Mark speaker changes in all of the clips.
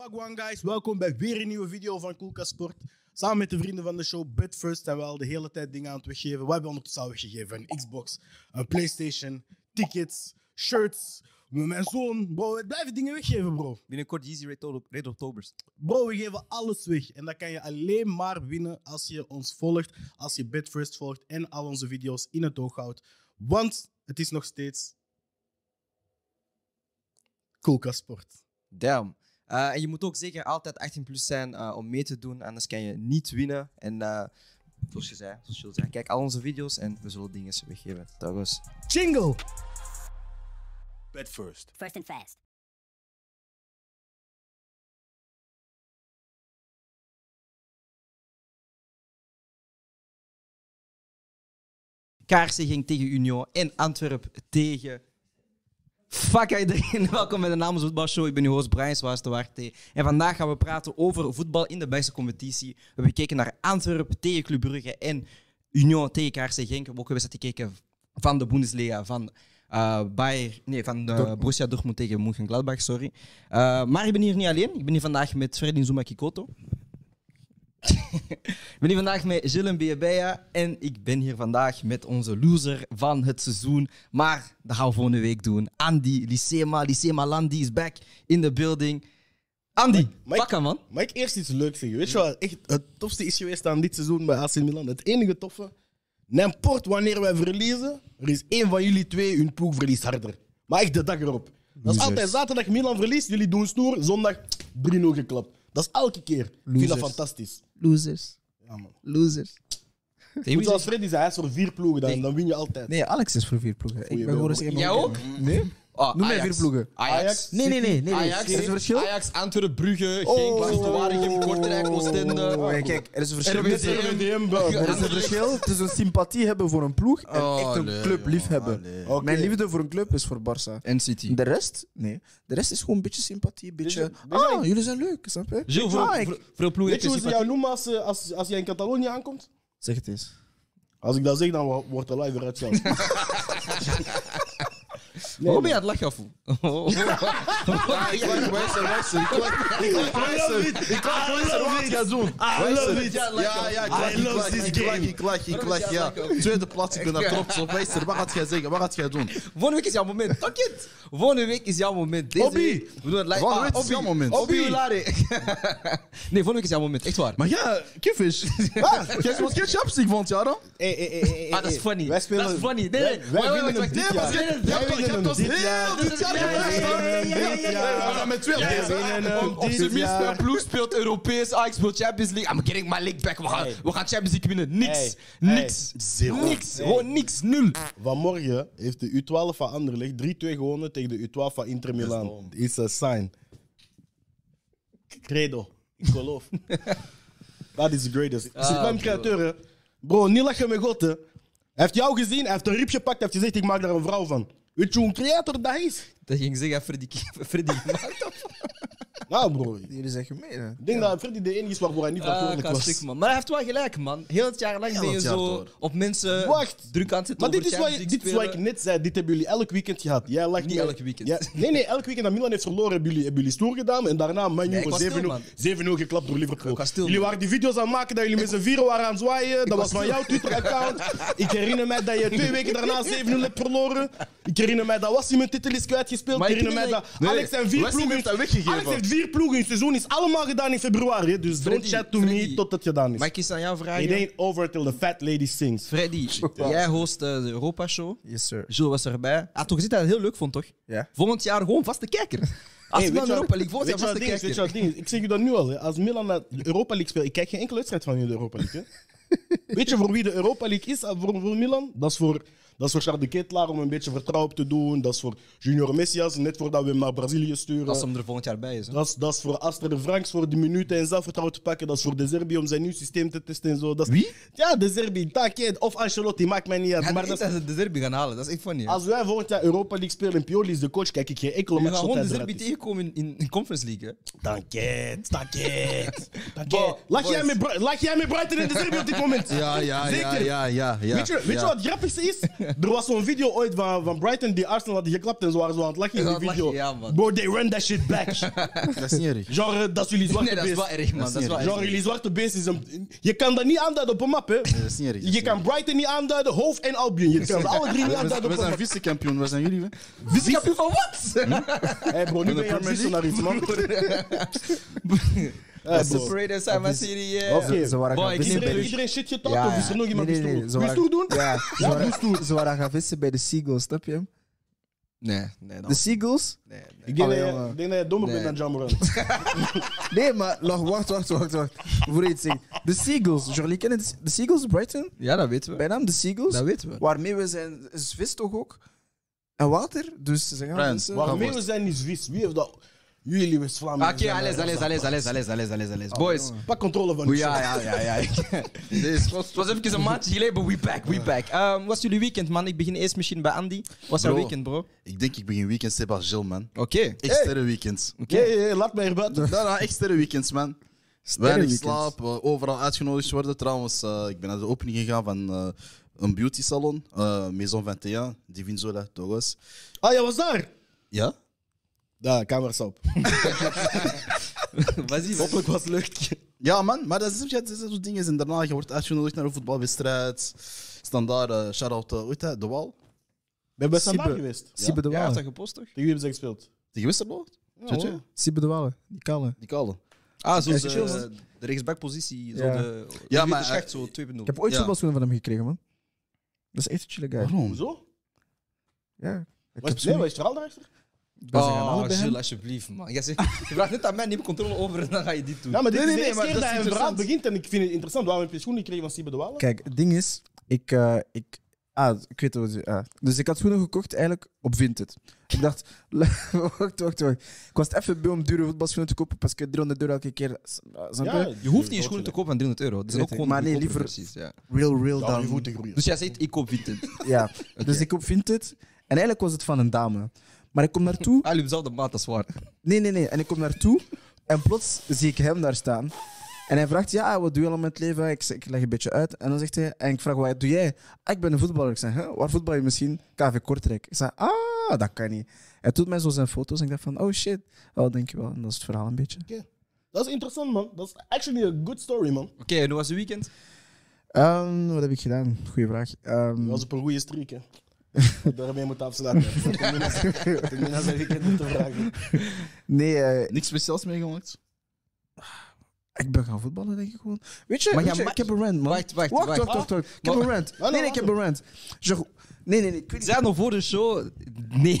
Speaker 1: Wagwan guys, welkom bij weer een nieuwe video van Koelkast Sport. Samen met de vrienden van de show But First zijn we al de hele tijd dingen aan het weggeven. We hebben ondertussen al weggegeven een Xbox, een Playstation, tickets, shirts. Mijn zoon, bro, we blijven dingen weggeven, bro.
Speaker 2: Binnenkort Yeezy Red, Oct- Red Octobers.
Speaker 1: Bro, we geven alles weg. En dat kan je alleen maar winnen als je ons volgt, als je Bid First volgt en al onze video's in het oog houdt. Want het is nog steeds Koelkast Sport.
Speaker 2: Damn. Eh, en je moet ook zeker altijd 18 plus zijn eh, om mee te doen, anders kan je niet winnen. En eh, zoals je zei, zoals je zei, kijk al onze video's en we zullen dingen weggeven. Dat was.
Speaker 1: Jingle!
Speaker 3: Bet first.
Speaker 4: First and fast.
Speaker 2: KRC ging tegen Union en Antwerp tegen. Fuck iedereen, welkom bij de Namens Voetbalshow. Ik ben uw host Brian Swaastewarte. eh. En vandaag gaan we praten over voetbal in de Belgische competitie. We hebben gekeken naar Antwerp tegen Club Brugge en Union tegen KRC Genk. We hebben ook een wedstrijd gekeken van de Bundesliga, van, eh Bayer, nee, van eh, Borussia Dortmund tegen Mönchengladbach, sorry. Eh, maar ik ben hier niet alleen. Ik ben hier vandaag met Fredin Zuma Kikoto. Ik ben hier vandaag met Gilles Biebeja en ik ben hier vandaag met onze loser van het seizoen. Maar dat gaan we volgende week doen. Andy Lissema, Lissema Landi is back in the building. Andy,
Speaker 1: Mike.
Speaker 2: pak hem man.
Speaker 1: Mag ik eerst iets leuks zeggen? Weet je wat echt het tofste is geweest aan dit seizoen bij AC Milan? Het enige toffe. N'importe wanneer wij verliezen, er is één van jullie twee, hun ploeg verliest harder. Maar echt de dag erop. Dat is altijd zaterdag Milan verliest, jullie doen stoer, zondag 3-0 geklapt. Dat is elke keer. Ik vind dat
Speaker 2: Losers.
Speaker 1: fantastisch.
Speaker 2: Losers,
Speaker 1: Ja, man.
Speaker 2: losers.
Speaker 1: Moet zoals Freddy zei, hij is voor vier ploegen, dan,
Speaker 2: Nee.
Speaker 1: dan win je altijd.
Speaker 5: Nee, Alex is voor vier ploegen.
Speaker 1: Goeie
Speaker 5: ik ben gewoon
Speaker 1: wel.
Speaker 5: eens één
Speaker 2: Jij
Speaker 5: man.
Speaker 2: ook?
Speaker 5: Nee?
Speaker 2: Oh,
Speaker 5: Noem mij
Speaker 2: Ajax.
Speaker 5: vier ploegen.
Speaker 2: Ajax.
Speaker 1: Ajax.
Speaker 5: Nee, nee, nee. nee.
Speaker 6: Ajax,
Speaker 5: er is een verschil.
Speaker 6: Ajax, Antwerpen, Brugge,
Speaker 1: Oh.
Speaker 6: Genk, Vasco, Waregem, Kortrijk, Oostende.
Speaker 5: Oh, ja, kijk, er is een verschil.
Speaker 6: RWDM.
Speaker 1: RWDM, bro.
Speaker 5: Er is een verschil tussen sympathie hebben voor een ploeg en echt een club liefhebben.
Speaker 1: Oké.
Speaker 5: Mijn liefde voor een club is voor Barça.
Speaker 2: En City.
Speaker 5: De rest? Nee. De rest is gewoon een beetje sympathie. Een beetje.
Speaker 1: Dit is-
Speaker 5: Ah, jullie zijn leuk, snap je?
Speaker 2: Gilles, voor,
Speaker 5: Ah, ik-
Speaker 2: voor, voor de ploeg
Speaker 1: Weet je hoe
Speaker 2: heb je
Speaker 1: ze jou noemen als, eh, als, als jij in Catalonië aankomt?
Speaker 5: Zeg het eens.
Speaker 1: Als ik dat zeg, dan wo- wordt de live eruit zelf.
Speaker 2: sympathie. Waarom ben je aan het lachen, foe?
Speaker 6: Ah, Ik lach, wijzer, wijzer. Ik lach, ik lach, wijzer. Ik lach, wijzer, wat ik ga doen. Wijzer. Ja, ja, ik lach, ik lach, ik lach, ik lach, ik lach, ja. Tweede plaats, ik ben daar trots op. Wijzer, wat gaat jij zeggen, wat gaat jij doen?
Speaker 2: Volgende week is jouw moment. Fuck it. Volgende week is jouw moment. Deze
Speaker 6: Obi.
Speaker 2: week- We doen het live.
Speaker 6: Volgende week is
Speaker 2: Obi.
Speaker 6: jouw moment.
Speaker 2: Obi
Speaker 6: Obi.
Speaker 2: Olari. Nee, volgende week is jouw moment. Echt waar.
Speaker 6: Maar ja, kiffisch.
Speaker 5: Ah.
Speaker 6: Kijk wat geen Champions League vond, ja dan?
Speaker 1: Hey, hey, hey, hey, hey,
Speaker 2: Ah, dat is
Speaker 1: hey.
Speaker 2: funny.
Speaker 1: Wij spelen-
Speaker 2: Dat is funny. Nee, nee.
Speaker 1: Wij-
Speaker 2: Wacht,
Speaker 1: Wij
Speaker 2: wacht,
Speaker 1: winnen hem
Speaker 2: wacht,
Speaker 1: dit
Speaker 2: wacht.
Speaker 1: jaar.
Speaker 2: Nee,
Speaker 1: Wij
Speaker 2: maar-
Speaker 6: Ja, toch,
Speaker 1: winnen
Speaker 6: je
Speaker 1: hem
Speaker 6: hebt ons
Speaker 1: dit
Speaker 6: heel dit jaar
Speaker 2: Ja, ja,
Speaker 1: ja, ja, ja, ja,
Speaker 6: gevraagd.
Speaker 1: ja, ja.
Speaker 6: We gaan met twee
Speaker 1: Ja,
Speaker 6: lezen.
Speaker 1: we winnen hem
Speaker 6: Op- Op
Speaker 1: dit
Speaker 6: zijn minst,
Speaker 1: jaar.
Speaker 6: een ploeg speelt Europees, Ajax speelt Champions League. I'm getting my leg back. We gaan, we gaan Champions League winnen. Niks.
Speaker 1: Hey.
Speaker 6: Niks.
Speaker 1: Zero.
Speaker 6: Niks.
Speaker 1: Hey.
Speaker 6: Gewoon niks. Nul.
Speaker 1: Vanmorgen heeft de U12 van Anderlecht 3-2 gewonnen tegen de U12 van Inter Milan. It's a sign. Credo. Ik geloof. That is the greatest. Ik zit bij hem createur, hè. Bro, niet lachen met God, hè. Hij heeft jou gezien, hij heeft een riep gepakt, hij heeft gezegd, ik maak daar een vrouw van. Weet je hoe een creator dat is?
Speaker 2: Dat ging ik zeggen, Freddy. Freddy gemaakt.
Speaker 1: Nou, bro. Ik
Speaker 5: Jullie zijn gemeen. hè?
Speaker 1: denk dat Freddy de enige is waarvoor hij niet
Speaker 2: Ah,
Speaker 1: verantwoordelijk
Speaker 2: kan
Speaker 1: was.
Speaker 2: stuk, man. Maar hij heeft wel gelijk, man. Heel het jaar lang ben je
Speaker 6: het jaar
Speaker 2: zo
Speaker 6: door.
Speaker 2: op mensen
Speaker 1: Wacht.
Speaker 2: druk aan het zetten
Speaker 1: Maar dit
Speaker 2: over
Speaker 1: is, wat, je-
Speaker 2: Champions
Speaker 1: dit is
Speaker 2: League
Speaker 1: wat ik net zei. Dit hebben jullie elk weekend gehad. Jij lacht
Speaker 2: Niet
Speaker 1: mij-
Speaker 2: elk weekend.
Speaker 1: Ja, nee, nee, elk weekend dat Milan heeft verloren, hebben jullie, hebben jullie stoer gedaan. En daarna Man U
Speaker 2: Nee, ik was
Speaker 1: gewoon
Speaker 2: stil,
Speaker 1: 7-0
Speaker 2: man.
Speaker 1: 7-0 geklapt door Liverpool.
Speaker 2: Ik was stil,
Speaker 1: jullie
Speaker 2: man.
Speaker 1: waren die video's aan het maken dat jullie met z'n vieren waren aan het zwaaien. Dat was
Speaker 2: was
Speaker 1: van
Speaker 2: stil.
Speaker 1: jouw Twitter-account. Ik herinner mij dat je twee weken daarna 7-0 hebt verloren. Ik herinner mij dat Wassim een titel is kwijtgespeeld. Ik
Speaker 2: Maar ik
Speaker 1: herinner mij
Speaker 2: denk
Speaker 1: dat
Speaker 2: dat
Speaker 1: Alex zijn vier
Speaker 6: Wesley
Speaker 1: ploegen...
Speaker 6: heeft dat weggegeven.
Speaker 1: Alex heeft vier ploegen in het seizoen. is allemaal gedaan in februari. hè. Dus don't
Speaker 2: Freddy,
Speaker 1: chat to
Speaker 2: Freddy.
Speaker 1: me tot het gedaan
Speaker 2: Maar
Speaker 1: is.
Speaker 2: ik is aan jou
Speaker 1: It
Speaker 2: vragen.
Speaker 1: ain't over till the fat lady sings.
Speaker 2: Freddy, jij host eh, de Europa-show.
Speaker 5: Yes, sir.
Speaker 2: Jules was erbij. Hij had toch gezien dat hij het heel leuk vond, toch?
Speaker 5: Ja.
Speaker 2: Volgend jaar gewoon vaste kijker. Als
Speaker 1: Hey,
Speaker 2: hey,
Speaker 1: weet
Speaker 2: Milan
Speaker 1: je
Speaker 2: Europa
Speaker 1: wat-
Speaker 2: League volgend
Speaker 1: weet
Speaker 2: jaar
Speaker 1: je wat
Speaker 2: vaste
Speaker 1: ding is? Weet je
Speaker 2: kijker.
Speaker 1: wat ding is? Ik zeg je dat nu al. hè. Als Milan naar de Europa League speelt, ik kijk geen enkele wedstrijd van in de Europa League. hè. weet je voor wie de Europa League is eh, voor, voor Milan? Dat is voor, dat is voor Charles de Ketelaar om een beetje vertrouwen op te doen. Dat is voor Junior Messias, net voordat we hem naar Brazilië sturen.
Speaker 2: Als hem er volgend jaar bij is. hè.
Speaker 1: Dat is, dat is voor Aster Franks voor de minuten en zelfvertrouwen te pakken. Dat is voor De Zerbi om zijn nieuw systeem te testen en zo. Dat is-
Speaker 2: Wie?
Speaker 1: Ja, De Zerbi, Taket of Ancelotti, maakt mij niet uit.
Speaker 2: Hij
Speaker 1: maar
Speaker 2: maar
Speaker 1: dat
Speaker 2: dat ze de derby gaan halen, dat is echt funny. hè.
Speaker 1: als wij volgend jaar Europa League spelen en Pioli is de coach, kijk ik geen enkele
Speaker 2: We gaan
Speaker 1: match tot
Speaker 2: gewoon de
Speaker 1: hij eruit
Speaker 2: derby
Speaker 1: is.
Speaker 2: tegenkomen in, in, in Conference League. Hè.
Speaker 1: T'inquiète, t'inquiète, t'inquiète.
Speaker 2: Bon,
Speaker 1: Lach jij
Speaker 2: boys.
Speaker 1: met Bru- lach jij met Brighton in de derby op dit moment?
Speaker 6: Ja, ja, ja,
Speaker 1: Zeker.
Speaker 6: ja, ja. ja
Speaker 1: Weet je, weet je wat het grappigste is?
Speaker 6: Er was zo'n video ooit van, van Brighton die Arsenal had geklapt en ze waren zo aan het lachen in
Speaker 2: Ja,
Speaker 6: die
Speaker 2: aan het
Speaker 6: video.
Speaker 2: lachen, ja, man.
Speaker 6: Bro, they run that shit back.
Speaker 7: Dat is niet erg.
Speaker 6: Genre, eh, dat is jullie zwarte
Speaker 2: Nee, dat is
Speaker 6: beest.
Speaker 2: wel erg, man. Dat is wel
Speaker 6: Genre,
Speaker 2: erg.
Speaker 6: jullie zwarte beest is een... Je kan dat niet aanduiden op een map, hè.
Speaker 7: Dat is niet erg.
Speaker 6: Je kan Brighton niet aanduiden, Hoofd en Albion. Je kan ze alle drie niet aanduiden
Speaker 7: We
Speaker 6: op een
Speaker 7: zijn
Speaker 6: map.
Speaker 7: vice-kampioen, waar zijn jullie? hè?
Speaker 2: Vice-kampioen van wat?
Speaker 6: Hé bro, nu
Speaker 7: de
Speaker 6: ben je aan het
Speaker 7: Premier
Speaker 6: vissen naar iets, man.
Speaker 2: Dat
Speaker 6: Hey,
Speaker 2: is de
Speaker 6: bro.
Speaker 2: parade in my City, yeah.
Speaker 5: Of ze- ze waren
Speaker 2: Boy,
Speaker 5: gaan
Speaker 2: ik
Speaker 5: vissen bij
Speaker 6: Iedereen,
Speaker 5: de...
Speaker 6: iedereen shit je
Speaker 5: Ja,
Speaker 6: of is er
Speaker 5: ja.
Speaker 6: nog iemand
Speaker 5: Nee,
Speaker 6: die
Speaker 5: nee,
Speaker 6: stoer?
Speaker 5: nee, ze
Speaker 6: Wil je
Speaker 5: waren-
Speaker 6: stoer doen?
Speaker 5: Ja, ze waren- ze waren gaan vissen bij de Seagulls, snap je?
Speaker 2: Nee, nee,
Speaker 5: De
Speaker 2: dat
Speaker 5: Seagulls?
Speaker 2: nee, nee.
Speaker 6: Ik denk,
Speaker 5: Allee,
Speaker 6: dat, je-
Speaker 5: jongen.
Speaker 6: ik denk dat je dommer
Speaker 2: Nee.
Speaker 6: bent dan Jamoran.
Speaker 5: Nee, maar lach, wacht, wacht, wacht, wacht. Voor iets zeggen. De Seagulls, Jorlie, kennen de- de Seagulls Brighton?
Speaker 2: Ja, dat weten we.
Speaker 5: Bijnaam de Seagulls?
Speaker 2: Dat weten we.
Speaker 5: Waarmee we zijn, is vis toch ook? En water, dus ze gaan
Speaker 7: Friends,
Speaker 5: vissen.
Speaker 7: water.
Speaker 6: Waarmee we zijn niet Zwits. Wie heeft dat? Jullie West-Vlamingen.
Speaker 2: Ah, Oké, alles, alles, alles, alles, alles, alles, alles, alles. Boys.
Speaker 6: eh, Pak controle van die
Speaker 2: Ja,
Speaker 6: shit.
Speaker 2: ja, ja, ja. Het was even een maandje geleden, but we back, we back. Ehm, Wat was jullie weekend, man? Ik begin eerst misschien bij Andy. Wat was jouw
Speaker 7: Bro.
Speaker 2: weekend, bro?
Speaker 7: Ik denk, ik begin weekend Sebastien, man.
Speaker 2: Oké.
Speaker 7: Echt sterre weekends.
Speaker 6: Hé, hé, hé, laat mij erbuiten.
Speaker 7: Nou, nou, echt sterre weekends, man. Weinig slaap, eh, overal uitgenodigd worden. Trouwens, eh, ik ben naar de opening gegaan van eh, een beauty salon, eh, Maison 21, Divinzola, Torres.
Speaker 6: Ah, jij was daar?
Speaker 7: Ja?
Speaker 6: Daar, camera's op.
Speaker 2: Wat is het?
Speaker 6: Hopelijk was het leuk.
Speaker 7: Ja, man, maar dat is dat is- dat soort dingen. En daarna, je wordt uitgenodigd naar een voetbalwedstrijd. Standaard, eh, shout-out, eh, hoe heet dat? De Wal.
Speaker 6: Ben bij Standaard
Speaker 5: Siebe.
Speaker 6: geweest. Tegen
Speaker 5: Siebe de
Speaker 2: Ja, heeft dat
Speaker 5: Walen.
Speaker 2: gepost, toch?
Speaker 6: wie hebben ze gespeeld?
Speaker 7: Tegen Westerlo? Tje, tje.
Speaker 5: Siebe de Walen, die kallen.
Speaker 7: Die kale.
Speaker 2: Ah, zo
Speaker 5: Ja,
Speaker 2: de,
Speaker 5: chill,
Speaker 2: de, rechtsbackpositie. Zo
Speaker 5: Ja.
Speaker 2: de,
Speaker 7: Ja,
Speaker 2: de
Speaker 7: maar,
Speaker 2: schacht,
Speaker 7: eh,
Speaker 2: zo 2.0.
Speaker 5: Ik heb ooit
Speaker 7: Ja.
Speaker 5: voetbalschoenen van hem gekregen, man. Dat is echt een chille guy.
Speaker 7: Waarom?
Speaker 6: Hoezo?
Speaker 5: Ja. Ik
Speaker 6: Was,
Speaker 5: heb
Speaker 6: nee,
Speaker 5: zo'n-
Speaker 6: was je er al daarachter?
Speaker 5: Ik ben ze
Speaker 2: Ah,
Speaker 5: gaan halen bij hem.
Speaker 2: Jules, alsjeblieft, man. Jij zegt, je vraagt net aan mij, neem controle over en dan ga je dit doen.
Speaker 6: Ja, maar dit
Speaker 7: Nee,
Speaker 6: is
Speaker 7: nee,
Speaker 6: de
Speaker 7: nee,
Speaker 6: eerste
Speaker 7: maar
Speaker 6: keer
Speaker 7: dat
Speaker 6: dat,
Speaker 7: is
Speaker 6: hij een verhaal
Speaker 7: interessant.
Speaker 6: begint en ik vind het interessant. Waarom heb je schoenen gekregen van Siebe de Walen?
Speaker 5: Kijk, het ding is, ik, eh, ik, ah, ik weet wat. Ah. Dus ik had schoenen gekocht eigenlijk op Vinted. Ik dacht, wacht, wacht, wacht. Ik was het even beu om dure voetbalschoenen te kopen, parce que 300 euro elke keer. s- ah, Snap je?
Speaker 2: Je hoeft niet je schoenen te kopen aan 300 euro. Dat is
Speaker 5: Weet
Speaker 2: ook
Speaker 5: ik.
Speaker 2: gewoon
Speaker 5: Maar nee,
Speaker 2: goedkope
Speaker 5: liever-
Speaker 2: versies, ja.
Speaker 5: Real, real
Speaker 6: Ja, om je
Speaker 5: down.
Speaker 6: voeten groeien.
Speaker 2: Dus jij zegt, ik koop Vinted.
Speaker 5: Ja, dus ik op Vinted. En eigenlijk was het van een dame. Maar ik kom naartoe.
Speaker 2: Ah, jullie hebben dezelfde maat, dat is waar.
Speaker 5: Nee, nee, nee. En ik kom naartoe en plots zie ik hem daar staan. En hij vraagt, ja, wat doe je al met het leven? Ik, zeg- ik leg een beetje uit. En dan zegt hij, en ik vraag, wat doe jij? Ah, ik ben een voetballer. Ik zeg, hè, waar voetbal je misschien? KV Kortrijk. Ik zeg, ah, dat kan niet. Hij doet mij zo zijn foto's en ik dacht van, oh shit. Oh, dankjewel. En dat is het verhaal een beetje.
Speaker 6: Dat is interessant, man. Dat is actually a good story,
Speaker 7: Mm.
Speaker 6: man.
Speaker 2: Oké, en hoe was je weekend?
Speaker 5: Ehm, wat heb ik gedaan? Goeie vraag. Ehm,
Speaker 6: Je was op een goede streak, hè. Daarmee moet afsluiten. Ik ben zijn weekend niet te vragen.
Speaker 5: nee, eh,
Speaker 7: Niks speciaals meegemaakt?
Speaker 5: ik ben gaan voetballen, denk ik gewoon. Weet je,
Speaker 2: Maar
Speaker 5: weet
Speaker 2: ja,
Speaker 5: je,
Speaker 2: maar-
Speaker 5: ik heb een rant, man.
Speaker 2: Wacht, wacht,
Speaker 5: wacht.
Speaker 2: wacht.
Speaker 5: Wacht, wacht, wacht. Ik heb
Speaker 2: Maar-
Speaker 5: een rant.
Speaker 6: Hallo,
Speaker 5: Nee, nee, ik heb een rant. Zo- Nee, nee, nee. Ik
Speaker 2: Ik
Speaker 5: weet niet.
Speaker 2: zei nog voor de show, nee.
Speaker 5: Nee, nee,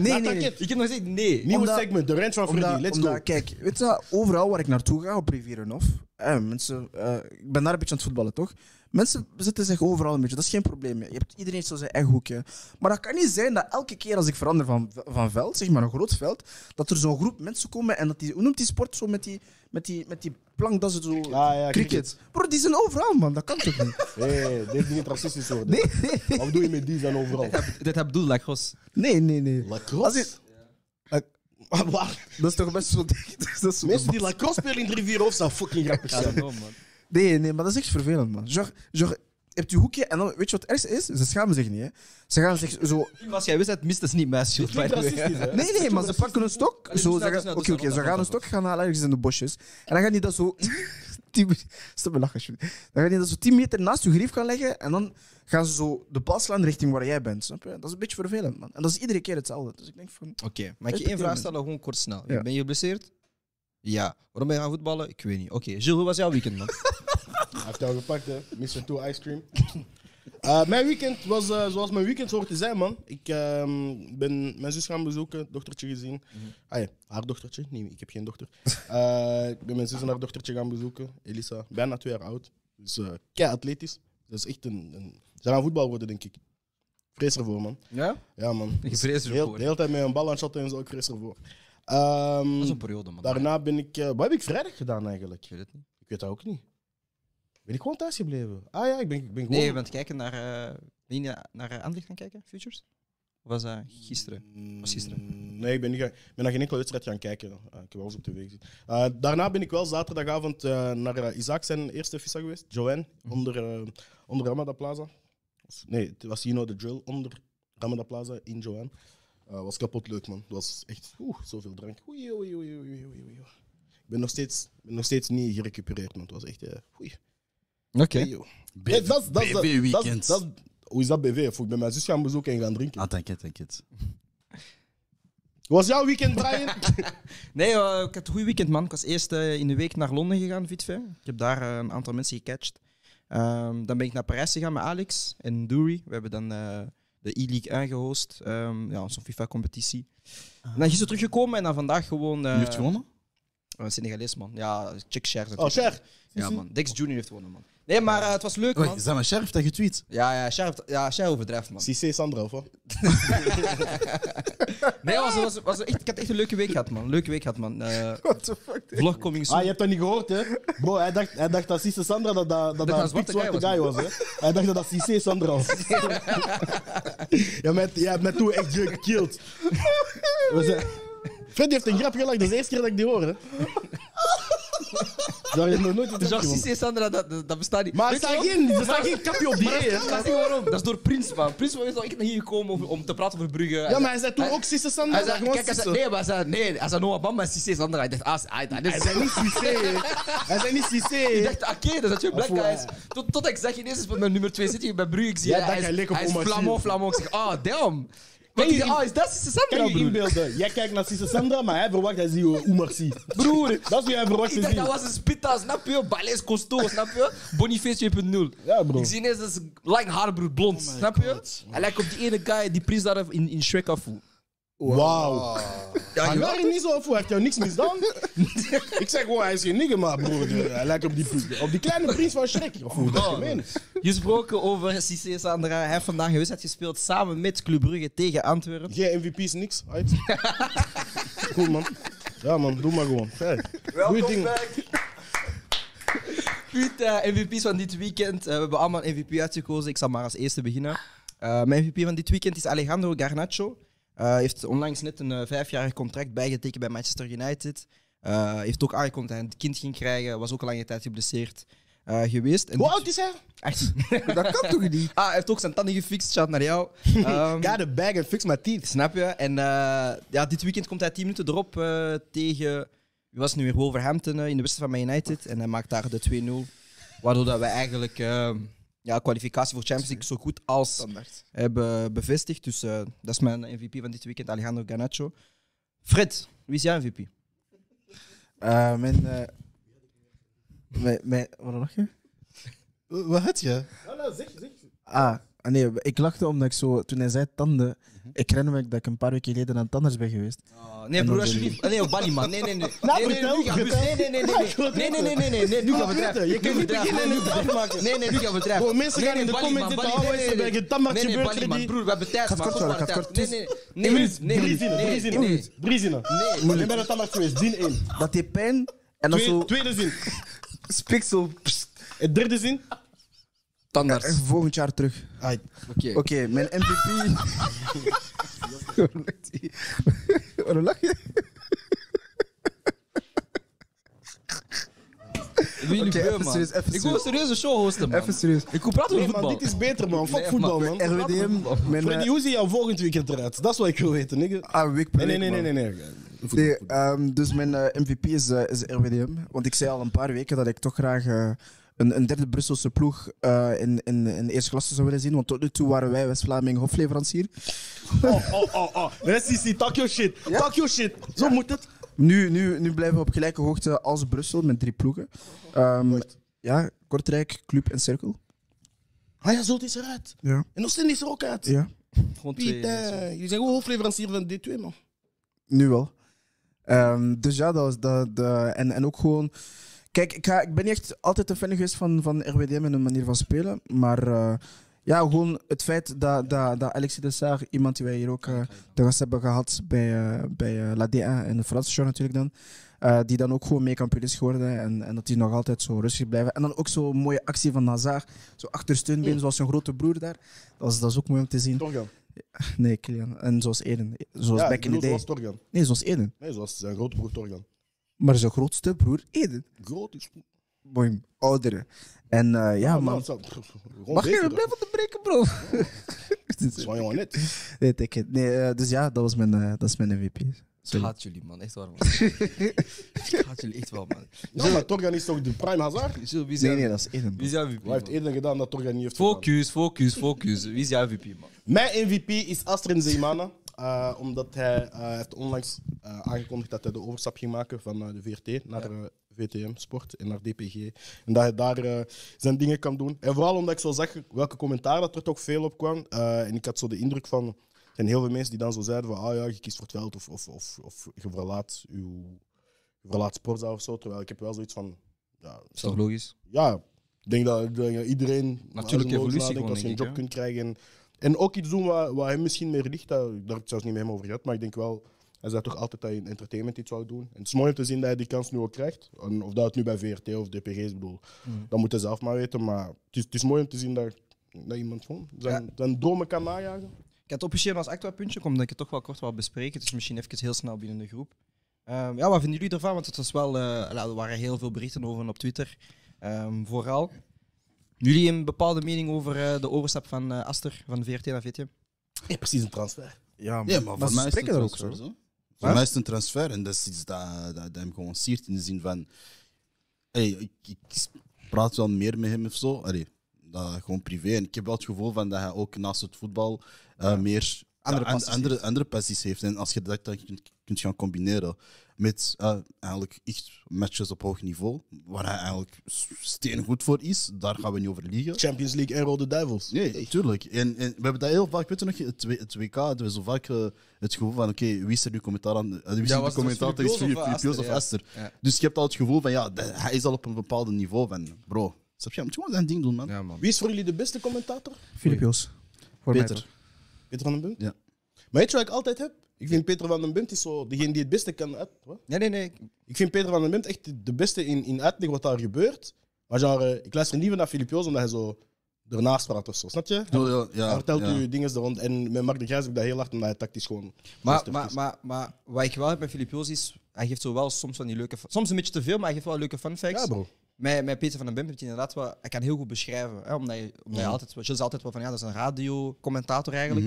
Speaker 5: nee.
Speaker 6: Attaqueer.
Speaker 2: Ik heb nog gezegd nee.
Speaker 6: Nieuwe
Speaker 5: Omdat-
Speaker 6: segment, de rant van Freddy.
Speaker 5: Omdat,
Speaker 6: Let's
Speaker 5: omdat,
Speaker 6: go.
Speaker 5: Kijk, weet je, wat, overal waar ik naartoe ga op Rivierenhof, eh, mensen, eh, ik ben daar een beetje aan het voetballen, toch? Mensen zitten zich overal een beetje, dat is geen probleem. Je hebt, iedereen heeft zo zijn eigen hoekje. Maar dat kan niet zijn dat elke keer als ik verander van, van veld, zeg maar een groot veld, dat er zo'n groep mensen komen en dat die, hoe noemt die sport zo met die, met die, met die plank dat ze zo.
Speaker 6: Ah, ja,
Speaker 5: cricket. Bro, die zijn overal, man, dat kan toch niet?
Speaker 6: Hé, dit is niet racistisch worden. Nee. Wat doe je met die zijn overal?
Speaker 2: Dat heb bedoeld, like, gos.
Speaker 5: Nee, nee, nee. Als
Speaker 6: Lacrosse?
Speaker 5: je-
Speaker 6: Eh,
Speaker 5: Dat is toch best wel. dat is zo
Speaker 6: Mensen die lacrosse spelen in de rivier of zijn fucking grappig
Speaker 2: Ja,
Speaker 6: zijn.
Speaker 2: dat wel, man.
Speaker 5: Nee, nee, maar dat is echt vervelend, man. Genre, genre, je hebt je hoekje en dan, weet je wat het ergste is? Ze schamen zich niet, hè. Ze gaan zich zo...
Speaker 2: Als jij wist, dat mist is niet mijn schuld.
Speaker 6: Dit klinkt
Speaker 2: by the way.
Speaker 6: racistisch, hè?
Speaker 5: Nee, nee, maar ze pakken een stok.
Speaker 2: Allee,
Speaker 5: Zo,
Speaker 2: doe snel, doe
Speaker 5: ze
Speaker 2: snel, dus
Speaker 5: gaan...
Speaker 2: doe
Speaker 5: Oké, oké,
Speaker 2: snel,
Speaker 5: ze
Speaker 2: doe
Speaker 5: gaan een
Speaker 2: snel.
Speaker 5: stok gaan halen ergens in de bosjes. En dan gaan die dat zo... Tien me- Stop me lachen, alsjeblieft. Dan gaan die dat zo 10 meter naast je grief gaan leggen en dan gaan ze zo de bal slaan richting waar jij bent, snap je? Dat is een beetje vervelend, man. En dat is iedere keer hetzelfde. Dus ik denk van...
Speaker 2: Oké, maar ik je één vraag stellen, gewoon kort snel.
Speaker 5: Ja.
Speaker 2: Ben je geblesseerd? Ja. Waarom ben je gaan voetballen? Ik weet niet. Oké, Jules, hoe was jouw weekend, man?
Speaker 6: Hij heeft jou gepakt, hè? Mr. Two Ice Cream. Eh, mijn weekend was eh, zoals mijn weekend hoort te zijn, man. Ik ehm, ben mijn zus gaan bezoeken, dochtertje gezien.
Speaker 2: Mhm.
Speaker 6: Ah ja, haar dochtertje. Nee, ik heb geen dochter. Eh, ik ben mijn zus en haar dochtertje gaan bezoeken. Elisa, bijna twee jaar oud. Dus eh kei atletisch. Dat is echt een, een... Ze gaan voetbal worden, denk ik. Vrees ervoor, man.
Speaker 2: ja?
Speaker 6: Ja, man.
Speaker 2: Ik vrees
Speaker 6: Heel,
Speaker 2: ervoor.
Speaker 6: de hele tijd met een bal aan het shotten en zo, ik vrees ervoor. Ehm,
Speaker 2: Dat is een periode, man.
Speaker 6: daarna ben ik... eh, wat heb ik vrijdag gedaan, eigenlijk?
Speaker 2: Ik weet het niet.
Speaker 6: Ik weet dat ook niet. Ben ik gewoon thuis gebleven? Ah ja, ik ben, ik ben gewoon...
Speaker 2: Nee, je bent kijken naar. eh ben je naar eh, Anderlecht gaan kijken, Futures? Of was dat gisteren? Was gisteren.
Speaker 6: Mm, Nee, ik ben, niet gaan- ik ben naar geen enkele wedstrijd gaan kijken. Eh, ik heb wel eens op tv gezien. Eh, daarna ben ik wel
Speaker 2: Mhm.
Speaker 6: zaterdagavond eh, naar eh, Isaac zijn eerste visa geweest, Joanne, onder, eh onder Ramada Plaza. Of- Nee, het was You Know The Drill onder Ramada Plaza in Joanne. Eh, was kapot leuk, man. Het was echt oeh, zoveel drank. Oei, oei, oei, oei, oei, oei, oei. Ik ben nog steeds, ben nog steeds niet gerecupereerd, man. Het was echt... eh oei.
Speaker 2: Oké.
Speaker 6: Hey, joh. Nee, dat is- dat is- dat is-
Speaker 7: BV-weekend.
Speaker 6: dat is- Hoe is dat BV? Of ik ben mijn zus gaan bezoeken en gaan drinken.
Speaker 7: Ah, dank je, dank je.
Speaker 6: Hoe was jouw weekend, Brian?
Speaker 2: Nee, eh, ik had een goed weekend, man. Ik was eerst eh, in de week naar Londen gegaan, Vitve. Ik heb daar eh, een aantal mensen gecatcht. Ehm, dan ben ik naar Parijs gegaan met Alex en Dury. We hebben dan eh, de E-League aangehost. Ehm ja, zo'n FIFA-competitie. En dan gisteren teruggekomen en dan vandaag gewoon... eh
Speaker 7: Wie heeft gewonnen?
Speaker 2: eh, Senegalees, man. Ja, check shares.
Speaker 6: Oh, Cher.
Speaker 2: Ja, man. Dex Junior heeft gewonnen, man. Nee, maar eh, het was
Speaker 5: Oh,
Speaker 2: leuk,
Speaker 7: Wait,
Speaker 2: man.
Speaker 7: is dat mijn sheriff dat getweet?
Speaker 2: Ja, ja, Cher, heeft- ja, Cher overdrijft, man.
Speaker 6: CC Sandra, of wat?
Speaker 2: Nee, was, was, was echt, ik had echt een leuke week gehad, man. Leuke week gehad, man. Eh
Speaker 5: What the fuck?
Speaker 2: vlog coming soon.
Speaker 6: Ah, je hebt dat niet gehoord, hè? Bro, hij dacht, hij dacht dat CC Sandra dat, dat,
Speaker 2: dat
Speaker 6: dat, dat
Speaker 2: een
Speaker 6: een
Speaker 2: zwarte
Speaker 6: pikzwarte
Speaker 2: guy
Speaker 6: guy was, hè? Hij dacht dat dat CC Sandra was. ja, met, jij hebt mij toen echt gekilled. We zijn... Freddy heeft een grap gelachen, dat is de eerste keer dat ik die hoor, hè? Daar heb Ah, je nog nooit een
Speaker 2: Genre
Speaker 6: trapje van.
Speaker 2: Cissé Sandra, dat, dat, dat bestaat niet.
Speaker 6: Maar
Speaker 2: Weet
Speaker 6: er
Speaker 2: je
Speaker 6: staat
Speaker 2: waarom?
Speaker 6: geen, er staat geen kapje op die
Speaker 2: Maar
Speaker 6: E, hè?
Speaker 2: dat, dat is niet waarom. Dat is door Prins, man. Prins was wel echt naar hier gekomen om, om te praten over Brugge.
Speaker 6: Ja, maar hij zei toen ook Sisse Sandra.
Speaker 2: Hij
Speaker 6: dat
Speaker 2: zei,
Speaker 6: gewoon
Speaker 2: kijk, hij zei,
Speaker 6: Sisse.
Speaker 2: nee, maar hij zei, nee, hij zei Noah Bamba en Cissé Sandra. Ik dacht, ah, ah, dat
Speaker 6: Hij
Speaker 2: is...
Speaker 6: zei niet Cissé. hè. Hij zei niet Cissé. hè.
Speaker 2: Ik dacht, oké, dat is je black
Speaker 6: Afwa-
Speaker 2: guys. Tot, tot ik zeg, ineens is met mijn nummer 2 zit hier bij Brugge. Ik zie,
Speaker 6: Ja,
Speaker 2: hij,
Speaker 6: dat
Speaker 2: hij
Speaker 6: hij
Speaker 2: is,
Speaker 6: leek op
Speaker 2: hij is
Speaker 6: Omar Sy.
Speaker 2: flamand, flamand. Ik zeg, ah, damn. Kijk,
Speaker 6: je in-
Speaker 2: ah, is dat Cissé Sandra,
Speaker 6: Kan je
Speaker 2: broer?
Speaker 6: inbeelden? Jij kijkt naar Cisse Sandra, maar hij verwacht dat hij Oemar ziet.
Speaker 2: Broer.
Speaker 6: Dat is wie hij verwacht
Speaker 2: Ik
Speaker 6: te
Speaker 2: dacht,
Speaker 6: zien.
Speaker 2: dat was een spitta, snap je? Balais Costo, snap je? Boniface 2.0.
Speaker 6: Ja, bro. Oh
Speaker 2: Ik zie ineens dat ze lang haar broer blond, snap je? Hij lijkt op die ene guy die Prins daar in, in Shrek afvoert.
Speaker 6: Wauw.
Speaker 2: Ja,
Speaker 6: Hij
Speaker 2: je
Speaker 6: waren niet zo voor, heeft jou niks misdaan? ik zeg gewoon, hij is geen nigger, maar broer, eh, hij lijkt op die, op die kleine prins van Shrek. Of hoe dat je meent.
Speaker 2: Gesproken over Cissé Sandra. Hij heeft vandaag een wedstrijd gespeeld samen met Club Brugge tegen Antwerpen.
Speaker 6: Geen MVP's, niks. Uit. Goed, man. Ja, man, doe maar gewoon. Fijn. Goeie ding.
Speaker 2: Goed, eh, MVP's van dit weekend. Eh, we hebben allemaal een MVP uitgekozen. Ik zal maar als eerste beginnen. Eh, mijn MVP van dit weekend is Alejandro Garnacho. Eh heeft onlangs net een eh, vijfjarig contract bijgetekend bij Manchester United. Eh, heeft ook aangekondigd dat hij een kind ging krijgen. Was ook al lange tijd geblesseerd eh, geweest. En
Speaker 6: Hoe oud is hij?
Speaker 2: 18.
Speaker 5: Dat kan toch niet?
Speaker 2: ah, hij heeft ook zijn tanden gefixt. Shout naar jou. Ehm,
Speaker 6: Ga de bag en fix my teeth.
Speaker 2: Snap je? En eh, ja, dit weekend komt hij 10 minuten erop eh, tegen. Wie was het nu weer? Wolverhampton eh, in de wedstrijd van Man United. En hij maakt daar de 2-0. Waardoor dat we eigenlijk eh, ja, kwalificatie voor Champions League zo goed als hebben bevestigd. Dus eh, dat is mijn MVP van dit weekend, Alejandro Garnacho. Fred, wie is jouw MVP?
Speaker 5: Eh, mijn, eh, mijn, mijn, wat lach je?
Speaker 7: Wat had je?
Speaker 5: Ah, ah, nee, ik lachte omdat ik zo, toen hij zei tanden,
Speaker 6: Mhm.
Speaker 5: ik herinner me dat ik een paar weken geleden aan het tandarts ben geweest.
Speaker 2: nee, broer, alsjeblieft. Nee, op Bali, man. Nee, nee, nee. nee, nee,
Speaker 6: vertel,
Speaker 2: nu gaan we-
Speaker 6: vertel.
Speaker 2: nee, nee, nee, nee, nee. Nee, nee, nee, nee, nee, nee, nu gaan we drijven.
Speaker 6: Je kunt
Speaker 2: Nu
Speaker 6: niet
Speaker 2: drijven.
Speaker 6: beginnen
Speaker 2: Nee, nu
Speaker 6: en
Speaker 2: gaan we drijven. Nee, nee, nu gaan we drijven.
Speaker 6: Bro, mensen
Speaker 2: Nee,
Speaker 6: gaan
Speaker 2: nee,
Speaker 6: in de
Speaker 2: Bali,
Speaker 6: comments
Speaker 2: man,
Speaker 6: zitten,
Speaker 2: Bali,
Speaker 6: oh,
Speaker 2: nee,
Speaker 6: mensen
Speaker 2: nee,
Speaker 6: bij
Speaker 2: nee.
Speaker 6: getambard
Speaker 2: Nee, nee,
Speaker 6: gebeurt,
Speaker 2: Bali,
Speaker 6: jullie
Speaker 2: man,
Speaker 6: die-
Speaker 2: broer, we hebben tijd,
Speaker 5: Gaat
Speaker 2: man.
Speaker 5: kort
Speaker 2: Kom
Speaker 5: worden,
Speaker 2: maar,
Speaker 5: gaat
Speaker 2: tijd.
Speaker 5: kort.
Speaker 2: Nee, nee, nee,
Speaker 6: Eén minuut.
Speaker 2: nee,
Speaker 6: Drie zinnen.
Speaker 2: nee,
Speaker 6: Drie zinnen.
Speaker 2: nee.
Speaker 6: Drie zinnen.
Speaker 2: Nee.
Speaker 6: Ik ben het tandarts geweest. Zin 1.
Speaker 5: Dat die pijn, en dan zo,
Speaker 6: Tweede zin.
Speaker 5: spikt zo, pst,
Speaker 6: Het Eh, derde zin.
Speaker 5: en
Speaker 2: Tandarts.
Speaker 5: volgend jaar terug.
Speaker 6: Ai.
Speaker 2: Oké.
Speaker 5: Oké, mijn MVP. Waarom lacht hij? Waarom lach je?
Speaker 2: Wie jullie
Speaker 5: Oké,
Speaker 2: beu,
Speaker 5: even
Speaker 2: man.
Speaker 5: serieus,
Speaker 2: Ik
Speaker 5: even
Speaker 2: wil een
Speaker 5: serieus.
Speaker 2: serieuze show hosten, man.
Speaker 5: Even serieus.
Speaker 2: Ik wil praten
Speaker 6: Nee,
Speaker 2: over
Speaker 6: man,
Speaker 2: voetbal.
Speaker 6: dit is beter, man. Fuck
Speaker 2: Nee,
Speaker 6: voetbal,
Speaker 2: maar-
Speaker 6: man.
Speaker 5: RWDM, mijn
Speaker 6: Freddy,
Speaker 5: eh,
Speaker 6: hoe zie jouw volgend weekend eruit? Dat is wat ik wil weten, nigga.
Speaker 5: ah, week per
Speaker 6: Nee, nee,
Speaker 5: week,
Speaker 6: nee, nee.
Speaker 5: man.
Speaker 6: nee, nee.
Speaker 5: Nee, ehm, dus mijn eh, MVP is, eh, is RWDM. Want ik zei al een paar weken dat ik toch graag eh, een, een derde Brusselse ploeg eh, in, in, in de eerste klasse zou willen zien. Want tot nu toe waren wij West-Vlaming hofleverancier.
Speaker 6: Oh, oh, oh, oh. Nee, Sissi, talk your shit. Talk your shit. Zo moet het.
Speaker 5: Nu, nu, nu blijven we op gelijke hoogte als Brussel met drie ploegen. Ehm, ja, Kortrijk, Club en Cirkel.
Speaker 6: Ah ja, Zult is eruit.
Speaker 5: Ja.
Speaker 6: En Oostende is er ook uit.
Speaker 5: ja.
Speaker 2: Gewoon twee.
Speaker 6: Pieter, jullie zijn gewoon hoofdleverancier van D2, man.
Speaker 5: Nu wel. Ehm, dus ja, dat was dat. dat- en, en ook gewoon. Kijk, ik, ga, ik ben niet echt altijd een fan geweest van, van RWDM en hun manier van spelen. Maar eh, ja, gewoon het feit dat, dat, dat Alexis Dessart, iemand die wij hier ook eh, te gast hebben gehad bij, eh, bij eh, La DA en de Franse show natuurlijk dan. eh, die dan ook gewoon meekampion is geworden. En, en dat die nog altijd zo rustig blijven. En dan ook zo'n mooie actie van Hazard. Zo achter steunbeen, zoals zijn grote broer daar. Dat is, dat is ook mooi om te zien.
Speaker 6: Toch gaan.
Speaker 5: Nee, Kilian. En zoals Eden. Zoals
Speaker 6: Ja,
Speaker 5: back in the day.
Speaker 6: zoals Torgan.
Speaker 5: Nee, zoals Eden.
Speaker 6: Nee, zoals zijn grote broer Torgan.
Speaker 5: Maar zijn grootste broer Eden.
Speaker 6: Groot is goed.
Speaker 5: boem, ouderen. En eh, ja,
Speaker 6: man.
Speaker 5: man.
Speaker 6: Zo, gewoon
Speaker 5: Mag
Speaker 6: beter,
Speaker 5: je
Speaker 6: toch?
Speaker 5: blijven te breken, bro?
Speaker 6: Dat is gewoon jongen net.
Speaker 5: nee, take it. Nee, eh, dus ja, dat, was mijn, eh, dat is mijn MVP.
Speaker 2: Ik haat jullie, man. Echt waar, man. ik haat jullie echt wel, man.
Speaker 6: Ja, maar Torgan is toch de prime hazard?
Speaker 2: Zo, wie is
Speaker 5: Nee,
Speaker 2: jouw-
Speaker 5: nee, dat is Eden.
Speaker 2: Wie is jouw MVP,
Speaker 6: Hij heeft
Speaker 2: man?
Speaker 6: eerder gedaan dat Torgan niet heeft gedaan.
Speaker 2: Focus, focus, focus. Wie is jouw MVP, man?
Speaker 6: Mijn MVP is Astrid Zeemana. eh, omdat hij eh, heeft onlangs eh, aangekondigd dat hij de overstap ging maken van eh, de VRT naar eh, VTM Sport en naar DPG. En dat hij daar eh, zijn dingen kan doen. En vooral omdat ik zo zag welke commentaar dat er toch veel op kwam. Eh, en ik had zo de indruk van. Er zijn heel veel mensen die dan zo zeiden van ah ja, je kiest voor het veld of, of, of, of je verlaat uw je verlaat sportzaal of zo. Terwijl ik heb wel zoiets van. Ja,
Speaker 2: Is toch logisch?
Speaker 6: ja, ik denk dat, dat iedereen
Speaker 2: Natuurlijke
Speaker 6: als een
Speaker 2: evolutie
Speaker 6: nadenkt,
Speaker 2: gewoon,
Speaker 6: als je een
Speaker 2: denk ik,
Speaker 6: job
Speaker 2: hè?
Speaker 6: kunt krijgen. En, en ook iets doen waar, waar hem misschien meer ligt, dat, daar heb ik het zelfs niet met hem over gehad, maar ik denk wel, hij zei toch altijd dat hij in entertainment iets zou doen. En het is mooi om te zien dat hij die kans nu ook krijgt. En of dat het nu bij VRT of DPG is, ik bedoel,
Speaker 2: Mm.
Speaker 6: dat moet hij zelf maar weten. Maar het is, het is mooi om te zien dat, dat iemand gewoon zijn, zijn dromen kan najagen.
Speaker 2: Ik had officieel als extra puntje, omdat ik het toch wel kort wil bespreken. Dus misschien even heel snel binnen de groep. Ehm, ja, wat vinden jullie ervan? Want het was wel, eh, nou, er waren heel veel berichten over op Twitter. Ehm, vooral. Jullie een bepaalde mening over eh, de overstap van eh, Aster van VRT naar VTM?
Speaker 6: Ja, precies een transfer.
Speaker 5: Ja,
Speaker 7: Ja, maar voor
Speaker 5: ze
Speaker 7: mij is het
Speaker 5: spreken
Speaker 7: een
Speaker 5: daar ook
Speaker 7: transfer.
Speaker 5: zo.
Speaker 7: zo. Voor mij is het een transfer en dat is iets dat, dat, dat hem gewoon siert in de zin van. Hey, ik, ik praat wel meer met hem of zo. Allee, dat, gewoon privé. En ik heb wel het gevoel van dat hij ook naast het voetbal eh, meer
Speaker 5: Andere
Speaker 7: ja, an-
Speaker 5: passies
Speaker 7: andere, andere passies heeft. En als je dat dan kunt, kunt gaan combineren met eh, eigenlijk echt matches op hoog niveau, waar hij eigenlijk steengoed voor is, daar gaan we niet over liegen.
Speaker 6: Champions League en Rode Duivels.
Speaker 7: Nee, tuurlijk. En, en we hebben dat heel vaak, weet je nog, het, W- het WK hadden we zo vaak eh, het gevoel van, oké, wie is er nu commentaar aan? eh, wie is
Speaker 2: Ja,
Speaker 7: er
Speaker 2: was
Speaker 7: nu
Speaker 2: het
Speaker 7: commentaar
Speaker 2: Philip
Speaker 7: tegen
Speaker 2: Joos of
Speaker 7: Philip Philip Joos of
Speaker 2: Aster, ja.
Speaker 7: Aster?
Speaker 2: Ja.
Speaker 7: Dus je hebt al het gevoel van, ja, de- hij is al op een bepaald niveau van, bro, snap je, hij moet gewoon zijn ding doen, man.
Speaker 2: Ja, man.
Speaker 6: Wie is voor jullie de beste commentator?
Speaker 5: Filip Joos. Voor mij
Speaker 7: Peter.
Speaker 5: toch.
Speaker 6: Peter van den Bunt?
Speaker 7: Ja.
Speaker 6: Maar weet je wat ik altijd heb? Ik vind Peter van den Bunt is zo degene die het beste kan uit... Wat?
Speaker 2: Nee, nee, nee.
Speaker 6: Ik vind Peter van den Bent echt de beste in, in uitleggen wat daar gebeurt. Maar genre, ik luister liever naar Filip Joos omdat hij zo ernaast praat of zo. Snap je?
Speaker 7: Ja, ja,
Speaker 6: hij vertelt
Speaker 7: ja.
Speaker 6: u dingen er rond. En met Mark de Grijs heb ik dat heel hard omdat hij tactisch gewoon...
Speaker 2: Maar,
Speaker 6: rustig
Speaker 2: maar,
Speaker 6: is.
Speaker 2: maar, maar wat ik wel heb met Filip Joos is, hij geeft zo wel soms van die leuke... fa- Soms een beetje te veel, maar hij geeft wel leuke fun facts.
Speaker 6: Ja, bro.
Speaker 2: Met, met Peter van den Bump heeft hij inderdaad wel... Hij kan heel goed beschrijven. Hè, omdat je, omdat je altijd... Gilles is altijd wel van, ja, dat is een radiocommentator eigenlijk.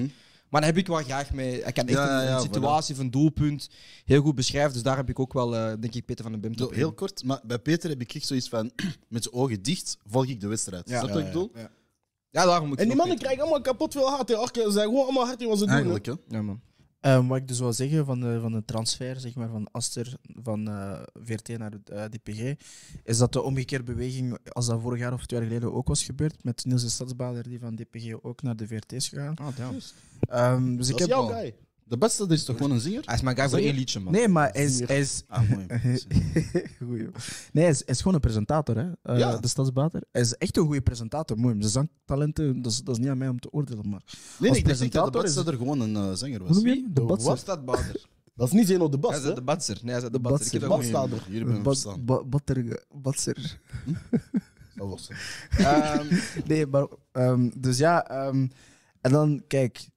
Speaker 2: Maar daar heb ik wel graag mee. Hij kan echt
Speaker 7: Ja, ja,
Speaker 2: een,
Speaker 7: ja,
Speaker 2: een situatie of een doelpunt heel goed beschrijven. Dus daar heb ik ook wel, eh, denk ik, Peter van den Bump
Speaker 7: Zo,
Speaker 2: op.
Speaker 7: heel kort, maar bij Peter heb ik echt zoiets van, met zijn ogen dicht, volg ik de wedstrijd.
Speaker 2: Ja.
Speaker 7: Snap je wat ik bedoel?
Speaker 2: Ja, daarom moet ik
Speaker 6: En
Speaker 2: het
Speaker 6: die mannen
Speaker 2: ook weten.
Speaker 6: krijgen allemaal kapot veel hard. hè. Orke, Ze zijn gewoon allemaal hard in wat ze doen. hè.
Speaker 7: Eigenlijk, hè.
Speaker 2: Ja, man.
Speaker 5: Ehm, wat ik dus wil zeggen van de, van de transfer zeg maar, van Aster van eh, VRT naar eh, DPG, is dat de omgekeerde beweging, als dat vorig jaar of twee jaar geleden ook was gebeurd, met Niels de Stadsbader die van DPG ook naar de VRT is gegaan.
Speaker 2: Ah, damn.
Speaker 5: Ehm, dus
Speaker 6: Dat
Speaker 5: ik
Speaker 6: is
Speaker 5: heb
Speaker 6: jouw
Speaker 5: al-
Speaker 6: guy.
Speaker 7: De beste, dat is toch gewoon een zinger?
Speaker 2: Hij is mijn guy voor één liedje, man.
Speaker 5: Nee, maar hij is... Hij is
Speaker 7: Ah, mooi.
Speaker 5: Goeie. Nee, hij is, hij is gewoon een presentator, hè? eh,
Speaker 6: Ja.
Speaker 5: de Stadsbader. Hij is echt een goede presentator, mooi. Zijn zangtalenten, dat is, dat is niet aan mij om te oordelen, maar...
Speaker 7: Nee, nee, ik dacht echt dat de
Speaker 5: presentator is-
Speaker 7: beste er gewoon een eh, zanger
Speaker 5: Hoe
Speaker 7: was.
Speaker 5: noem je hem? De
Speaker 6: Wat?
Speaker 5: Batser.
Speaker 2: dat Bader?
Speaker 6: Dat is niet Zeno de
Speaker 2: Hij
Speaker 6: Bas.
Speaker 2: zei
Speaker 6: hè.
Speaker 2: de Batser. Nee, hij zei de
Speaker 5: De
Speaker 2: Batser. Ik heb
Speaker 5: Batser.
Speaker 2: dat
Speaker 6: Bas
Speaker 2: ook
Speaker 6: staat er.
Speaker 7: Jullie hebben hem
Speaker 5: Bat-
Speaker 7: verstaan.
Speaker 5: Ba- Batter- Batser.
Speaker 6: Dat was het.
Speaker 2: Ehm,
Speaker 5: Nee, maar... ehm, dus ja, ehm, en dan, kijk...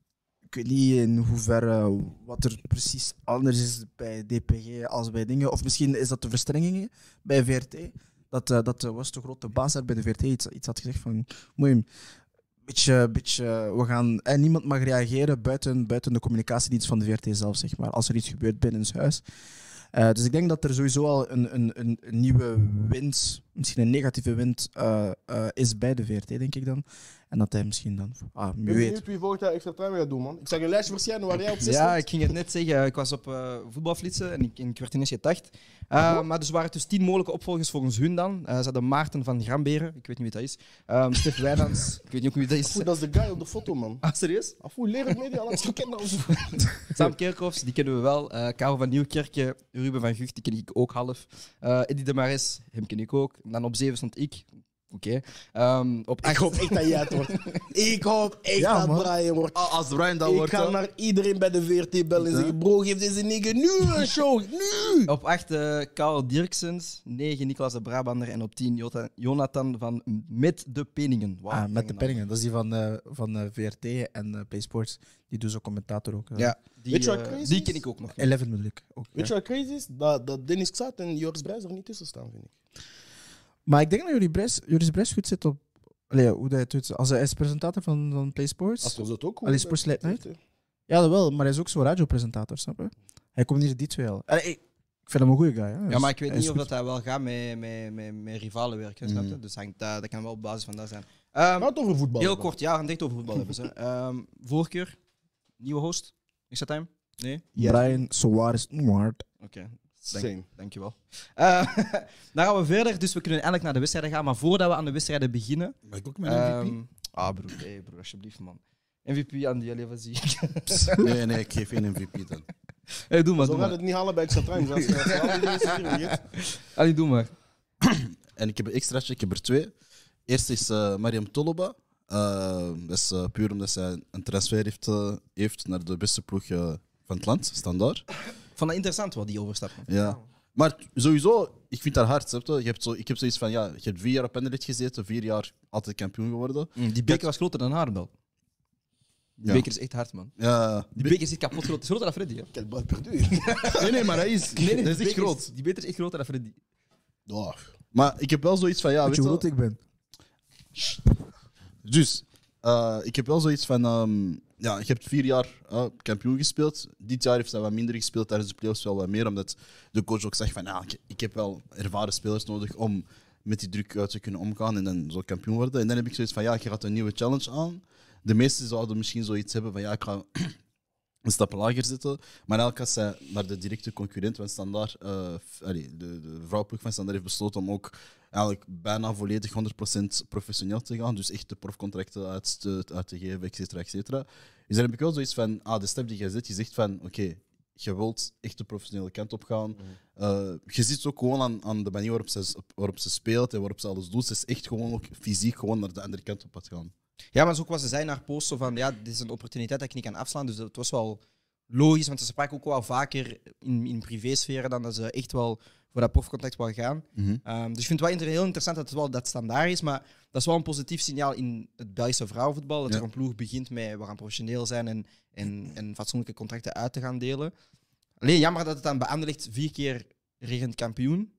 Speaker 5: Ik weet niet in hoeverre wat er precies anders is bij DPG als bij dingen. Of misschien is dat de verstrengingen bij VRT. Dat, eh, dat eh, was de grote baas daar bij de VRT iets, iets had gezegd van... Moeim, beetje, beetje, eh, we gaan... En niemand mag reageren buiten, buiten de communicatiedienst van de VRT zelf, zeg maar. Als er iets gebeurt binnen ons huis. Eh, dus ik denk dat er sowieso al een, een, een, een nieuwe wind, misschien een negatieve wind, eh, eh, is bij de VRT, denk ik dan. En dat hij misschien dan... Ah,
Speaker 6: Ik
Speaker 5: wie
Speaker 6: ben
Speaker 5: weet.
Speaker 6: benieuwd wie volgend jaar extra time gaat doen, man. Ik zag een lijstje verschijnen waar jij op zit.
Speaker 2: ja, ik ging het net zeggen. Ik was op eh, voetbalflitsen en ik, en ik werd ineens getacht. Eh, maar dus waren het dus tien mogelijke opvolgers volgens hun dan. Eh ze hadden Maarten van Gramberen, ik weet niet wie dat is. Ehm Stef Wijnands, ik weet niet ook wie dat is.
Speaker 6: Goed, dat is de guy op de foto, man.
Speaker 2: Ah, serieus?
Speaker 6: Afoe, leer het media, anders gekend naar ons.
Speaker 2: Sam Kerkhoffs, die kennen we wel. Eh Karel van Nieuwkerken, Ruben van Gucht, die ken ik ook half. Eh Eddie de Maris, hem ken ik ook. Dan op zeven stond ik. Oké. Ehm, op
Speaker 6: Ik
Speaker 2: acht-
Speaker 6: hoop echt dat jij het wordt. Ik hoop echt
Speaker 5: Ja,
Speaker 6: dat
Speaker 5: man.
Speaker 6: Brian wordt.
Speaker 7: Ah, als Brian dat
Speaker 6: ik
Speaker 7: wordt,
Speaker 6: ga
Speaker 7: hè.
Speaker 6: naar iedereen bij de VRT bellen en zeggen: Bro, geef deze nigger nu een show. Nu!
Speaker 2: Op 8 Karel Dirksens, 9 Niklas de Brabander en op 10 Jonathan van Met de Penningen. Wauw,
Speaker 5: Ah, met de
Speaker 2: penningen.
Speaker 5: penningen. Dat is die van, eh, van eh, VRT en eh Play Sports. Die doet zo'n commentator ook. eh.
Speaker 2: Ja, die,
Speaker 6: Weet je wat
Speaker 2: eh,
Speaker 6: crazy
Speaker 2: die
Speaker 6: is?
Speaker 2: ken ik ook nog. niet.
Speaker 5: Eleven Milik ook.
Speaker 6: Weet je wat crazy is? Dat, dat Dennis Xat en Joris Brijs er niet tussen staan, vind ik.
Speaker 5: Maar ik denk dat jullie Bres, Joris Bres goed zit op... Allee, hoe dat het doet. Als hij is presentator van, van Play Sports.
Speaker 6: Astros dat ook goed.
Speaker 5: Allee, Sports Late Night. Ja, dat wel. Maar hij is ook zo'n radiopresentator, snap je? Hij komt niet die twee al. Allee, ik ik vind hem een goede guy. hè. Hij
Speaker 2: Ja,
Speaker 6: dus-
Speaker 5: is-
Speaker 2: maar ik weet
Speaker 5: hij is
Speaker 2: niet of
Speaker 5: goed. Mm.
Speaker 2: dat hij wel gaat met, met, met, met rivalen werken, snap je? Dus hangt, dat, dat kan wel op basis van dat zijn. Ehm,
Speaker 6: Gaat over voetbal.
Speaker 2: heel kort, ja, een dicht over voetbal hebben ze. Ehm, voorkeur, nieuwe host. Is dat Ah, hem? Nee?
Speaker 5: Brian Suarez Nwart.
Speaker 2: Oké, Denk-
Speaker 6: Same.
Speaker 2: dankjewel. Eh dan gaan we verder, dus we kunnen eigenlijk naar de wedstrijden gaan. Maar voordat we aan de wedstrijden beginnen...
Speaker 8: Mag ik ook mijn MVP?
Speaker 2: ehm, ah, broer, hey, broer, alsjeblieft, man. MVP aan die leven zie ik.
Speaker 7: Nee, nee, ik geef één MVP dan.
Speaker 2: hey, doe maar,
Speaker 6: Zo
Speaker 2: doe
Speaker 6: gaat
Speaker 2: maar.
Speaker 6: het niet halen bij extra time. zelfs. Ja, ze halen die eerste keer, weet je.
Speaker 2: Allee, doe maar.
Speaker 7: En ik heb een extraatje, ik heb er twee. Eerst is eh, Mariam Toloba. Eh, dat is eh, puur omdat zij een transfer heeft, eh, heeft naar de beste ploeg eh, van het land, standaard.
Speaker 2: Ik vond dat interessant, wat die overstap. man.
Speaker 7: Ja. Maar t- sowieso, ik vind haar hard. Snap je? Je hebt zo, ik heb zoiets van, ja, je hebt vier jaar op Anderlecht gezeten, vier jaar altijd kampioen geworden.
Speaker 2: Mm, die beker was groter dan haar, wel. Die
Speaker 7: Ja.
Speaker 2: beker is echt hard, man.
Speaker 7: Ja.
Speaker 2: Die beker zit kapot groot. Het is groter dan Freddy, hè?
Speaker 6: Ik heb het perdu.
Speaker 7: nee, nee, maar hij is,
Speaker 2: die
Speaker 7: dat is echt
Speaker 2: beker
Speaker 7: groot.
Speaker 2: Die beker is echt groter dan Freddy.
Speaker 6: Ja.
Speaker 7: Maar ik heb wel zoiets van, ja,
Speaker 5: Weet
Speaker 7: weet
Speaker 5: je
Speaker 7: je
Speaker 5: hoe
Speaker 7: wel-
Speaker 5: groot ik ben?
Speaker 7: Dus, eh, ik heb wel zoiets van. ehm, ja, je hebt vier jaar eh, kampioen gespeeld. Dit jaar heeft zij wat minder gespeeld. Tijdens de playoffs wel wat meer. Omdat de coach ook zegt van. ja, ik, ik heb wel ervaren spelers nodig om met die druk uit te kunnen omgaan. En dan zo kampioen worden. En dan heb ik zoiets van. Ja, je gaat een nieuwe challenge aan. De meesten zouden misschien zoiets hebben van. Ja, ik ga een stap lager zitten. Maar elke als zij naar de directe concurrent van Standaard, eh, f- allee, de, de vrouwploeg van Standaard heeft besloten om ook eigenlijk bijna volledig 100% professioneel te gaan. Dus echt de profcontracten uit te, uit te geven, et cetera, et cetera. Dus daar heb ik wel zoiets van, ah, de stap die je zet, je zegt van, oké, je wilt echt de professionele kant op
Speaker 5: Mhm.
Speaker 7: gaan. Eh, je ziet ook gewoon aan, aan de manier waarop ze, waarop ze speelt en waarop ze alles doet. Ze is echt gewoon ook fysiek gewoon naar de andere kant op aan het gaan.
Speaker 2: Ja, maar zo ook was ze zei naar Post zo van, ja, dit is een opportuniteit dat ik niet kan afslaan. Dus dat was wel logisch, want ze spraken ook wel vaker in, in privésferen dan dat ze echt wel voor dat profcontact wil gaan. Ehm, dus ik vind het wel inter- heel interessant dat het wel dat standaard is, maar dat is wel een positief signaal in het Belgische vrouwenvoetbal, dat
Speaker 7: Ja.
Speaker 2: er een ploeg begint met we gaan professioneel zijn en, en, en fatsoenlijke contracten uit te gaan delen. Alleen jammer dat het dan bij Anderlecht vier keer regent kampioen.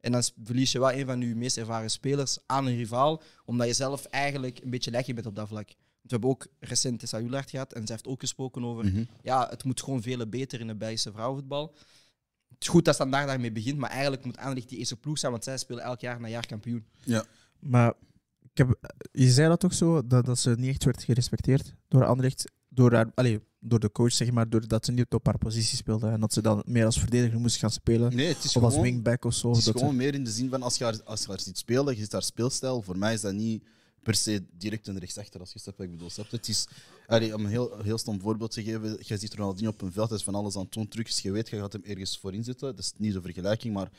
Speaker 2: En dan verlies je wel een van je meest ervaren spelers aan een rivaal, omdat je zelf eigenlijk een beetje lekkie bent op dat vlak. Want we hebben ook recent Tessa Hulaert gehad en zij heeft ook gesproken over ja, het moet gewoon veel beter in het Belgische vrouwenvoetbal. Het is goed dat Standaard daarmee begint, maar eigenlijk moet Anderlecht die eerste ploeg zijn, want zij spelen elk jaar na jaar kampioen.
Speaker 5: Maar ik heb, je zei dat toch zo, dat, dat ze niet echt werd gerespecteerd door Anderlecht, door, haar, allee, door de coach, zeg maar, doordat ze niet op haar positie speelde en dat ze dan meer als verdediger moest gaan spelen.
Speaker 7: Nee, het is
Speaker 5: of als
Speaker 7: gewoon...
Speaker 5: wingback of zo.
Speaker 7: Het is
Speaker 5: dat ze-
Speaker 7: gewoon meer in de zin van als je, haar, als je haar ziet spelen, je ziet haar speelstijl. Voor mij is dat niet per se direct een rechtsachter als je snapt wat ik bedoel. Snap je? Het is, allee, om een heel, heel stom voorbeeld te geven, je ziet Ronaldinho op een veld, hij is van alles aan het doen, trucjes, je weet, je gaat hem ergens voorin zitten. Dat is niet de vergelijking, maar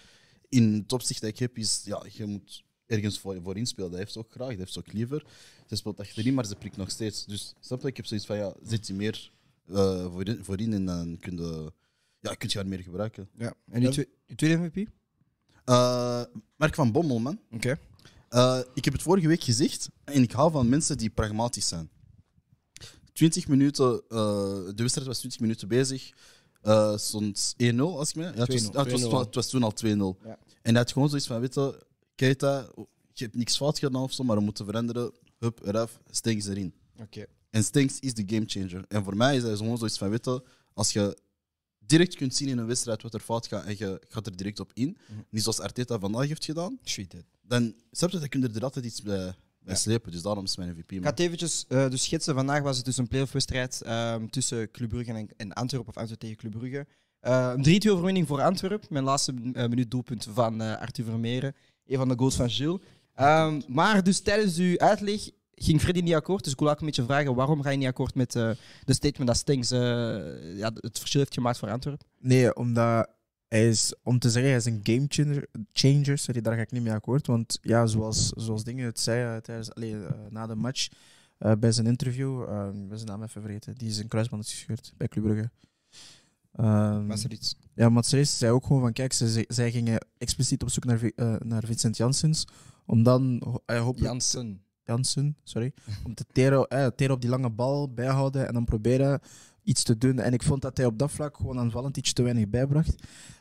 Speaker 7: in het opzicht dat ik heb is, ja, je moet ergens voor, voorin spelen. Dat heeft ze ook graag, dat heeft ze ook liever. Ze speelt achterin, maar ze prikt nog steeds. Dus snap je? Ik heb zoiets van, ja, zit hij meer eh, voorin, voorin en dan kun je, ja, kun je haar meer gebruiken.
Speaker 2: Ja. En je, twe- je tweede MVP? Oké.
Speaker 7: Eh, Mark van Bommel, man. Eh, ik heb het vorige week gezegd en ik hou van mensen die pragmatisch zijn. 20 minuten, eh, de wedstrijd was 20 minuten bezig. Eh stond 1-0, als ik me. Ja, het, was,
Speaker 2: 2-0.
Speaker 7: ja, het, was, het was toen al 2-0.
Speaker 2: Ja.
Speaker 7: En hij had gewoon zoiets van: weet je, Keita, je hebt niks fout gedaan of zo, maar we moeten veranderen. Hup, eraf, Stengs erin.
Speaker 2: Oké.
Speaker 7: En Stenks is de gamechanger. En voor mij is hij gewoon zoiets van: weet je, als je direct kunt zien in een wedstrijd wat er fout gaat en je gaat er direct op in,
Speaker 2: Mhm.
Speaker 7: niet zoals Arteta vandaag heeft gedaan,
Speaker 2: Sweet. hè.
Speaker 7: dan snap je dat je er altijd iets bij, bij slepen. Dus daarom is mijn MVP.
Speaker 2: Ik
Speaker 7: man.
Speaker 2: ga het eventjes eh, dus schetsen. Vandaag was het dus een playoff-wedstrijd ehm, tussen Club Brugge en, en Antwerpen, of Antwerpen tegen Club Brugge. Eh, een 3-2 overwinning voor Antwerpen. Mijn laatste eh, minuut doelpunt van eh, Arthur Vermeeren. Een van de goals van Gilles. Ehm, maar dus tijdens uw uitleg ging Freddy niet akkoord. Dus ik wil ook een beetje vragen, waarom ga je niet akkoord met eh, de statement dat Stengs eh, ja, het verschil heeft gemaakt voor Antwerpen?
Speaker 5: Nee, omdat hij is, om te zeggen, hij is een game changer, changer sorry, daar ga ik niet mee akkoord. Want ja, zoals, zoals Dingen het zei eh, tijdens, allee, eh, na de match, eh, bij zijn interview, eh, ik ben zijn naam even vergeten, die is een kruisband is gescheurd bij Club Brugge. Ehm,
Speaker 2: Was er iets?
Speaker 5: ja, maar Ceres zei ook gewoon van, kijk, ze, ze- zij gingen expliciet op zoek naar, Vi- eh, naar Vincent Janssens, om dan, ho- eh, hopelijk,
Speaker 2: Jansen.
Speaker 5: Jansen, sorry, om te teren, eh, teren op die lange bal, bijhouden en dan proberen iets te doen. En ik vond dat hij op dat vlak gewoon aan Valentic te weinig bijbracht.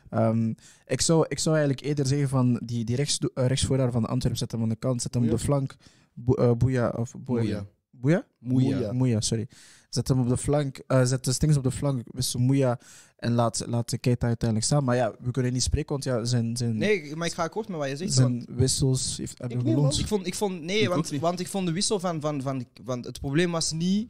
Speaker 5: Eh, Ehm, ik, zou, ik zou eigenlijk eerder zeggen van die, die rechts, eh, rechtsvoorraad van de Antwerpen zet hem aan de kant, zet hem op de flank. Bo, eh, Boeia of Boeia.
Speaker 6: Moeia.
Speaker 5: Boeia?
Speaker 6: Moeia.
Speaker 5: Moeia, sorry. Zet hem op de flank, eh, zet de Stings op de flank, wissel Moeia en laat, laat Keita uiteindelijk staan. Maar ja, we kunnen niet spreken, want ja, zijn, zijn,
Speaker 2: Nee, maar ik ga akkoord met wat je zegt. want
Speaker 5: zijn wissels heeft, hebben
Speaker 6: niet,
Speaker 5: gelons.
Speaker 2: ik, vond, ik vond, nee,
Speaker 7: Ik ook
Speaker 2: want,
Speaker 7: niet.
Speaker 2: want ik vond de wissel van, van, van, Want het probleem was niet.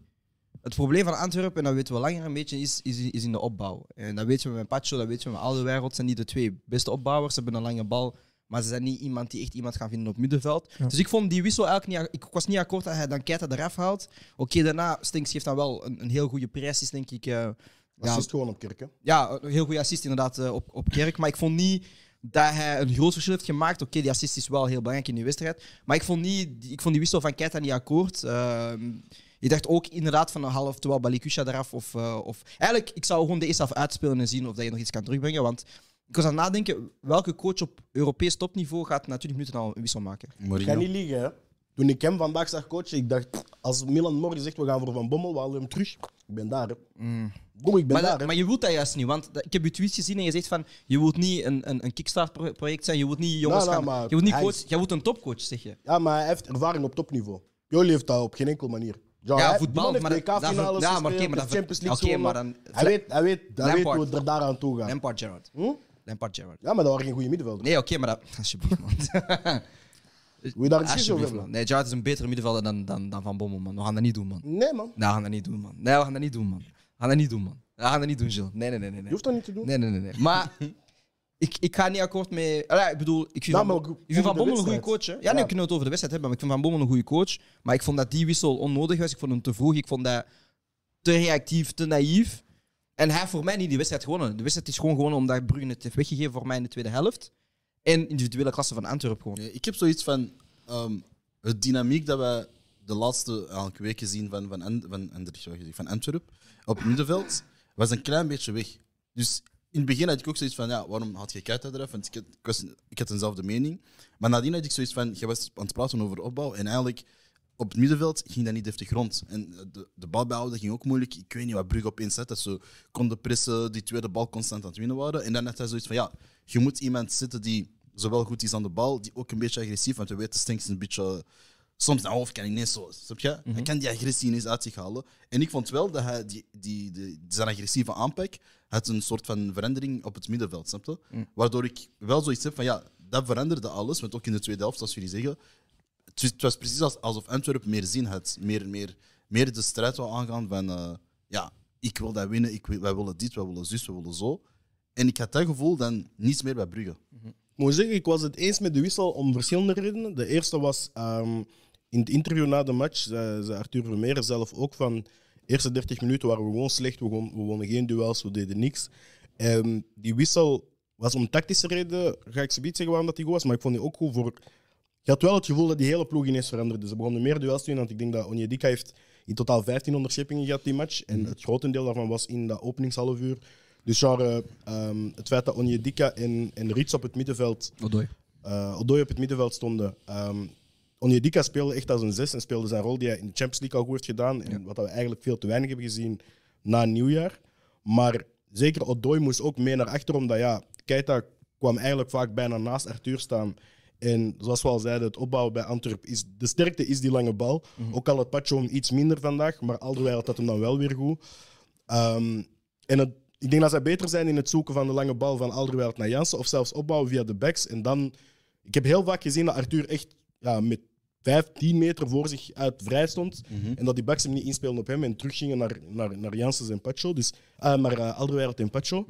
Speaker 2: Het probleem van Antwerpen, en dat weten we langer een beetje, is, is, is in de opbouw. En dat weten we met Pacho, dat weten we met Alderweireld. Zijn niet de twee beste opbouwers. Ze hebben een lange bal, maar ze zijn niet iemand die echt iemand gaan vinden op middenveld. Dus ik vond die wissel eigenlijk niet. Ik was niet akkoord dat hij dan Keita eraf haalt. Oké, daarna, Stinks geeft dan wel een, een heel goede prijs, is denk ik. eh, ja,
Speaker 6: Assist gewoon op kerken.
Speaker 2: ja, een heel goede assist inderdaad eh, op, op Kerk. Maar ik vond niet dat hij een groot verschil heeft gemaakt. Oké, die assist is wel heel belangrijk in die wedstrijd. Maar ik vond, niet, ik vond die wissel van Keita niet akkoord. Ehm, ik dacht ook inderdaad van een half, terwijl Balikusha eraf. Of, eh, of... Eigenlijk, ik zou gewoon de eerste half uitspelen en zien of dat je nog iets kan terugbrengen. Want ik was aan het nadenken, welke coach op Europees topniveau gaat na 20 minuten al een wissel maken?
Speaker 6: Ik ga niet liegen, hè. Toen ik hem vandaag zag coachen, ik dacht, als Milan morgen zegt, we gaan voor Van Bommel, we halen hem terug. Ik ben daar, hè. Bro, ik ben
Speaker 2: Maar, dat-
Speaker 6: daar, hè.
Speaker 2: maar je wilt dat juist niet, want dat- ik heb je tweets gezien en je zegt van, je wilt niet een, een, een Kickstart-project zijn, je wilt niet jongens
Speaker 6: Nou, nou,
Speaker 2: gaan...
Speaker 6: maar
Speaker 2: Je wilt, niet
Speaker 6: hij
Speaker 2: coach,
Speaker 6: is-
Speaker 2: je wilt een topcoach, zeg je.
Speaker 6: Ja, maar hij heeft ervaring op topniveau. Jolie heeft dat op geen enkele manier.
Speaker 2: Ja,
Speaker 6: hij-
Speaker 2: voetbal,
Speaker 6: die man heeft
Speaker 2: maar dat- dat ver-
Speaker 6: WK-finales
Speaker 2: ja, maar
Speaker 6: gespeeld,
Speaker 2: oké, maar
Speaker 6: heeft
Speaker 2: dat ver-
Speaker 6: Champions
Speaker 2: oké,
Speaker 6: League gewonnen.
Speaker 2: maar dan-
Speaker 6: Hij weet, hij weet, hij weet
Speaker 2: Lampard.
Speaker 6: hoe het er daaraan toe gaat.
Speaker 2: Lampard Gerrard.
Speaker 6: Hm?
Speaker 2: Lampard Gerrard.
Speaker 6: Ja, maar dat waren geen goede middenvelders.
Speaker 2: Nee, oké, maar dat... Alsjeblieft, man.
Speaker 6: Wil je daar een discussie over
Speaker 2: Alsjeblieft,
Speaker 6: hebben?
Speaker 2: man. Nee, Gerrard is een betere middenvelder dan, dan, dan Van Bommel, man. We gaan dat niet doen, man.
Speaker 6: Nee, man.
Speaker 2: Nee, we gaan dat niet doen, man. Nee, we gaan dat niet doen, man. We gaan dat niet doen, man. We gaan dat niet doen, Jill. Nee, nee, nee, nee.
Speaker 6: Je
Speaker 2: nee.
Speaker 6: hoeft dat niet te doen.
Speaker 2: Nee, nee, nee. nee. Maar ik, ik ga niet akkoord mee. Allee, ik bedoel, ik vind,
Speaker 6: Nou,
Speaker 2: van,
Speaker 6: maar ook
Speaker 2: ik vind Van
Speaker 6: over de
Speaker 2: Bommel een goede coach.
Speaker 6: wedstrijd.
Speaker 2: Hè? Ja,
Speaker 6: Ja.
Speaker 2: nee, we kunnen het over de wedstrijd hebben, maar ik vind Van Bommel een goede coach. Maar ik vond dat die wissel onnodig was. Ik vond hem te vroeg. Ik vond dat te reactief, te naïef. En hij heeft voor mij niet die wedstrijd gewonnen. De wedstrijd is gewoon gewonnen omdat Brugge het heeft weggegeven voor mij in de tweede helft. En individuele klasse van Antwerpen gewoon.
Speaker 7: Ja, Eh, ik heb zoiets van ehm het dynamiek dat we de laatste eh, elke week gezien van, van, An- van, Anderlecht, wou ik zeggen, van Antwerp op het middenveld was een klein beetje weg. Dus in het begin had ik ook zoiets van, ja, waarom had je Keita eraf? Want ik had, ik, was, ik had eenzelfde mening. Maar nadien had ik zoiets van, je was aan het praten over opbouw en eigenlijk op het middenveld ging dat niet deftig rond. En eh, de, de bal bijhouden ging ook moeilijk. Ik weet niet wat Brugge opeens zat, dat ze konden pressen, die tweede bal constant aan het winnen waren. En dan had hij zoiets van, ja, je moet iemand zitten die zowel goed is aan de bal, die ook een beetje agressief, want we weten Stinks een beetje... eh, Soms naar hoofd kan ineens zo, snap je? Hij kan die agressie ineens uit zich halen. En ik vond wel dat hij die, die, die- zijn agressieve aanpak had een soort van verandering op het middenveld, snap je? Waardoor ik wel zoiets heb van, ja, dat veranderde alles. Want ook in de tweede helft, zoals jullie zeggen, het was- het was precies als- alsof Antwerpen meer zin had. Meer, meer, meer de strijd wou aangaan van... eh, ja, ik wil dat winnen. Ik wil, wij willen dit, wij willen zus, wij willen zo. En ik had dat gevoel dan niets meer bij Brugge.
Speaker 6: Ik moet zeggen, ik was het eens met de wissel om verschillende redenen. De eerste was ehm, in het interview na de match, zei, zei Arthur Vermeer zelf ook van de eerste 30 minuten waren we gewoon slecht, we, gewoon, we wonnen geen duels, we deden niks. Ehm, die wissel was om tactische reden, ga ik ze niet zeggen waarom dat die goed was, maar ik vond die ook goed voor... Je had wel het gevoel dat die hele ploeg ineens veranderde. Ze begonnen meer duels te doen, want ik denk dat Onyedika heeft in totaal 15 onderscheppingen gehad die match. En het grotendeel daarvan was in dat openingshalf uur. Dus genre, ehm, het feit dat Onyedika en, en Rits op het middenveld
Speaker 2: Odoi.
Speaker 6: eh Odoi op het middenveld stonden. Ehm Onyedika speelde echt als een zes en speelde zijn rol die hij in de Champions League al goed heeft gedaan. En wat we eigenlijk veel te weinig hebben gezien na nieuwjaar. Maar zeker Odoi moest ook mee naar achter, omdat ja, Keita kwam eigenlijk vaak bijna naast Arthur staan. En zoals we al zeiden, het opbouwen bij Antwerp is de sterkte is die lange bal. Ook al had Pacho hem iets minder vandaag, maar Alderweireld had hem dan wel weer goed. Ehm, en het- ik denk dat zij beter zijn in het zoeken van de lange bal van Alderweireld naar Jansen. Of zelfs opbouwen via de backs. En dan... Ik heb heel vaak gezien dat Arthur echt ja, met 5, 10 meter voor zich uit vrij stond. En dat die backs hem niet inspeelden op hem. En teruggingen naar, naar, naar Jansen en Pacho. Dus, ah, maar eh, Alderweireld en Pacho.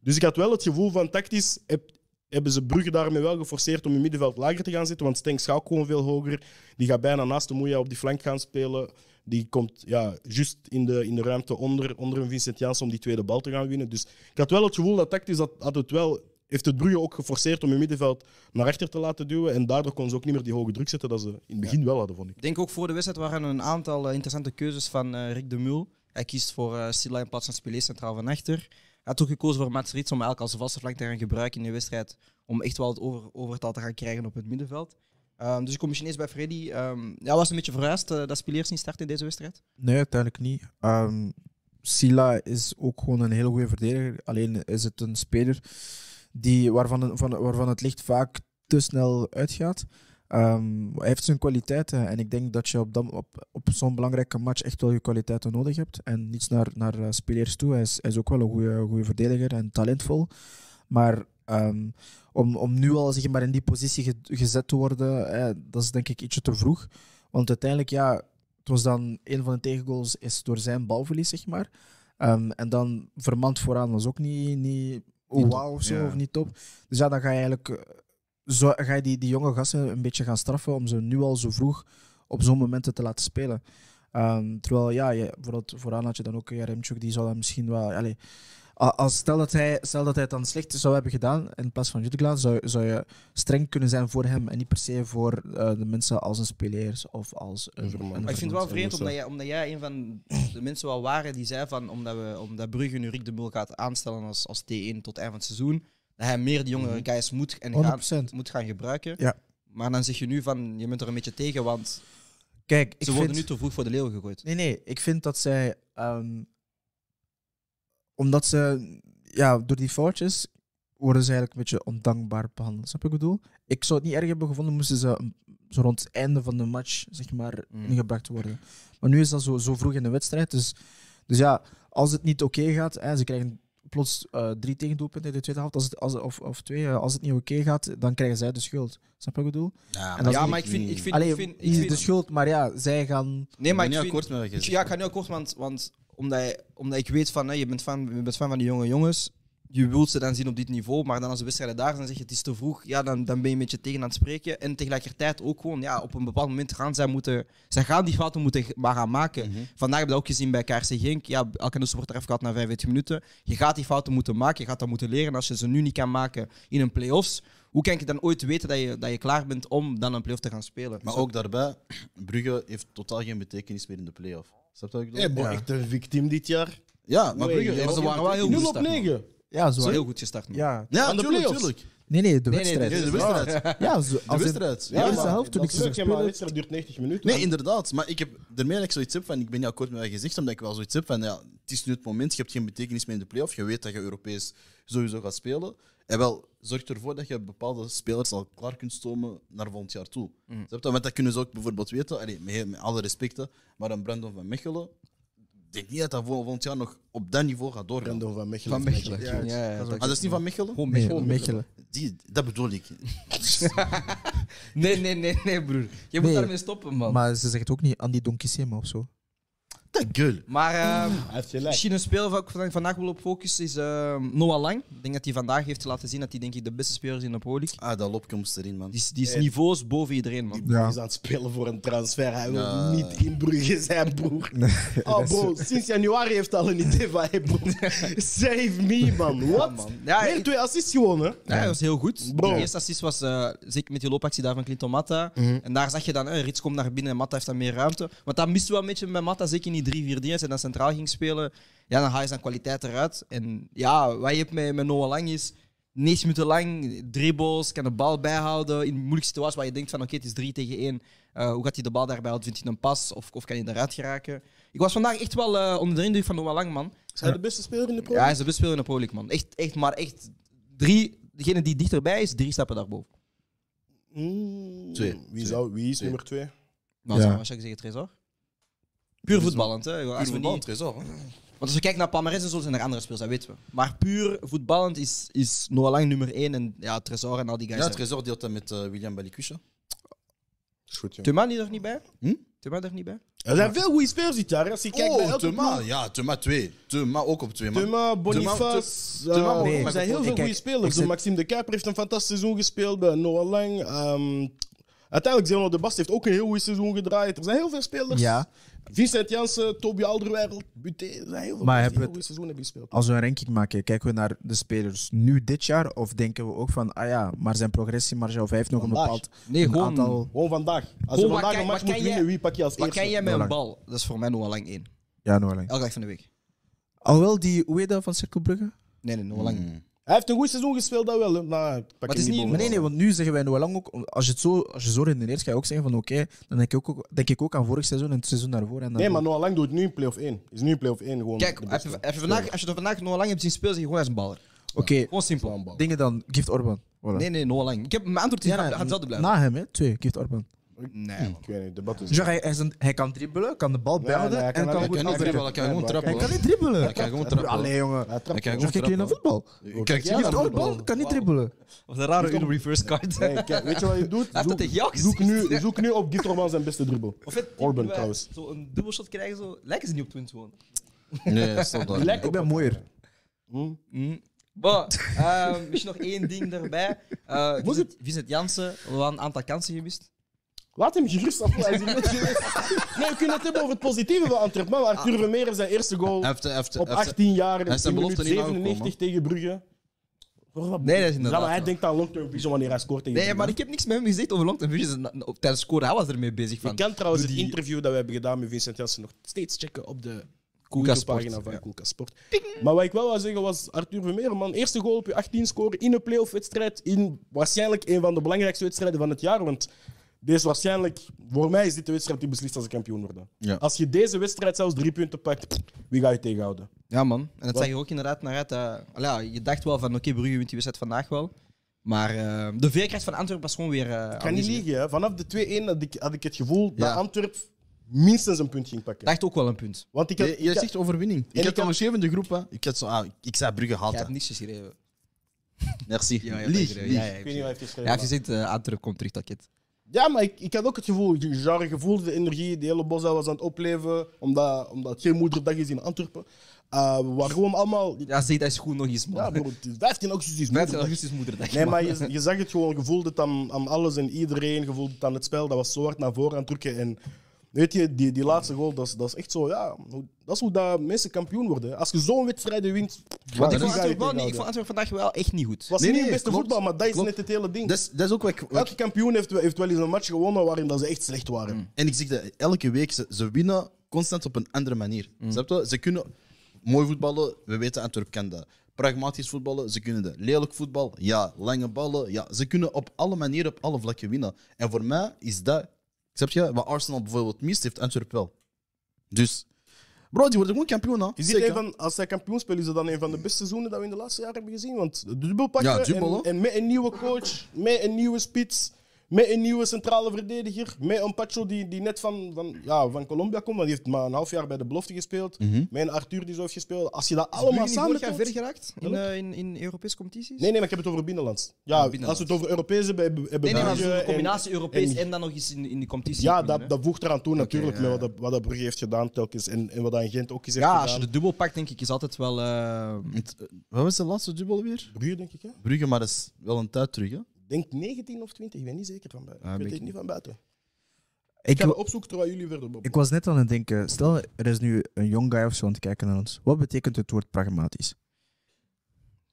Speaker 6: Dus ik had wel het gevoel van tactisch... heb- hebben ze Brugge daarmee wel geforceerd om in middenveld lager te gaan zitten. Want Stenks gaat ook gewoon veel hoger. Die gaat bijna naast de Moeja op die flank gaan spelen. Die komt ja, juist in de, in de ruimte onder, onder een Vincent Janssen om die tweede bal te gaan winnen. Dus ik had wel het gevoel dat tactisch dat, had het wel, heeft het Brugge ook geforceerd om in middenveld naar achter te laten duwen. En daardoor kon ze ook niet meer die hoge druk zetten dat ze in het begin wel hadden, vond ik.
Speaker 2: Ik denk ook voor de wedstrijd waren er een aantal eh, interessante keuzes van eh, Rick de Mul. Hij kiest voor eh Silla in plaats van Spilé centraal van achter. Hij had ook gekozen voor Mats Rits om elk als vaste flank te gaan gebruiken in de wedstrijd. Om echt wel het over, overtal te gaan krijgen op het middenveld. Ehm, dus ik kom misschien eens bij Freddy. Ehm ja, was een beetje verhuisd eh, dat Spileers niet start in deze wedstrijd.
Speaker 5: Nee, uiteindelijk niet. Ehm, Sila is ook gewoon een hele goede verdediger. Alleen is het een speler die, waarvan, van, waarvan het licht vaak te snel uitgaat. Ehm, hij heeft zijn kwaliteiten en ik denk dat je op, dat- op, op zo'n belangrijke match echt wel je kwaliteiten nodig hebt. En niets naar, naar eh, spelers toe. Hij is, hij is ook wel een goede, goede verdediger en talentvol. Maar ehm, om, om nu al zeg maar, in die positie ge- gezet te worden, eh, dat is denk ik ietsje te vroeg. Want uiteindelijk, ja, het was dan een van de tegengoals is door zijn balverlies, zeg maar. Ehm, en dan vermand vooraan was ook niet, niet oh, wauw of zo,
Speaker 7: ja.
Speaker 5: of niet top. Dus ja, dan ga je eigenlijk eh, zo, ga je die, die jonge gasten een beetje gaan straffen om ze nu al zo vroeg op zo'n momenten te laten spelen. Ehm, terwijl, ja, je, bijvoorbeeld vooraan had je dan ook Jaremchuk, die zou dan misschien wel... Allez, a- als, stel, dat hij, stel dat hij het dan slecht zou hebben gedaan in plaats van Jutglaas, zou, zou je streng kunnen zijn voor hem en niet per se voor eh, de mensen als een speler of als een,
Speaker 6: Een Vermaak.
Speaker 5: een
Speaker 6: Maar
Speaker 2: Maar ik vind het wel
Speaker 6: Vermans en
Speaker 2: vreemd, omdat
Speaker 6: Musso.
Speaker 2: jij, omdat jij een van de mensen wel waren die zei van omdat, we, omdat Brugge nu Rick de Mul gaat aanstellen als, als T1 tot eind van het seizoen, dat hij meer de jongere guys moet, en gaan,
Speaker 5: 100%.
Speaker 2: moet gaan gebruiken.
Speaker 5: Ja.
Speaker 2: Maar dan zeg je nu van, je bent er een beetje tegen, want ze
Speaker 5: Kijk, ik
Speaker 2: worden
Speaker 5: vind...
Speaker 2: nu te vroeg voor de leeuw gegooid.
Speaker 5: Nee, nee, ik vind dat zij... ehm, omdat ze... Ja, door die foutjes worden ze eigenlijk een beetje ondankbaar behandeld. Snap je wat ik bedoel? Ik zou het niet erg hebben gevonden moesten ze een- zo rond het einde van de match, zeg maar,
Speaker 2: Mm.
Speaker 5: ingebracht worden. Maar nu is dat zo, zo vroeg in de wedstrijd, dus... Dus ja, als het niet oké gaat, hè, ze krijgen plots eh, drie tegendoelpunten in de tweede helft, als het, als, of, of twee, eh, als het niet oké gaat, dan krijgen zij de schuld. Snap je wat ik bedoel?
Speaker 7: Ja,
Speaker 5: En dat is
Speaker 2: ja,
Speaker 5: niet-
Speaker 2: maar ik vind... Ik vind,
Speaker 5: Allee, dus
Speaker 2: ik vind, ik
Speaker 5: niet
Speaker 2: vind-
Speaker 5: de schuld, maar ja, zij gaan...
Speaker 2: nee, maar
Speaker 7: ik
Speaker 2: ik
Speaker 7: ben niet
Speaker 2: vind,
Speaker 7: akkoord met wat je
Speaker 2: ik-
Speaker 7: zegt.
Speaker 2: Ja, ik ga nu akkoord, want, want omdat, je- omdat ik weet van, hè, je, bent fan, je bent fan van die jonge jongens, je wilt ze dan zien op dit niveau, maar dan als de wedstrijden daar zijn, zeg je het is te vroeg, ja, dan, dan ben je een beetje tegen aan het spreken. En tegelijkertijd ook gewoon, ja, op een bepaald moment gaan zij moeten, zij gaan die fouten moeten g- maar gaan maken.
Speaker 7: Mhm.
Speaker 2: Vandaag hebben we dat ook gezien bij KRC Genk, ja, Alcanoes wordt eraf gehad na 45 minuten. Je gaat die fouten moeten maken, je gaat dat moeten leren. Als je ze nu niet kan maken in een play-offs, hoe kan je dan ooit weten dat je, dat je klaar bent om dan een play-off te gaan spelen?
Speaker 7: Maar
Speaker 2: Zo-
Speaker 7: ook daarbij, Brugge heeft totaal geen betekenis meer in de play-off. Snap je wat ik bedoel?
Speaker 6: Hey, bro, echt een victim dit jaar.
Speaker 7: Ja, maar
Speaker 6: Nee,
Speaker 7: Brugge...
Speaker 6: joh.
Speaker 7: heeft
Speaker 2: ze
Speaker 7: geen
Speaker 2: waren wel heel
Speaker 7: betekenis.
Speaker 6: 0 op 9.
Speaker 5: Ja,
Speaker 2: zo
Speaker 5: zo.
Speaker 2: heel goed gestart. man.
Speaker 5: Ja,
Speaker 7: Ja,
Speaker 6: Aan de
Speaker 7: tuurlijk,
Speaker 6: play-offs.
Speaker 7: tuurlijk.
Speaker 5: Nee, nee, de
Speaker 2: nee,
Speaker 5: wedstrijd.
Speaker 7: Ja, de wedstrijd.
Speaker 5: ja, zo,
Speaker 7: De
Speaker 5: als in-
Speaker 7: wedstrijd.
Speaker 5: Ja,
Speaker 7: Ja,
Speaker 5: is de
Speaker 6: maar
Speaker 5: helft toen
Speaker 6: dat
Speaker 5: ik ze
Speaker 6: is
Speaker 5: zag
Speaker 6: leuk, hè, Maar
Speaker 5: spelen.
Speaker 6: een wedstrijd duurt 90 minuten.
Speaker 7: Nee, inderdaad. Maar ik heb daarmee dat ik zoiets heb van, ik ben niet akkoord met wat je zegt, omdat ik wel zoiets heb van, ja, het is nu het moment, je hebt geen betekenis meer in de play-off, je weet dat je Europees sowieso gaat spelen. En wel, zorg ervoor dat je bepaalde spelers al klaar kunt stomen naar volgend jaar toe. Snap je? Want dat kunnen ze ook bijvoorbeeld weten, allee, met, met alle respecten, maar een Brandon van Mechelen, ik denk niet dat dat vol- volgend jaar nog op dat niveau gaat doorgaan.
Speaker 6: Random van Mechelen.
Speaker 2: Van Mechelen. Ja, ja,
Speaker 5: dat is
Speaker 7: Ah, dat is niet van Mechelen?
Speaker 2: Gewoon
Speaker 5: Nee,
Speaker 2: Mechelen.
Speaker 5: Mechelen.
Speaker 7: Die, dat bedoel ik.
Speaker 2: Nee, nee, nee, nee, broer. Je moet
Speaker 5: Nee.
Speaker 2: daarmee stoppen, man. Maar,
Speaker 5: Maar ze zegt ook niet Andy Donkissema of zo.
Speaker 7: Dat girl.
Speaker 2: ehm,
Speaker 5: Mm,
Speaker 6: Hij heeft gelijk.
Speaker 2: misschien een speler waar ik vandaag- vandaag wil op focussen is ehm, Noah Lang. Ik denk dat hij vandaag heeft laten zien dat hij denk ik, de beste speler is in de Pro League.
Speaker 7: Ah, dat lopkomst erin, man.
Speaker 2: Die is, die is
Speaker 5: Eh,
Speaker 2: niveaus boven iedereen, man.
Speaker 6: Hij is aan het spelen voor een transfer. Hij wil
Speaker 7: Ja.
Speaker 6: niet in Brugge zijn, broer. Oh, bro, sinds januari heeft hij al een idee van hey, broer. Save me, man. Wat?
Speaker 2: man. Ja,
Speaker 6: Weer
Speaker 2: ik-
Speaker 6: twee assists gewonnen.
Speaker 2: Ja, dat was heel goed.
Speaker 6: Bro.
Speaker 2: De eerste assist was eh, zeker met die loopactie daar van Clinton Matta. En daar zag je dan, eh, Rits komt naar binnen en Matta heeft dan meer ruimte. Want dat miste wel een beetje bij Matta, zeker in die 3-4 dienst en dan centraal ging spelen. Ja, dan haal je zijn kwaliteit eruit. En ja, wat je hebt met, met Noah Lang is 9 minuten lang dribbles, kan de bal bijhouden in moeilijke situaties waar je denkt van oké, het is 3 tegen 1. Eh, hoe gaat hij de bal daarbij houden? Vindt hij een pas of, of kan hij eruit geraken? Ik was vandaag echt wel eh, onder de indruk van Noah Lang, man.
Speaker 6: Is hij de beste speler in de pro?
Speaker 2: Ja, hij is de beste speler in de Pro League, man. Echt, echt, maar echt. Drie, degene die dichterbij is, drie stappen daarboven.
Speaker 6: Mm,
Speaker 7: Twee.
Speaker 6: Wie,
Speaker 7: Twee.
Speaker 6: zou, wie is
Speaker 7: Twee.
Speaker 6: nummer twee?
Speaker 2: Nou,
Speaker 5: Ja.
Speaker 2: zou- wat zou ik zeggen, Trezor? Puur voetballend, hè. Als we niet, want als we kijken naar Palmares en zo, zijn er andere spelers, dat weten we. Maar puur voetballend is, is Noah Lang nummer één en ja, Trezor en al die
Speaker 7: Ja,
Speaker 2: guys.
Speaker 7: het
Speaker 2: daar.
Speaker 7: resort deelt dat met eh, William Balikusha.
Speaker 6: Is goed, ja.
Speaker 2: Thuma die er niet bij?
Speaker 7: Hm?
Speaker 2: Thuma er niet bij?
Speaker 6: Er zijn veel goede spelers dit jaar. Als je kijkt naar
Speaker 7: oh,
Speaker 6: elke
Speaker 7: Thuma.
Speaker 6: ploeg.
Speaker 7: Ja, Thuma 2. Thuma ook op 2, man.
Speaker 6: Thuma,
Speaker 7: Thuma-
Speaker 6: Boniface. eh,
Speaker 7: Thuma
Speaker 5: mogen-
Speaker 6: er zijn heel
Speaker 5: Ik
Speaker 6: veel
Speaker 5: kijk,
Speaker 6: goede
Speaker 5: ik
Speaker 6: spelers.
Speaker 5: zit-
Speaker 6: Maxime de Kuiper heeft een fantastisch seizoen gespeeld. eh, Noah Lang. ehm, uiteindelijk Zeno de Bast heeft ook een heel goed seizoen gedraaid. Er zijn heel veel spelers.
Speaker 5: Ja,
Speaker 6: Vincent Jansen, Toby Alderweireld, Buté. Er zijn heel veel
Speaker 5: Maar
Speaker 6: spelers die
Speaker 5: hebben we
Speaker 6: een
Speaker 5: het-
Speaker 6: goed seizoen hebben gespeeld.
Speaker 5: als we een ranking maken, kijken we naar de spelers nu dit jaar? Of denken we ook van, ah ja, maar zijn progressiemarge of hij heeft nog een
Speaker 6: Vandaag.
Speaker 5: bepaald
Speaker 2: Nee,
Speaker 5: een
Speaker 2: gewoon-
Speaker 5: aantal...
Speaker 6: Gewoon vandaag. Als
Speaker 2: Oh,
Speaker 6: je
Speaker 2: maar
Speaker 6: vandaag
Speaker 2: kijk, maar
Speaker 6: een match moet
Speaker 2: kan
Speaker 6: winnen,
Speaker 2: jij-
Speaker 6: wie pak je als
Speaker 2: Wat
Speaker 6: eerste?
Speaker 2: kan jij met een
Speaker 5: Noah
Speaker 2: bal? Dat is voor mij Noah Lang één.
Speaker 5: Ja, Noah Lang.
Speaker 2: Elke dag van de week.
Speaker 5: Alhoewel die, hoe heet dat van Cirkelbrugge?
Speaker 2: Nee, nee, Noah Lang.
Speaker 6: Hij heeft een goed seizoen gespeeld, dat wel. hè. Maar, ik pak
Speaker 2: het
Speaker 6: hem
Speaker 2: is niet-
Speaker 6: boven.
Speaker 5: Maar nee, nee, want nu zeggen wij Noah Lang ook, als je, het zo, als je zo redeneert, ga je ook zeggen van oké, dan denk ik, ook, denk ik ook aan vorig seizoen en het seizoen daarvoor. En dan
Speaker 6: Nee, maar Noah Lang doet nu in play-off 1. Is nu in play-off 1 gewoon.
Speaker 2: Kijk,
Speaker 6: de
Speaker 2: als
Speaker 6: beste.
Speaker 2: je, als je vandaag, als je er vandaag Noah Lang hebt zien spelen, zeg je gewoon, hij is een baller.
Speaker 5: Oké,
Speaker 2: Gewoon simpel.
Speaker 5: dingen dan. Gift Orban. Voilà.
Speaker 2: Nee, nee, Noah Lang. Ik heb mijn antwoord
Speaker 5: Ja,
Speaker 2: ja, gaat,
Speaker 5: nee,
Speaker 2: gaat hetzelfde blijven.
Speaker 5: Na hem, hè? Twee, Gift Orban.
Speaker 2: nee, man.
Speaker 6: Ik weet niet, debat is...
Speaker 5: Dus ja, hij, hij, is een- hij kan dribbelen, kan de bal
Speaker 6: nee,
Speaker 5: behouden
Speaker 6: hij kan
Speaker 5: en kan
Speaker 6: niet-
Speaker 7: Hij
Speaker 5: goed
Speaker 7: kan niet dribbelen, hij kan gewoon
Speaker 5: Hij
Speaker 7: trappen.
Speaker 5: kan
Speaker 7: hoor.
Speaker 5: niet dribbelen.
Speaker 7: Hij kan gewoon trappen.
Speaker 5: Allee, jongen.
Speaker 6: Hij
Speaker 7: Hij kan
Speaker 6: trapt.
Speaker 5: Zo
Speaker 7: gewoon
Speaker 5: kijk je naar
Speaker 7: trappen.
Speaker 5: voetbal.
Speaker 7: Ik Kijk,
Speaker 6: Ja,
Speaker 7: zie
Speaker 6: dat
Speaker 7: je het
Speaker 5: Gift
Speaker 6: is
Speaker 7: ook?
Speaker 6: voetbal.
Speaker 5: Orban kan niet dribbelen.
Speaker 2: Wat een rare Uno reverse card.
Speaker 6: Nee, kijk, weet je wat je doet?
Speaker 2: heeft dat tegen jou
Speaker 6: zoek,
Speaker 2: gezegd.
Speaker 6: nu, zoek nu op Gift Orban zijn beste dribbel.
Speaker 2: Of het team
Speaker 6: Orban
Speaker 2: die wij
Speaker 6: trouwens.
Speaker 2: Zo een dubbelshot krijgen, zo lijken ze niet op punt gewoon.
Speaker 7: Nee, stop daar.
Speaker 6: Lekker.
Speaker 5: Ik ben mooier.
Speaker 6: Mm.
Speaker 2: Maar, ehm misschien nog één ding daarbij. Eh Vincent, Vincent Jansen, we hadden een aantal kansen gemist.
Speaker 6: Laat hem gerust af. Hij is hier net geweest. Nee, we kunnen het hebben over het positieve van Antwerpen. Maar Arthur Vermeer zijn eerste goal
Speaker 7: Ah. Hij heeft- hij heeft-
Speaker 6: op
Speaker 7: hij heeft-
Speaker 6: 18 jaar.
Speaker 7: hij is zijn
Speaker 6: in minuut
Speaker 7: belofte niet nagekomen,
Speaker 6: 97 tegen Brugge. Voor wat-
Speaker 2: Nee, dat is inderdaad
Speaker 6: Ja, maar hij
Speaker 2: waar.
Speaker 6: denkt aan long-term vision wanneer hij scoort tegen
Speaker 2: Nee, maar
Speaker 6: Brugge.
Speaker 2: ik heb niks met hem gezegd over long term vision na- op- tijdens scoren. Hij was ermee bezig van.
Speaker 6: Je kan trouwens het
Speaker 2: die-
Speaker 6: interview dat we hebben gedaan met Vincent Janssen nog steeds checken op de
Speaker 2: Koelkast Sport,
Speaker 6: pagina van
Speaker 2: ja.
Speaker 6: Koelkast Sport. Maar wat ik wel wil zeggen was, Arthur Vermeer, man, eerste goal op je 18 scoren in een playoff wedstrijd in waarschijnlijk een van de belangrijkste wedstrijden van het jaar, want deze waarschijnlijk, voor mij is dit de wedstrijd die beslist als ze kampioen worden.
Speaker 7: Ja.
Speaker 6: Als je deze wedstrijd zelfs drie punten pakt, pff, wie ga je tegenhouden?
Speaker 2: Ja, man. En dat zag je ook inderdaad naar uit. eh, al ja, je dacht wel van, oké, Brugge wint die wedstrijd vandaag wel. Maar eh, de veerkracht van Antwerpen was gewoon weer... eh,
Speaker 6: Ik ga niet
Speaker 2: aanwezig.
Speaker 6: liegen, hè. vanaf de 2-1 had ik, had ik het gevoel
Speaker 7: Ja.
Speaker 6: dat Antwerp minstens een punt ging
Speaker 2: Ik
Speaker 6: pakken.
Speaker 2: dacht ook wel een punt.
Speaker 6: Want ik had,
Speaker 7: Je, je zegt overwinning. Ik
Speaker 6: ik
Speaker 7: heb
Speaker 6: had-
Speaker 7: al geschreven in de groep. Hè. Ik, had zo, ah, ik- ik zei Brugge haalt
Speaker 2: Jij hebt
Speaker 7: dat.
Speaker 2: niks geschreven.
Speaker 7: Merci.
Speaker 2: Ja, je hebt
Speaker 7: Lieg,
Speaker 2: dat
Speaker 7: lieg.
Speaker 2: geschreven. Ja, ja,
Speaker 6: ik
Speaker 2: ja.
Speaker 6: weet niet wat hij heeft geschreven.
Speaker 2: Hij heeft gezegd, eh, Antwerpen komt terug, dat het.
Speaker 6: Ja, maar ik, ik had ook het gevoel, je genre gevoel, de energie, de hele bosza was aan het opleven, omdat, omdat het geen moederdag is in Antwerpen. Eh waar gewoon allemaal...
Speaker 2: Ja, zeg, dat is goed nog eens, man.
Speaker 6: Ja, bro, het is 15 augustus is
Speaker 2: 15
Speaker 6: moederdag.
Speaker 2: augustus moederdag.
Speaker 6: Nee,
Speaker 2: man.
Speaker 6: maar je, je zag het gewoon, je voelde het aan, aan alles en iedereen, je voelde het aan het spel, dat was zo hard naar voren aan het drukken. En weet je, die, die laatste goal, dat is, dat is echt zo, ja, hoe- dat is hoe dat mensen kampioen worden. hè. Als je zo'n wedstrijd wint,
Speaker 2: Want
Speaker 6: wie
Speaker 2: ik vond
Speaker 6: ga je
Speaker 2: Antwerpen wel niet- ik vond
Speaker 6: tegenhouden?
Speaker 2: Antwerpen vandaag wel echt niet goed.
Speaker 6: Het was
Speaker 7: Nee,
Speaker 6: niet
Speaker 7: nee,
Speaker 6: het beste
Speaker 7: klopt.
Speaker 6: voetbal, maar dat is
Speaker 7: Klopt.
Speaker 6: net het hele ding.
Speaker 7: Dat is, dat is ook wat ik... wat ik-
Speaker 6: Elke kampioen heeft, heeft wel eens een match gewonnen waarin dat ze echt slecht waren.
Speaker 7: En ik zeg dat elke week, ze, ze winnen constant op een andere manier. Snap je? Ze kunnen mooi voetballen, we weten Antwerp kan dat. Pragmatisch voetballen, ze kunnen dat. Lelijk voetbal, ja. Lange ballen, ja. Ze kunnen op alle manieren, op alle vlakken winnen. En voor mij is dat... Snap je? Wat Arsenal bijvoorbeeld mist, heeft Antwerp wel. Dus... Bro, die worden gewoon kampioen, hè.
Speaker 6: Is dit
Speaker 7: Zeker.
Speaker 6: een van, als zij kampioen spelen, is dat dan een van de beste seizoenen dat we in de laatste jaren hebben gezien? Want de dubbel pakken
Speaker 7: Ja,
Speaker 6: en,
Speaker 7: dubbel, hè?
Speaker 6: en met een nieuwe coach, met een nieuwe spits, met een nieuwe centrale verdediger, met een Pacho die, die net van, van, ja, van Colombia komt, want die heeft maar een half jaar bij de belofte gespeeld, met een Arthur die zo heeft gespeeld. Als je dat allemaal samen
Speaker 2: gaan
Speaker 6: telt-
Speaker 2: geraakt in, eh, in, in Europese competities?
Speaker 6: Nee, nee, maar ik heb het over binnenlands. Ja,
Speaker 2: binnenlands.
Speaker 6: als we het over Europees hebben, hebben
Speaker 2: nee,
Speaker 6: hebben
Speaker 2: nee, maar
Speaker 6: België
Speaker 2: zo'n
Speaker 6: en-
Speaker 2: combinatie Europees en,
Speaker 6: en-
Speaker 2: dan nog eens in, in de competitie.
Speaker 6: Ja,
Speaker 2: winnen,
Speaker 6: dat,
Speaker 2: hè.
Speaker 6: dat voegt eraan toe natuurlijk, met wat, dat- wat dat Brugge heeft gedaan telkens en, en wat dat in Gent ook is heeft
Speaker 2: ja,
Speaker 6: gedaan.
Speaker 2: als je de dubbel pakt, denk ik, is altijd wel... eh,
Speaker 7: Het- eh, Wat was de laatste dubbel weer?
Speaker 6: Brugge, denk ik, hè?
Speaker 7: Brugge, maar dat is wel een tijd terug, hè.
Speaker 6: denk 19 of 20, ik ben niet zeker van buiten.
Speaker 7: Ah,
Speaker 6: ik weet
Speaker 7: ben
Speaker 6: het
Speaker 7: ik
Speaker 6: niet van buiten. Ik
Speaker 5: Ik,
Speaker 6: ga het opzoeken terwijl jullie verder babbelen.
Speaker 5: ik was net aan het denken, stel er is nu een young guy of zo aan het kijken naar ons. Wat betekent het woord pragmatisch?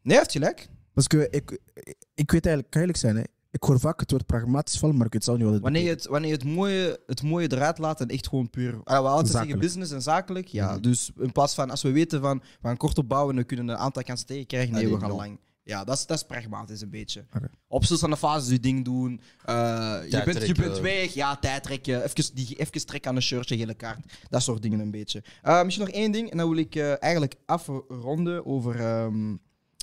Speaker 2: Nee, heeft gelijk.
Speaker 5: Parce que ik, ik, ik weet eigenlijk, kan eerlijk zijn, hè. ik hoor vaak het woord pragmatisch vallen, maar ik weet zelf niet wat het
Speaker 2: Wanneer je het, wanneer je het, mooie, het mooie eruit laat en echt gewoon puur. Ah, we altijd zeggen
Speaker 5: Zakelijk. Mhm.
Speaker 2: business en zakelijk. Ja, dus in plaats van als we weten van we gaan kort opbouwen en we kunnen een aantal kansen tegenkrijgen, nee,
Speaker 7: Ja,
Speaker 2: we
Speaker 7: die
Speaker 2: gaan
Speaker 7: dan.
Speaker 2: lang. Ja, dat is, dat is pragmatisch een beetje.
Speaker 5: Ah, Oké.
Speaker 2: Op slot van de fase je ding doen. eh, je,
Speaker 7: Tijd
Speaker 2: bent, je
Speaker 7: trekken.
Speaker 2: bent weg, ja, tijd trekken. Even, die, even trekken aan een shirtje, gele kaart. Dat soort dingen een beetje. Eh, misschien nog één ding en dan wil ik eh, eigenlijk afronden over ehm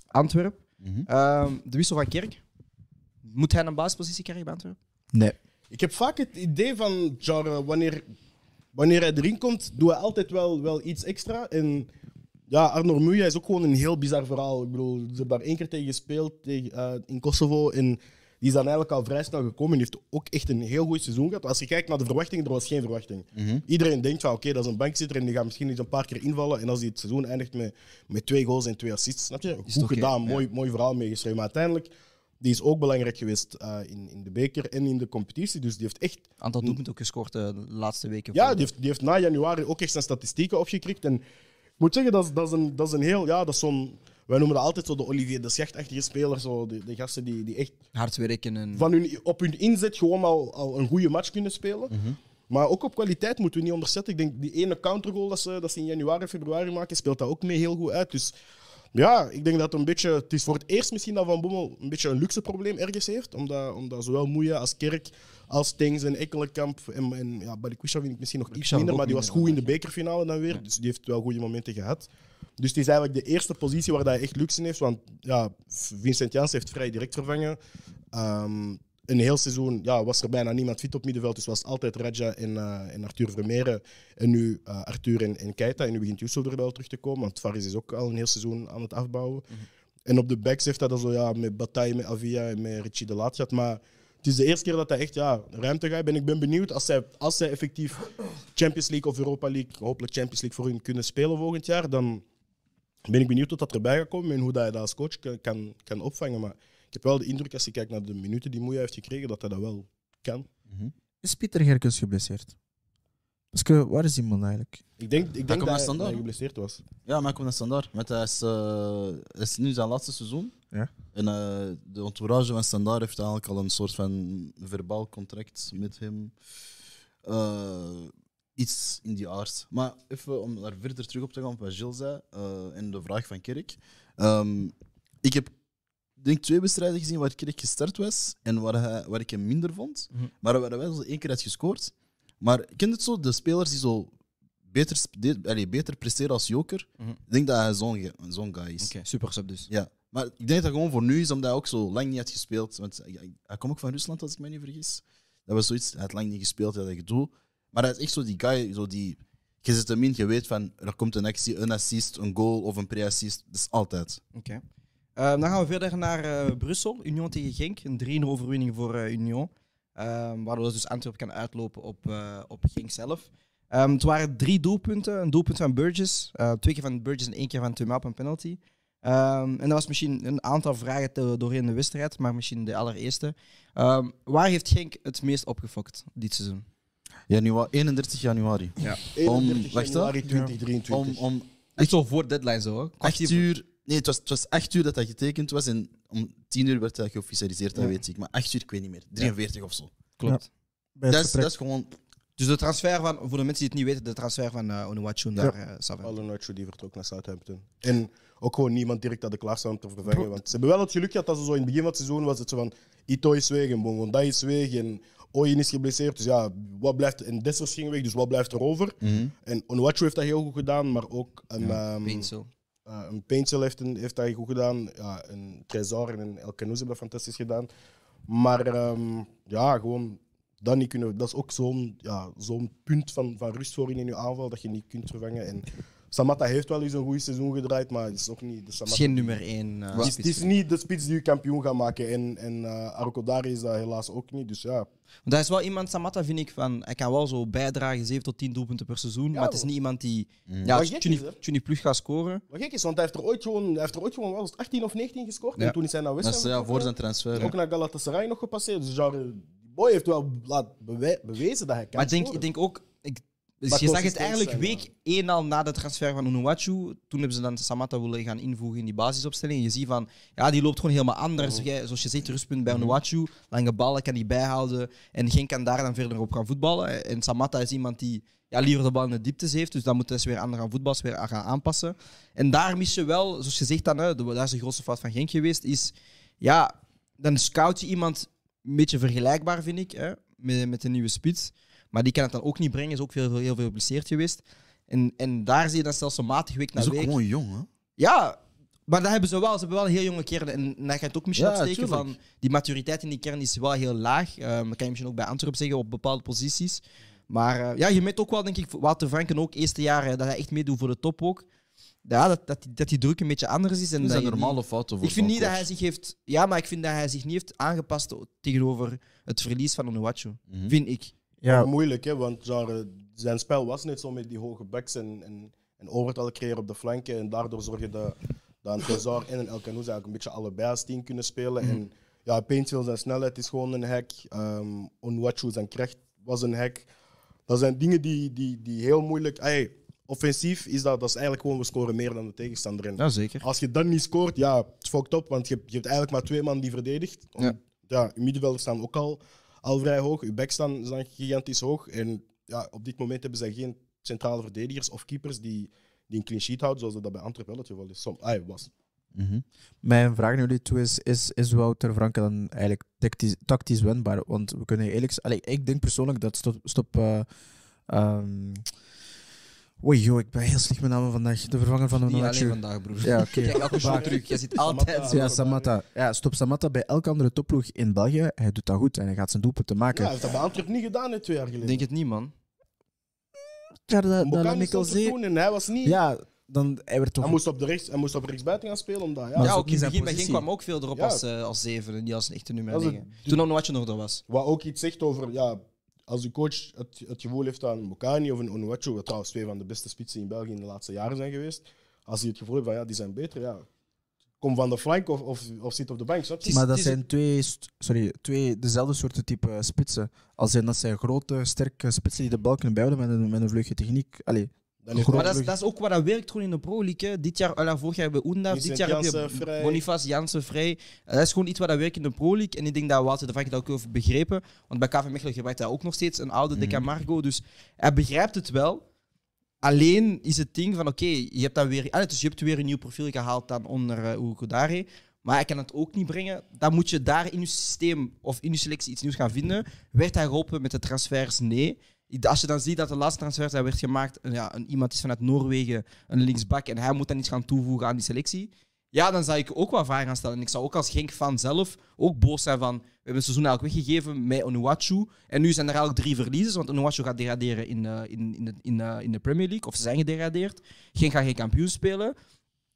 Speaker 2: Antwerpen. Ehm, de wissel van Kerk. Moet hij een basispositie krijgen bij Antwerpen?
Speaker 5: Nee.
Speaker 6: Ik heb vaak het idee van, genre, wanneer, wanneer hij erin komt, doe hij altijd wel, wel iets extra. En ja, Arnor Muja is ook gewoon een heel bizar verhaal. Ik bedoel, ze hebben daar één keer tegen gespeeld tegen, eh, in Kosovo. En die is dan eigenlijk al vrij snel gekomen en heeft ook echt een heel goed seizoen gehad. Als je kijkt naar de verwachting, er was geen verwachting.
Speaker 2: Mhm.
Speaker 6: Iedereen denkt van, oké, dat is een bankzitter en die gaat misschien eens een paar keer invallen. En als hij het seizoen eindigt met, met twee goals en twee assists, snap je? Goed
Speaker 2: oké,
Speaker 6: gedaan,
Speaker 2: ja.
Speaker 6: mooi, mooi verhaal meegeschreven. Maar uiteindelijk, die is ook belangrijk geweest eh, in, in de beker en in de competitie. Dus die heeft echt
Speaker 2: aantal doelpunten ook gescoord eh, de laatste weken.
Speaker 6: ja,
Speaker 2: Voor-
Speaker 6: die heeft, die heeft na januari ook echt zijn statistieken opgekrikt. En ik moet zeggen, dat is, dat is, een, dat is een heel. Ja, dat is zo'n. Wij noemen dat altijd zo de Olivier de Schachtachtige speler. Zo, de, de gasten die, die echt
Speaker 2: hard werken en...
Speaker 6: van hun, op hun inzet gewoon al, al een goede match kunnen spelen. Maar ook op kwaliteit moeten we niet onderzetten. Ik denk die ene countergoal dat ze, dat ze in januari, februari maken, speelt dat ook mee heel goed uit. Dus Ja, ik denk dat een beetje, het is voor het eerst misschien dat Van Bommel een beetje een luxe probleem ergens heeft. Omdat, omdat zowel Moeja als Kerk, als Tengs en Ekkelenkamp en, en ja, Balikwisha vind ik misschien nog iets
Speaker 2: Balikwisha
Speaker 6: minder,
Speaker 2: ook
Speaker 6: maar die was
Speaker 2: minder,
Speaker 6: goed in de bekerfinale dan weer. Dus die heeft wel goede momenten gehad. Dus het is eigenlijk de eerste positie waar hij echt luxe in heeft. Want ja, Vincent Jans heeft vrij direct vervangen. Ehm, een heel seizoen ja, was er bijna niemand fit op middenveld, dus was het altijd Raja en, eh, en Arthur Vermeeren. En nu eh, Arthur en, en Keita. En nu begint Yusuf er wel terug te komen, want Faris is ook al een heel seizoen aan het afbouwen.
Speaker 2: Mhm.
Speaker 6: En op de backs heeft hij dat zo ja, met Bataille, met Avia en met Richie de Laat gehad. Maar het is de eerste keer dat hij echt ja, ruimte gaat. En ik ben benieuwd als zij, als zij effectief Champions League of Europa League, hopelijk Champions League voor hun kunnen spelen volgend jaar, dan ben ik benieuwd wat dat erbij gaat komen en hoe dat hij dat als coach kan- kan, kan opvangen. Maar ik heb wel de indruk, als je kijkt naar de minuten die Moeja heeft gekregen, dat hij dat wel kan.
Speaker 5: Is Pieter Gerkens geblesseerd? Paske, waar is die man eigenlijk?
Speaker 6: Ik denk, ik denk
Speaker 7: komt
Speaker 6: dat,
Speaker 7: naar
Speaker 6: hij,
Speaker 7: standaard,
Speaker 6: dat hij
Speaker 7: hè?
Speaker 6: geblesseerd was.
Speaker 7: Ja, maar hij komt naar Standaard. Met hij is, eh, het is nu zijn laatste seizoen.
Speaker 5: Ja.
Speaker 7: En eh, de entourage van Standaard heeft eigenlijk al een soort van verbaal contract met hem. Eh, iets in die aard. Maar even om daar verder terug op te gaan op wat Gilles zei eh, en de vraag van Kerk. Ehm, ik heb denk twee wedstrijden gezien waar Kerk gestart was en waar, hij, waar ik hem minder vond. Maar waar hij wel zo één keer had gescoord. Maar ken het zo, de spelers die zo beter, sp- de- allee, beter presteren als joker, ik denk dat hij zo'n ge- zo'n guy is.
Speaker 2: Super sub dus.
Speaker 7: Ja. Maar ik denk dat dat gewoon voor nu is, omdat hij ook zo lang niet had gespeeld. Want hij- hij, hij komt ook van Rusland, als ik me niet vergis. Dat was zoiets, hij had lang niet gespeeld, hij had gedoe. Maar hij is echt zo die guy, zo die, je zit hem in, je weet van, er komt een actie, een assist, een goal of een pre-assist. Dat is altijd.
Speaker 2: Oké. Ehm, dan gaan we verder naar eh, Brussel. Union tegen Genk. Een 3-0 overwinning voor eh, Union. Ehm, waardoor dus Antwerp kan uitlopen op, eh, op Genk zelf. Ehm, het waren drie doelpunten. Een doelpunt van Burgess. eh, twee keer van Burgess en één keer van Tuma op een penalty. Ehm, en dat was misschien een aantal vragen te- doorheen de wedstrijd, maar misschien de allereerste. Ehm, waar heeft Genk het meest opgefokt dit seizoen?
Speaker 7: Janua- 31 januari. Om-
Speaker 6: 31
Speaker 7: wacht, hè?
Speaker 6: januari 2023.
Speaker 7: Om, om
Speaker 2: Echt zo voor deadline zo, hoor.
Speaker 7: 8 uur. Nee, het was, het was 8 uur dat dat getekend was en om 10 uur werd dat geofficialiseerd, dat weet ik. Maar 8 uur, ik weet niet meer. 43 of zo.
Speaker 2: Klopt.
Speaker 5: Bij het
Speaker 7: Dat is,
Speaker 5: vertrek.
Speaker 7: dat is gewoon
Speaker 2: Dus de transfer van, voor de mensen die het niet weten, de transfer van eh Onuachu naar eh Savin.
Speaker 6: Alle Nacho die vertrok naar Southampton. En ook gewoon niemand direct aan de klaar staan om te vervangen. Want ze hebben wel het geluk gehad dat ze zo in het begin van het seizoen was het zo van Ito is weg en Bongonda is weg en Oyen is geblesseerd. Dus ja, wat blijft, en Dessers ging weg, dus wat blijft er over? En Onuachu heeft dat heel goed gedaan, maar ook een, ehm,
Speaker 2: Pinsel.
Speaker 6: eh, een Paintcell heeft, een- heeft dat goed gedaan. Ja, een Trezor en een El Canoes hebben dat fantastisch gedaan. Maar ehm, ja, gewoon dat niet kunnen. Dat is ook zo'n ja, zo'n punt van, van rust voorin in je aanval dat je niet kunt vervangen. En Samatta heeft wel eens een goed seizoen gedraaid, maar het is ook niet de
Speaker 2: Het
Speaker 6: Samatta.
Speaker 2: is geen nummer eh, 1.
Speaker 6: Het is, het is niet de spits die je kampioen gaat maken. En, en eh Arkodari is dat helaas ook niet. Dus ja,
Speaker 2: Want hij is wel iemand, Samatta vind ik, van hij kan wel zo bijdragen, 7 tot 10 doelpunten per seizoen, maar het is niet iemand die ja,
Speaker 6: Wat gek is,
Speaker 2: Tjuni-
Speaker 6: hè?
Speaker 2: Tjuni Plus gaat scoren.
Speaker 6: wat gek is, want hij heeft er ooit gewoon, hij heeft er ooit gewoon wel eens 18 of 19 gescoord.
Speaker 2: Ja.
Speaker 6: En toen is hij naar West
Speaker 7: dat
Speaker 6: Ham
Speaker 7: is, ja,
Speaker 6: vertrokken.
Speaker 7: voor zijn transfer.
Speaker 6: Ook naar Galatasaray nog gepasseerd. Dus genre, die boy heeft wel laat bewe- bewezen dat hij kan.
Speaker 2: maar ik denk, ik
Speaker 6: scoren.
Speaker 2: denk ook, ik, dus
Speaker 6: Maar
Speaker 2: je zag het
Speaker 6: consistent
Speaker 2: eigenlijk
Speaker 6: zijn,
Speaker 2: week 1 al na de transfer van Onuachu. Toen hebben ze dan Samatta willen gaan invoegen in die basisopstelling. En je ziet van, ja, die loopt gewoon helemaal anders. Jij- zoals je zegt, rustpunt bij Onuachu. Lange ballen kan hij bijhouden. En geen kan daar dan verder op gaan voetballen. En Samatta is iemand die ja, liever de bal in de dieptes heeft. Dus dan moeten ze weer aan gaan voetbal weer aan gaan aanpassen. En daar mis je wel, zoals je zegt dan, hè, de- dat is de grootste fout van Genk geweest, is ja, dan scout je iemand een beetje vergelijkbaar, vind ik, hè, met, met een nieuwe spits. Maar die kan het dan ook niet brengen, is ook veel, heel, veel geblesseerd geweest. En, en daar zie je dan stelselmatig week na
Speaker 7: Dat is ook
Speaker 2: week.
Speaker 7: gewoon jong, hè?
Speaker 2: Ja, maar dat hebben ze wel. Ze hebben wel een heel jonge kern. En daar ga je het ook misschien
Speaker 7: Ja,
Speaker 2: opsteken
Speaker 7: tuurlijk.
Speaker 2: van... Die maturiteit in die kern is wel heel laag. Ehm, dat kan je misschien ook bij Antwerp zeggen, op bepaalde posities. Maar eh, ja, je merkt ook wel, denk ik, Wouter Franken ook, eerste jaar, eh, dat hij echt meedoet voor de top ook. Ja, dat, dat, die, dat die druk een beetje anders is. En
Speaker 7: Dat
Speaker 2: dat
Speaker 7: zijn
Speaker 2: je niet-
Speaker 7: normale fouten voor
Speaker 2: ik vind
Speaker 7: zo'n
Speaker 2: niet dat hij
Speaker 7: coach.
Speaker 2: zich heeft... Ja, maar ik vind dat hij zich niet heeft aangepast tegenover het verlies van Onuachu.
Speaker 7: Mhm.
Speaker 2: Vind ik.
Speaker 6: Maar
Speaker 5: Ja,
Speaker 6: moeilijk, hè, want genre, zijn spel was niet zo met die hoge backs en, en, en overtal creëren op de flanken. En daardoor zorg je dat, dat een Trezor en een El Canoes eigenlijk een beetje allebei als team kunnen spelen. En ja, Paintil zijn snelheid is gewoon een hack. Ehm Onwachu zijn kracht was een hack. Dat zijn dingen die, die, die heel moeilijk... Ay, offensief is dat, dat is eigenlijk gewoon we scoren meer dan de tegenstander. En
Speaker 2: zeker.
Speaker 6: Als je dan niet scoort, ja, het is fucked up, want je hebt, je hebt eigenlijk maar twee man die verdedigt. Om-
Speaker 2: Ja.
Speaker 6: ja. je middenvelders staan ook al, al vrij hoog, je backs staan, staan gigantisch hoog. En ja, op dit moment hebben zij geen centrale verdedigers of keepers die, die een clean sheet houden, zoals dat bij Antwerpen wel het geval is. Som, ah, was.
Speaker 5: Mijn vraag naar jullie toe is, is, is Wouter Franke dan eigenlijk tactisch, tactisch wendbaar? Want we kunnen eigenlijk... Allee, ik denk persoonlijk dat stop... stop eh, ehm, oei, joh, ik ben heel slecht met namen vandaag. De vervanger van
Speaker 2: Niet alleen
Speaker 5: Onachu.
Speaker 2: vandaag, broer.
Speaker 5: Ja, oké.
Speaker 2: Kijk, elke show
Speaker 5: Vaak.
Speaker 2: terug. Je zit altijd...
Speaker 5: Ja, Samatta. Ja, stop Samatta bij elke andere topploeg in België. Hij doet dat goed en hij gaat zijn doelpunten maken.
Speaker 6: hij heeft dat bij Antwerp niet gedaan hè, twee jaar
Speaker 2: Ik
Speaker 6: geleden.
Speaker 2: denk het niet, man.
Speaker 5: Ja, dat, dat
Speaker 6: Bokan
Speaker 5: Nou, laat
Speaker 6: is
Speaker 5: ik al
Speaker 6: dat te
Speaker 5: zien.
Speaker 6: doen en hij was niet.
Speaker 5: Ja, dan hij werd toch...
Speaker 6: Hij moest op de rechts, hij moest op rechtsbuiten gaan spelen om dat. Ja.
Speaker 5: Maar-
Speaker 2: ja,
Speaker 5: is ook
Speaker 2: ook in
Speaker 5: niet
Speaker 2: het
Speaker 5: zijn
Speaker 2: begin bij Genk
Speaker 5: positie.
Speaker 2: kwam ook veel erop
Speaker 6: Ja.
Speaker 2: als, eh, als zeven en niet als een echte nummer
Speaker 6: Als het-
Speaker 2: negen. Toen nog wat je nog er was.
Speaker 6: Wat ook iets zegt over, ja, als de coach het, het gevoel heeft aan Mokani of een Onuachu, wat trouwens twee van de beste spitsen in België in de laatste jaren zijn geweest, als hij het gevoel heeft van, ja, die zijn beter, ja, kom van de flank of, of, of zit op de bank, snap je?
Speaker 5: maar dat
Speaker 2: het is-
Speaker 5: zijn twee, st- sorry, twee dezelfde soorten type spitsen. Als in, dat zijn grote, sterke spitsen die de bal kunnen bijhouden met een, met een vleugje techniek. Allee,
Speaker 6: Dan heeft
Speaker 5: Groot.
Speaker 2: Maar dat is, dat is ook wat dat werkt gewoon in de Pro League. hè. Dit jaar, ala, vorig jaar hebben we Oenda,
Speaker 6: Vincent
Speaker 2: dit jaar heb je
Speaker 6: Janssen, Vrij.
Speaker 2: Boniface, Jansen, Vrij. Eh, Dat is gewoon iets wat dat werkt in de Pro League. En ik denk dat Wouter de Vaak dat ook heeft begrepen. Want bij KV Mechelen gebruikt hij ook nog steeds een oude
Speaker 5: Mhm.
Speaker 2: De Camargo. Dus hij begrijpt het wel. Alleen is het ding van, oké, je hebt dan weer... ah, dus je hebt weer een nieuw profiel gehaald dan onder uh, Urukodare. Maar hij kan het ook niet brengen. Dan moet je daar in je systeem of in je selectie iets nieuws gaan vinden. Werd hij geholpen met de transfers? Nee. Als je dan ziet dat de laatste transfer dat werd gemaakt, een- ja, een, iemand is vanuit Noorwegen, een linksbak, en hij moet dan iets gaan toevoegen aan die selectie. Ja, dan zou ik ook wel vragen gaan stellen. En ik zou ook als Genk-fan zelf ook boos zijn van... We hebben het seizoen eigenlijk weggegeven met Onuachu. En nu zijn er eigenlijk drie verliezers, want Onuachu gaat degraderen in, eh, in, in, de, in, eh, in de Premier League. Of ze zijn gedegradeerd. Genk gaat geen kampioen spelen.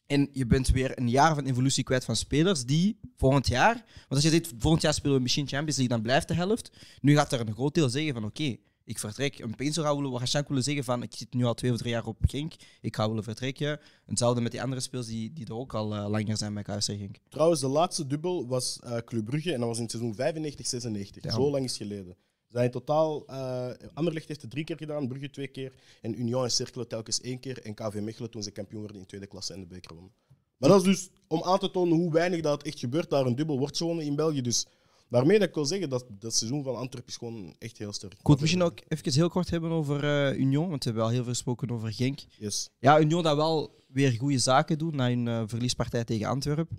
Speaker 2: En je bent weer een jaar van evolutie kwijt van spelers die volgend jaar... Want als je zegt, volgend jaar spelen we misschien Champions League, dan blijft de helft. Nu gaat er een groot deel zeggen van, oké, ik vertrek. Een Peenso gaat willen- waarschijnlijk willen zeggen van, ik zit nu al twee of drie jaar op Genk. Ik ga willen vertrekken. En Hetzelfde met die andere speels die, die er ook al eh, langer zijn bij KFC Genk.
Speaker 6: Trouwens, de laatste dubbel was eh, Club Brugge en dat was in het seizoen 95-96.
Speaker 2: Ja.
Speaker 6: Zo lang is geleden. Ze Zijn in totaal, eh Anderlecht heeft het drie keer gedaan, Brugge twee keer. En Union en Cercle telkens één keer. En KV Mechelen toen ze kampioen werden in tweede klasse en de beker wonnen. Maar dat is dus om aan te tonen hoe weinig dat echt gebeurt daar een dubbel wordt gewonnen in België. Dus daarmee dat ik wil zeggen dat dat seizoen van Antwerpen is gewoon echt heel sterk.
Speaker 2: Ik wil het misschien ook even heel kort hebben over eh, Union, want we hebben al heel veel gesproken over Genk.
Speaker 6: Yes.
Speaker 2: Ja, Union dat wel weer goede zaken doet na hun eh, verliespartij tegen Antwerpen.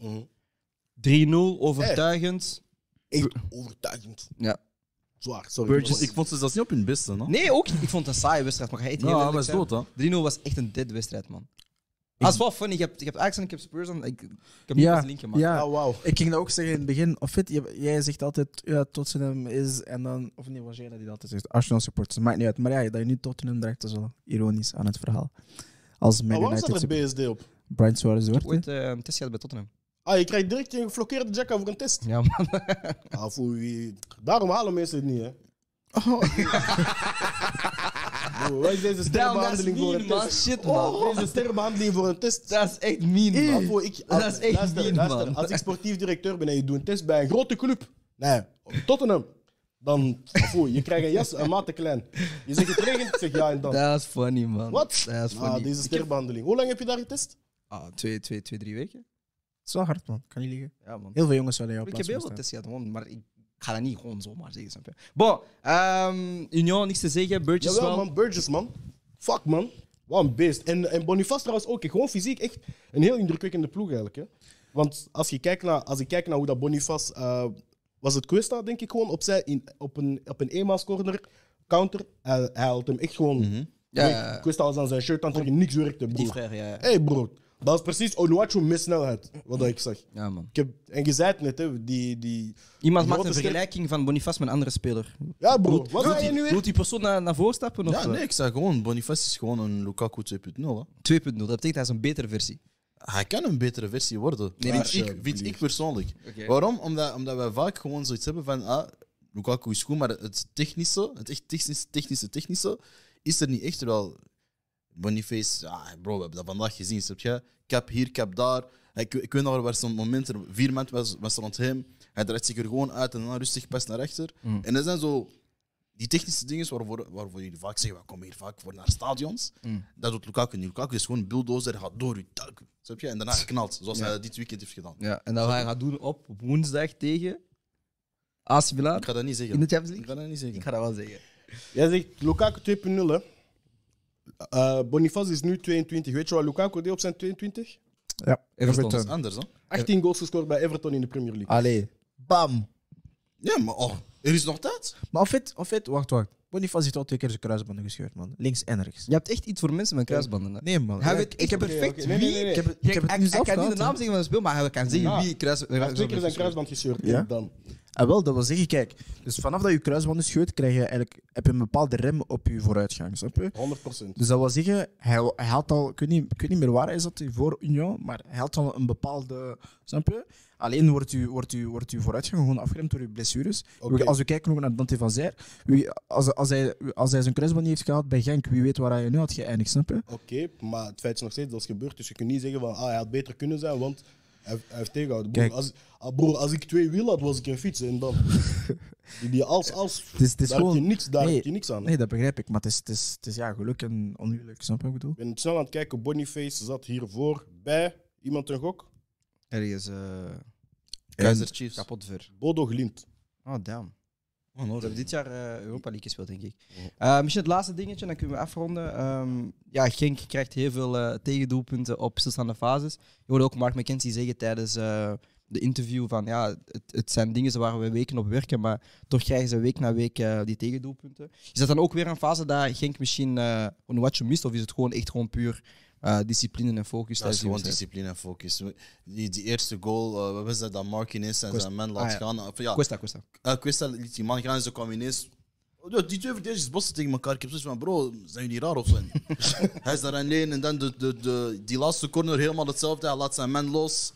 Speaker 6: Mhm.
Speaker 2: 3-0, overtuigend.
Speaker 6: Echt overtuigend.
Speaker 2: Ja.
Speaker 6: Zwaar, sorry.
Speaker 7: Burgess, ik vond ze zelfs niet op hun beste, no?
Speaker 2: Nee, ook niet. Ik vond het een saaie wedstrijd, maar ga je het
Speaker 7: Ja,
Speaker 2: heel
Speaker 7: hij
Speaker 2: eerlijk zijn.
Speaker 7: was dood, hè?
Speaker 2: 3-0 was echt een dead wedstrijd, man. Dat is wel funny. Je hebt, je hebt Ajax en ik heb Spurs en ik, ik heb niet
Speaker 5: ja,
Speaker 2: eens link gemaakt.
Speaker 5: ja.
Speaker 6: Ah, wauw.
Speaker 5: Ik ging dat ook zeggen in het begin. Of fit, je- jij zegt altijd, ja, Tottenham is en dan... Of nee, was jij dat die dat altijd zegt? Arsenal supporters, maakt niet uit. Maar ja, dat je nu Tottenham draagt, dat is wel ironisch aan het verhaal. als
Speaker 6: Maar waarom
Speaker 5: Man United
Speaker 6: Ah, staat er
Speaker 5: supporter.
Speaker 6: BSD op?
Speaker 5: Brian Suarez
Speaker 2: Ik heb
Speaker 5: wordt, hè?
Speaker 2: ooit eh, een test gehad bij Tottenham.
Speaker 6: Ah, je krijgt direct een geflokkeerde jack voor een test.
Speaker 2: Ja, man.
Speaker 6: Ah, voor wie- Daarom halen mensen het niet, hè?
Speaker 2: Oh.
Speaker 6: Bro, wat is deze sterrenbehandeling voor een test?
Speaker 2: Shit,
Speaker 6: Wat is deze sterrenbehandeling voor een test?
Speaker 2: Dat is echt mean,
Speaker 6: Ah, voor ik,
Speaker 2: Dat is echt
Speaker 6: luister,
Speaker 2: mean,
Speaker 6: luister,
Speaker 2: man.
Speaker 6: Als ik sportief directeur ben en je doet een test bij een grote club, nee, Tottenham, dan voor, je krijgt een jas een maat te klein. Je zegt het regent, ik zeg ja en dan.
Speaker 2: Dat is funny, man.
Speaker 6: Wat?
Speaker 2: Dat is
Speaker 6: Ah,
Speaker 2: funny.
Speaker 6: deze
Speaker 2: Ik heb-
Speaker 6: sterrenbehandeling. Hoe lang heb je daar getest?
Speaker 2: Ah, twee, twee, twee, drie weken.
Speaker 5: Het is wel hard, man. Kan niet liggen.
Speaker 2: Ja, man.
Speaker 5: Heel veel jongens zouden jou
Speaker 2: Ik
Speaker 5: op
Speaker 2: heb heel veel tests gehad, man, maar ik ga dat niet gewoon zomaar zeggen, snap je? Bon, ehm, Union, niks te zeggen. Burgess
Speaker 6: Jawel,
Speaker 2: Dus wel.
Speaker 6: man, Burgess, man. Fuck, man. Wat een beest. En, en Boniface trouwens ook. hè. Gewoon fysiek echt een heel indrukwekkende ploeg eigenlijk. Hè. Want als, je kijkt naar, als ik kijk naar hoe dat Boniface... eh, was het Cuesta, denk ik, gewoon opzij in, op een, op een eenmaascorner, counter. Hij, hij haalt hem echt gewoon...
Speaker 2: Ja,
Speaker 6: Nee,
Speaker 2: Mhm. ja, ja.
Speaker 6: Cuesta was aan zijn shirt aan het trekken, niks werkte,
Speaker 2: Die
Speaker 6: broer.
Speaker 2: vraag, ja. ja.
Speaker 6: Hé, hey, broer. Dat is precies Onuachu met snelheid, wat dat ik zag.
Speaker 2: Ja, man.
Speaker 6: Ik heb, en je zei het net, hè, die... die
Speaker 2: Iemand
Speaker 6: Die
Speaker 2: maakt
Speaker 6: grote
Speaker 2: een
Speaker 6: ster-
Speaker 2: vergelijking van Boniface met een andere speler.
Speaker 6: ja, broer. Wat
Speaker 2: Doet
Speaker 6: ga je nu
Speaker 2: die,
Speaker 6: weer?
Speaker 2: doet die persoon naar, naar voren stappen? Of
Speaker 7: Ja,
Speaker 2: eh,
Speaker 7: nee, ik zei gewoon, Boniface is gewoon een Lukaku 2.0. hè.
Speaker 2: 2.0, dat betekent hij is een betere versie.
Speaker 7: Hij kan een betere versie worden,
Speaker 2: Nee,
Speaker 7: vind,
Speaker 6: alsjeblieft.
Speaker 7: ik, vind ik persoonlijk.
Speaker 2: Oké.
Speaker 7: Waarom? Omdat, omdat wij vaak gewoon zoiets hebben van, ah, Lukaku is goed, maar het technische, het echt technische, technische, technische, is er niet echt. Terwijl Boniface, ah, bro, we hebben dat vandaag gezien, snap je? Kap hier, kap daar. Ik, ik weet nog wel, waar zo'n moment, er vier mensen was, was rond hem, hij draait zich er gewoon uit en dan rustig pas naar rechter.
Speaker 2: Mm.
Speaker 7: En dat zijn zo die technische dingen waarvoor, waarvoor jullie vaak zeggen, we komen hier vaak voor naar stadions.
Speaker 2: Mm.
Speaker 7: Dat doet Lukaku niet. Lukaku is gewoon een bulldozer, gaat door je tuik. Snap je? En daarna knalt, zoals hij dat dit weekend heeft gedaan.
Speaker 2: Ja, en dat hij gaat doen op woensdag tegen AC Milan
Speaker 7: Ik ga dat niet zeggen.
Speaker 2: in de Champions League.
Speaker 7: Ik ga dat niet
Speaker 2: Ik
Speaker 7: zeggen.
Speaker 2: ga dat wel zeggen.
Speaker 6: Jij zegt Lukaku 2.0, hè? Eh Boniface is nu 22. Weet je wat Lukaku deed op zijn 22?
Speaker 5: Ja,
Speaker 2: Everton is
Speaker 5: Everton.
Speaker 7: Anders, hoor.
Speaker 6: 18 goals gescoord bij Everton in de Premier League.
Speaker 5: Allee, bam.
Speaker 7: Ja, maar oh, er is nog tijd.
Speaker 5: Maar of het, of het, wacht, wacht. Boniface heeft al twee keer zijn kruisbanden gescheurd, man. Links en rechts.
Speaker 2: Je hebt echt iets voor mensen met kruisbanden. hè.
Speaker 5: Nee, man.
Speaker 2: Hij
Speaker 5: Ja,
Speaker 2: weet
Speaker 5: ik heb
Speaker 2: echt-
Speaker 5: perfect
Speaker 6: oké, oké. Nee, nee, nee, nee.
Speaker 5: wie. Ik heb het- ik heb het nu
Speaker 2: Hij
Speaker 5: zelf
Speaker 2: kan niet de
Speaker 5: gehad,
Speaker 2: naam
Speaker 5: hè.
Speaker 2: zeggen van het spel, maar hij kan zeggen
Speaker 6: Ah.
Speaker 2: wie kruis.
Speaker 6: Hij heeft twee keer zijn
Speaker 2: kruisband.
Speaker 6: kruisband gescheurd.
Speaker 5: Ja?
Speaker 6: Ja? Dan.
Speaker 5: Ah, wel, dat wil zeggen, kijk. Dus vanaf dat je kruisbanden scheurt, krijg je eigenlijk, heb je een bepaalde rem op je vooruitgang, snap je?
Speaker 6: 100
Speaker 5: Dus dat wil zeggen, hij, hij had al, ik weet, niet, ik weet niet meer waar hij zat voor Union, maar hij had al een bepaalde, snap je? Alleen wordt u, wordt u, wordt u vooruitgang gewoon afgeremd door uw blessures.
Speaker 6: Oké.
Speaker 5: Als we kijken ook naar Dante van Zijr, wie, als, als, hij, als hij zijn kruisband niet heeft gehaald bij Genk, wie weet waar hij nu had geëindigd, snap je?
Speaker 6: Oké, maar het feit is nog steeds dat is gebeurd. Dus je kunt niet zeggen van ah, hij had beter kunnen zijn, want hij, heeft- hij heeft tegengehouden. Broer,
Speaker 5: Kijk.
Speaker 6: als, ah, broer, als ik twee wielen had, was ik een fiets. En dan. Die, die als, als.
Speaker 5: Het is, het is
Speaker 6: daar
Speaker 5: gewoon...
Speaker 6: heb je niks, daar
Speaker 5: nee,
Speaker 6: heb je niks aan.
Speaker 5: Nee, dat begrijp ik, maar het is, het is, het is ja, geluk en ongeluk, snap je wat ik bedoel?
Speaker 6: Ik ben snel aan het kijken. Boniface zat hiervoor bij iemand een gok.
Speaker 2: Er is eh
Speaker 7: Kaiser Chiefs.
Speaker 2: kapot ver.
Speaker 6: Bodo Glimt.
Speaker 2: Oh, damn. Ze hebben dit jaar eh, Europa League gespeeld, denk ik. Eh, misschien het laatste dingetje, dan kunnen we afronden. Ehm, ja, Genk krijgt heel veel eh, tegendoelpunten op stilstaande fases. Je hoorde ook Mark McKenzie zeggen tijdens eh, de interview van ja, het, het zijn dingen waar we weken op werken, maar toch krijgen ze week na week eh, die tegendoelpunten. Is dat dan ook weer een fase dat Genk misschien eh een watje mist, of is het gewoon echt gewoon puur eh, discipline en focus?
Speaker 7: Dat
Speaker 2: tijdens
Speaker 7: is
Speaker 2: die
Speaker 7: gewoon
Speaker 2: wedstrijd?
Speaker 7: discipline en focus. Die, die eerste goal, eh, wat was dat? Dat Martinez en zijn man laat
Speaker 2: Ah, ja.
Speaker 7: gaan. Of ja,
Speaker 2: Cuesta, Cuesta.
Speaker 7: eh, Cuesta liet die man gaan en ze kwam ineens... Oh, ja, Die twee verdedigers botsen tegen elkaar. Ik heb zoiets van, bro, zijn jullie raar of zo? hij is daar alleen en dan de, de, de, die laatste corner helemaal hetzelfde. Hij laat zijn man los.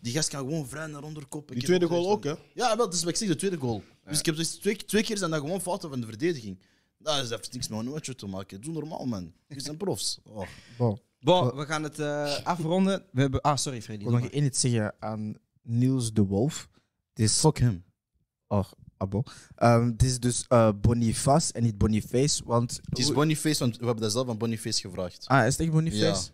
Speaker 7: Die gast kan gewoon vrij naar onderkop. Ik
Speaker 6: Die
Speaker 7: heb
Speaker 6: tweede
Speaker 7: zoiets
Speaker 6: goal ook,
Speaker 7: van-
Speaker 6: hè?
Speaker 7: Ja, wel, dat is wat ik zeg, de tweede goal. Dus ik heb zoiets- twee, twee keer zijn dat gewoon fouten van de verdediging. Nou, Dat is- dat heeft niks met een watje te maken. Doe normaal, man. Jullie zijn profs. Oh.
Speaker 5: Bon.
Speaker 2: Bon, we gaan het eh, afronden. We hebben... Ah, sorry Freddy.
Speaker 5: Ik wil nog één iets zeggen aan Niels de Wolf. Het is fuck hem. Oh, abo. Ehm, Het is dus eh, Boniface en niet Boniface, want...
Speaker 7: Het is Boniface, want we hebben dat zelf aan Boniface gevraagd.
Speaker 5: Ah, is het echt Boniface?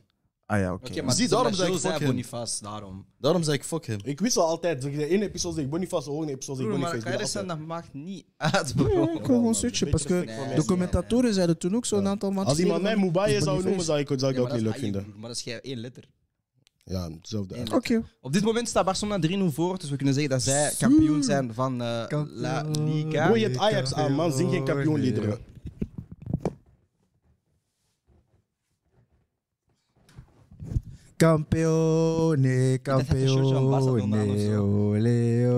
Speaker 5: Ah ja, oké.
Speaker 2: Oké, maar
Speaker 7: Zie,
Speaker 2: zie,
Speaker 7: daarom
Speaker 2: daarom
Speaker 7: dat
Speaker 2: dat
Speaker 7: ik
Speaker 2: ik
Speaker 7: fuck
Speaker 2: zei
Speaker 7: him.
Speaker 2: Boniface, daarom.
Speaker 7: Daarom zei ik fuck hem.
Speaker 6: Ik wissel altijd. Zeg de ene episode zeg ik Boniface, de volgende episode zeg ik
Speaker 2: Broer, maar dus
Speaker 6: Boniface. Ik ben
Speaker 2: Kairis zijn dat
Speaker 6: altijd-
Speaker 2: maakt niet uit,
Speaker 5: Ja,
Speaker 2: bro.
Speaker 5: ik wil gewoon
Speaker 6: beetje
Speaker 5: switchen, parce que
Speaker 6: respect voor
Speaker 5: de
Speaker 6: mensen,
Speaker 5: commentatoren zeiden toen ook zo'n aantal maanden
Speaker 6: Als iemand mij
Speaker 5: geleden van,
Speaker 6: Moubaye
Speaker 5: is
Speaker 6: zou noemen,
Speaker 5: Boniface.
Speaker 6: zou ik, zou ik
Speaker 2: Ja,
Speaker 6: dat ook
Speaker 2: is
Speaker 6: niet leuk
Speaker 2: aan je,
Speaker 6: vinden.
Speaker 2: broer, Maar dat is jij één letter.
Speaker 6: Ja, hetzelfde.
Speaker 2: Eén
Speaker 6: eigenlijk.
Speaker 2: letter.
Speaker 5: Oké.
Speaker 2: Op dit moment staat Barcelona 3-0 voor, dus we kunnen zeggen dat zij kampioen zijn van eh, La Liga.
Speaker 6: Broer, je hebt Ajax aan, man. Zing geen kampioenliederen.
Speaker 5: Campeone,
Speaker 2: shirtje aan Barcelona aan of
Speaker 5: campeone,
Speaker 2: zo.
Speaker 5: ole,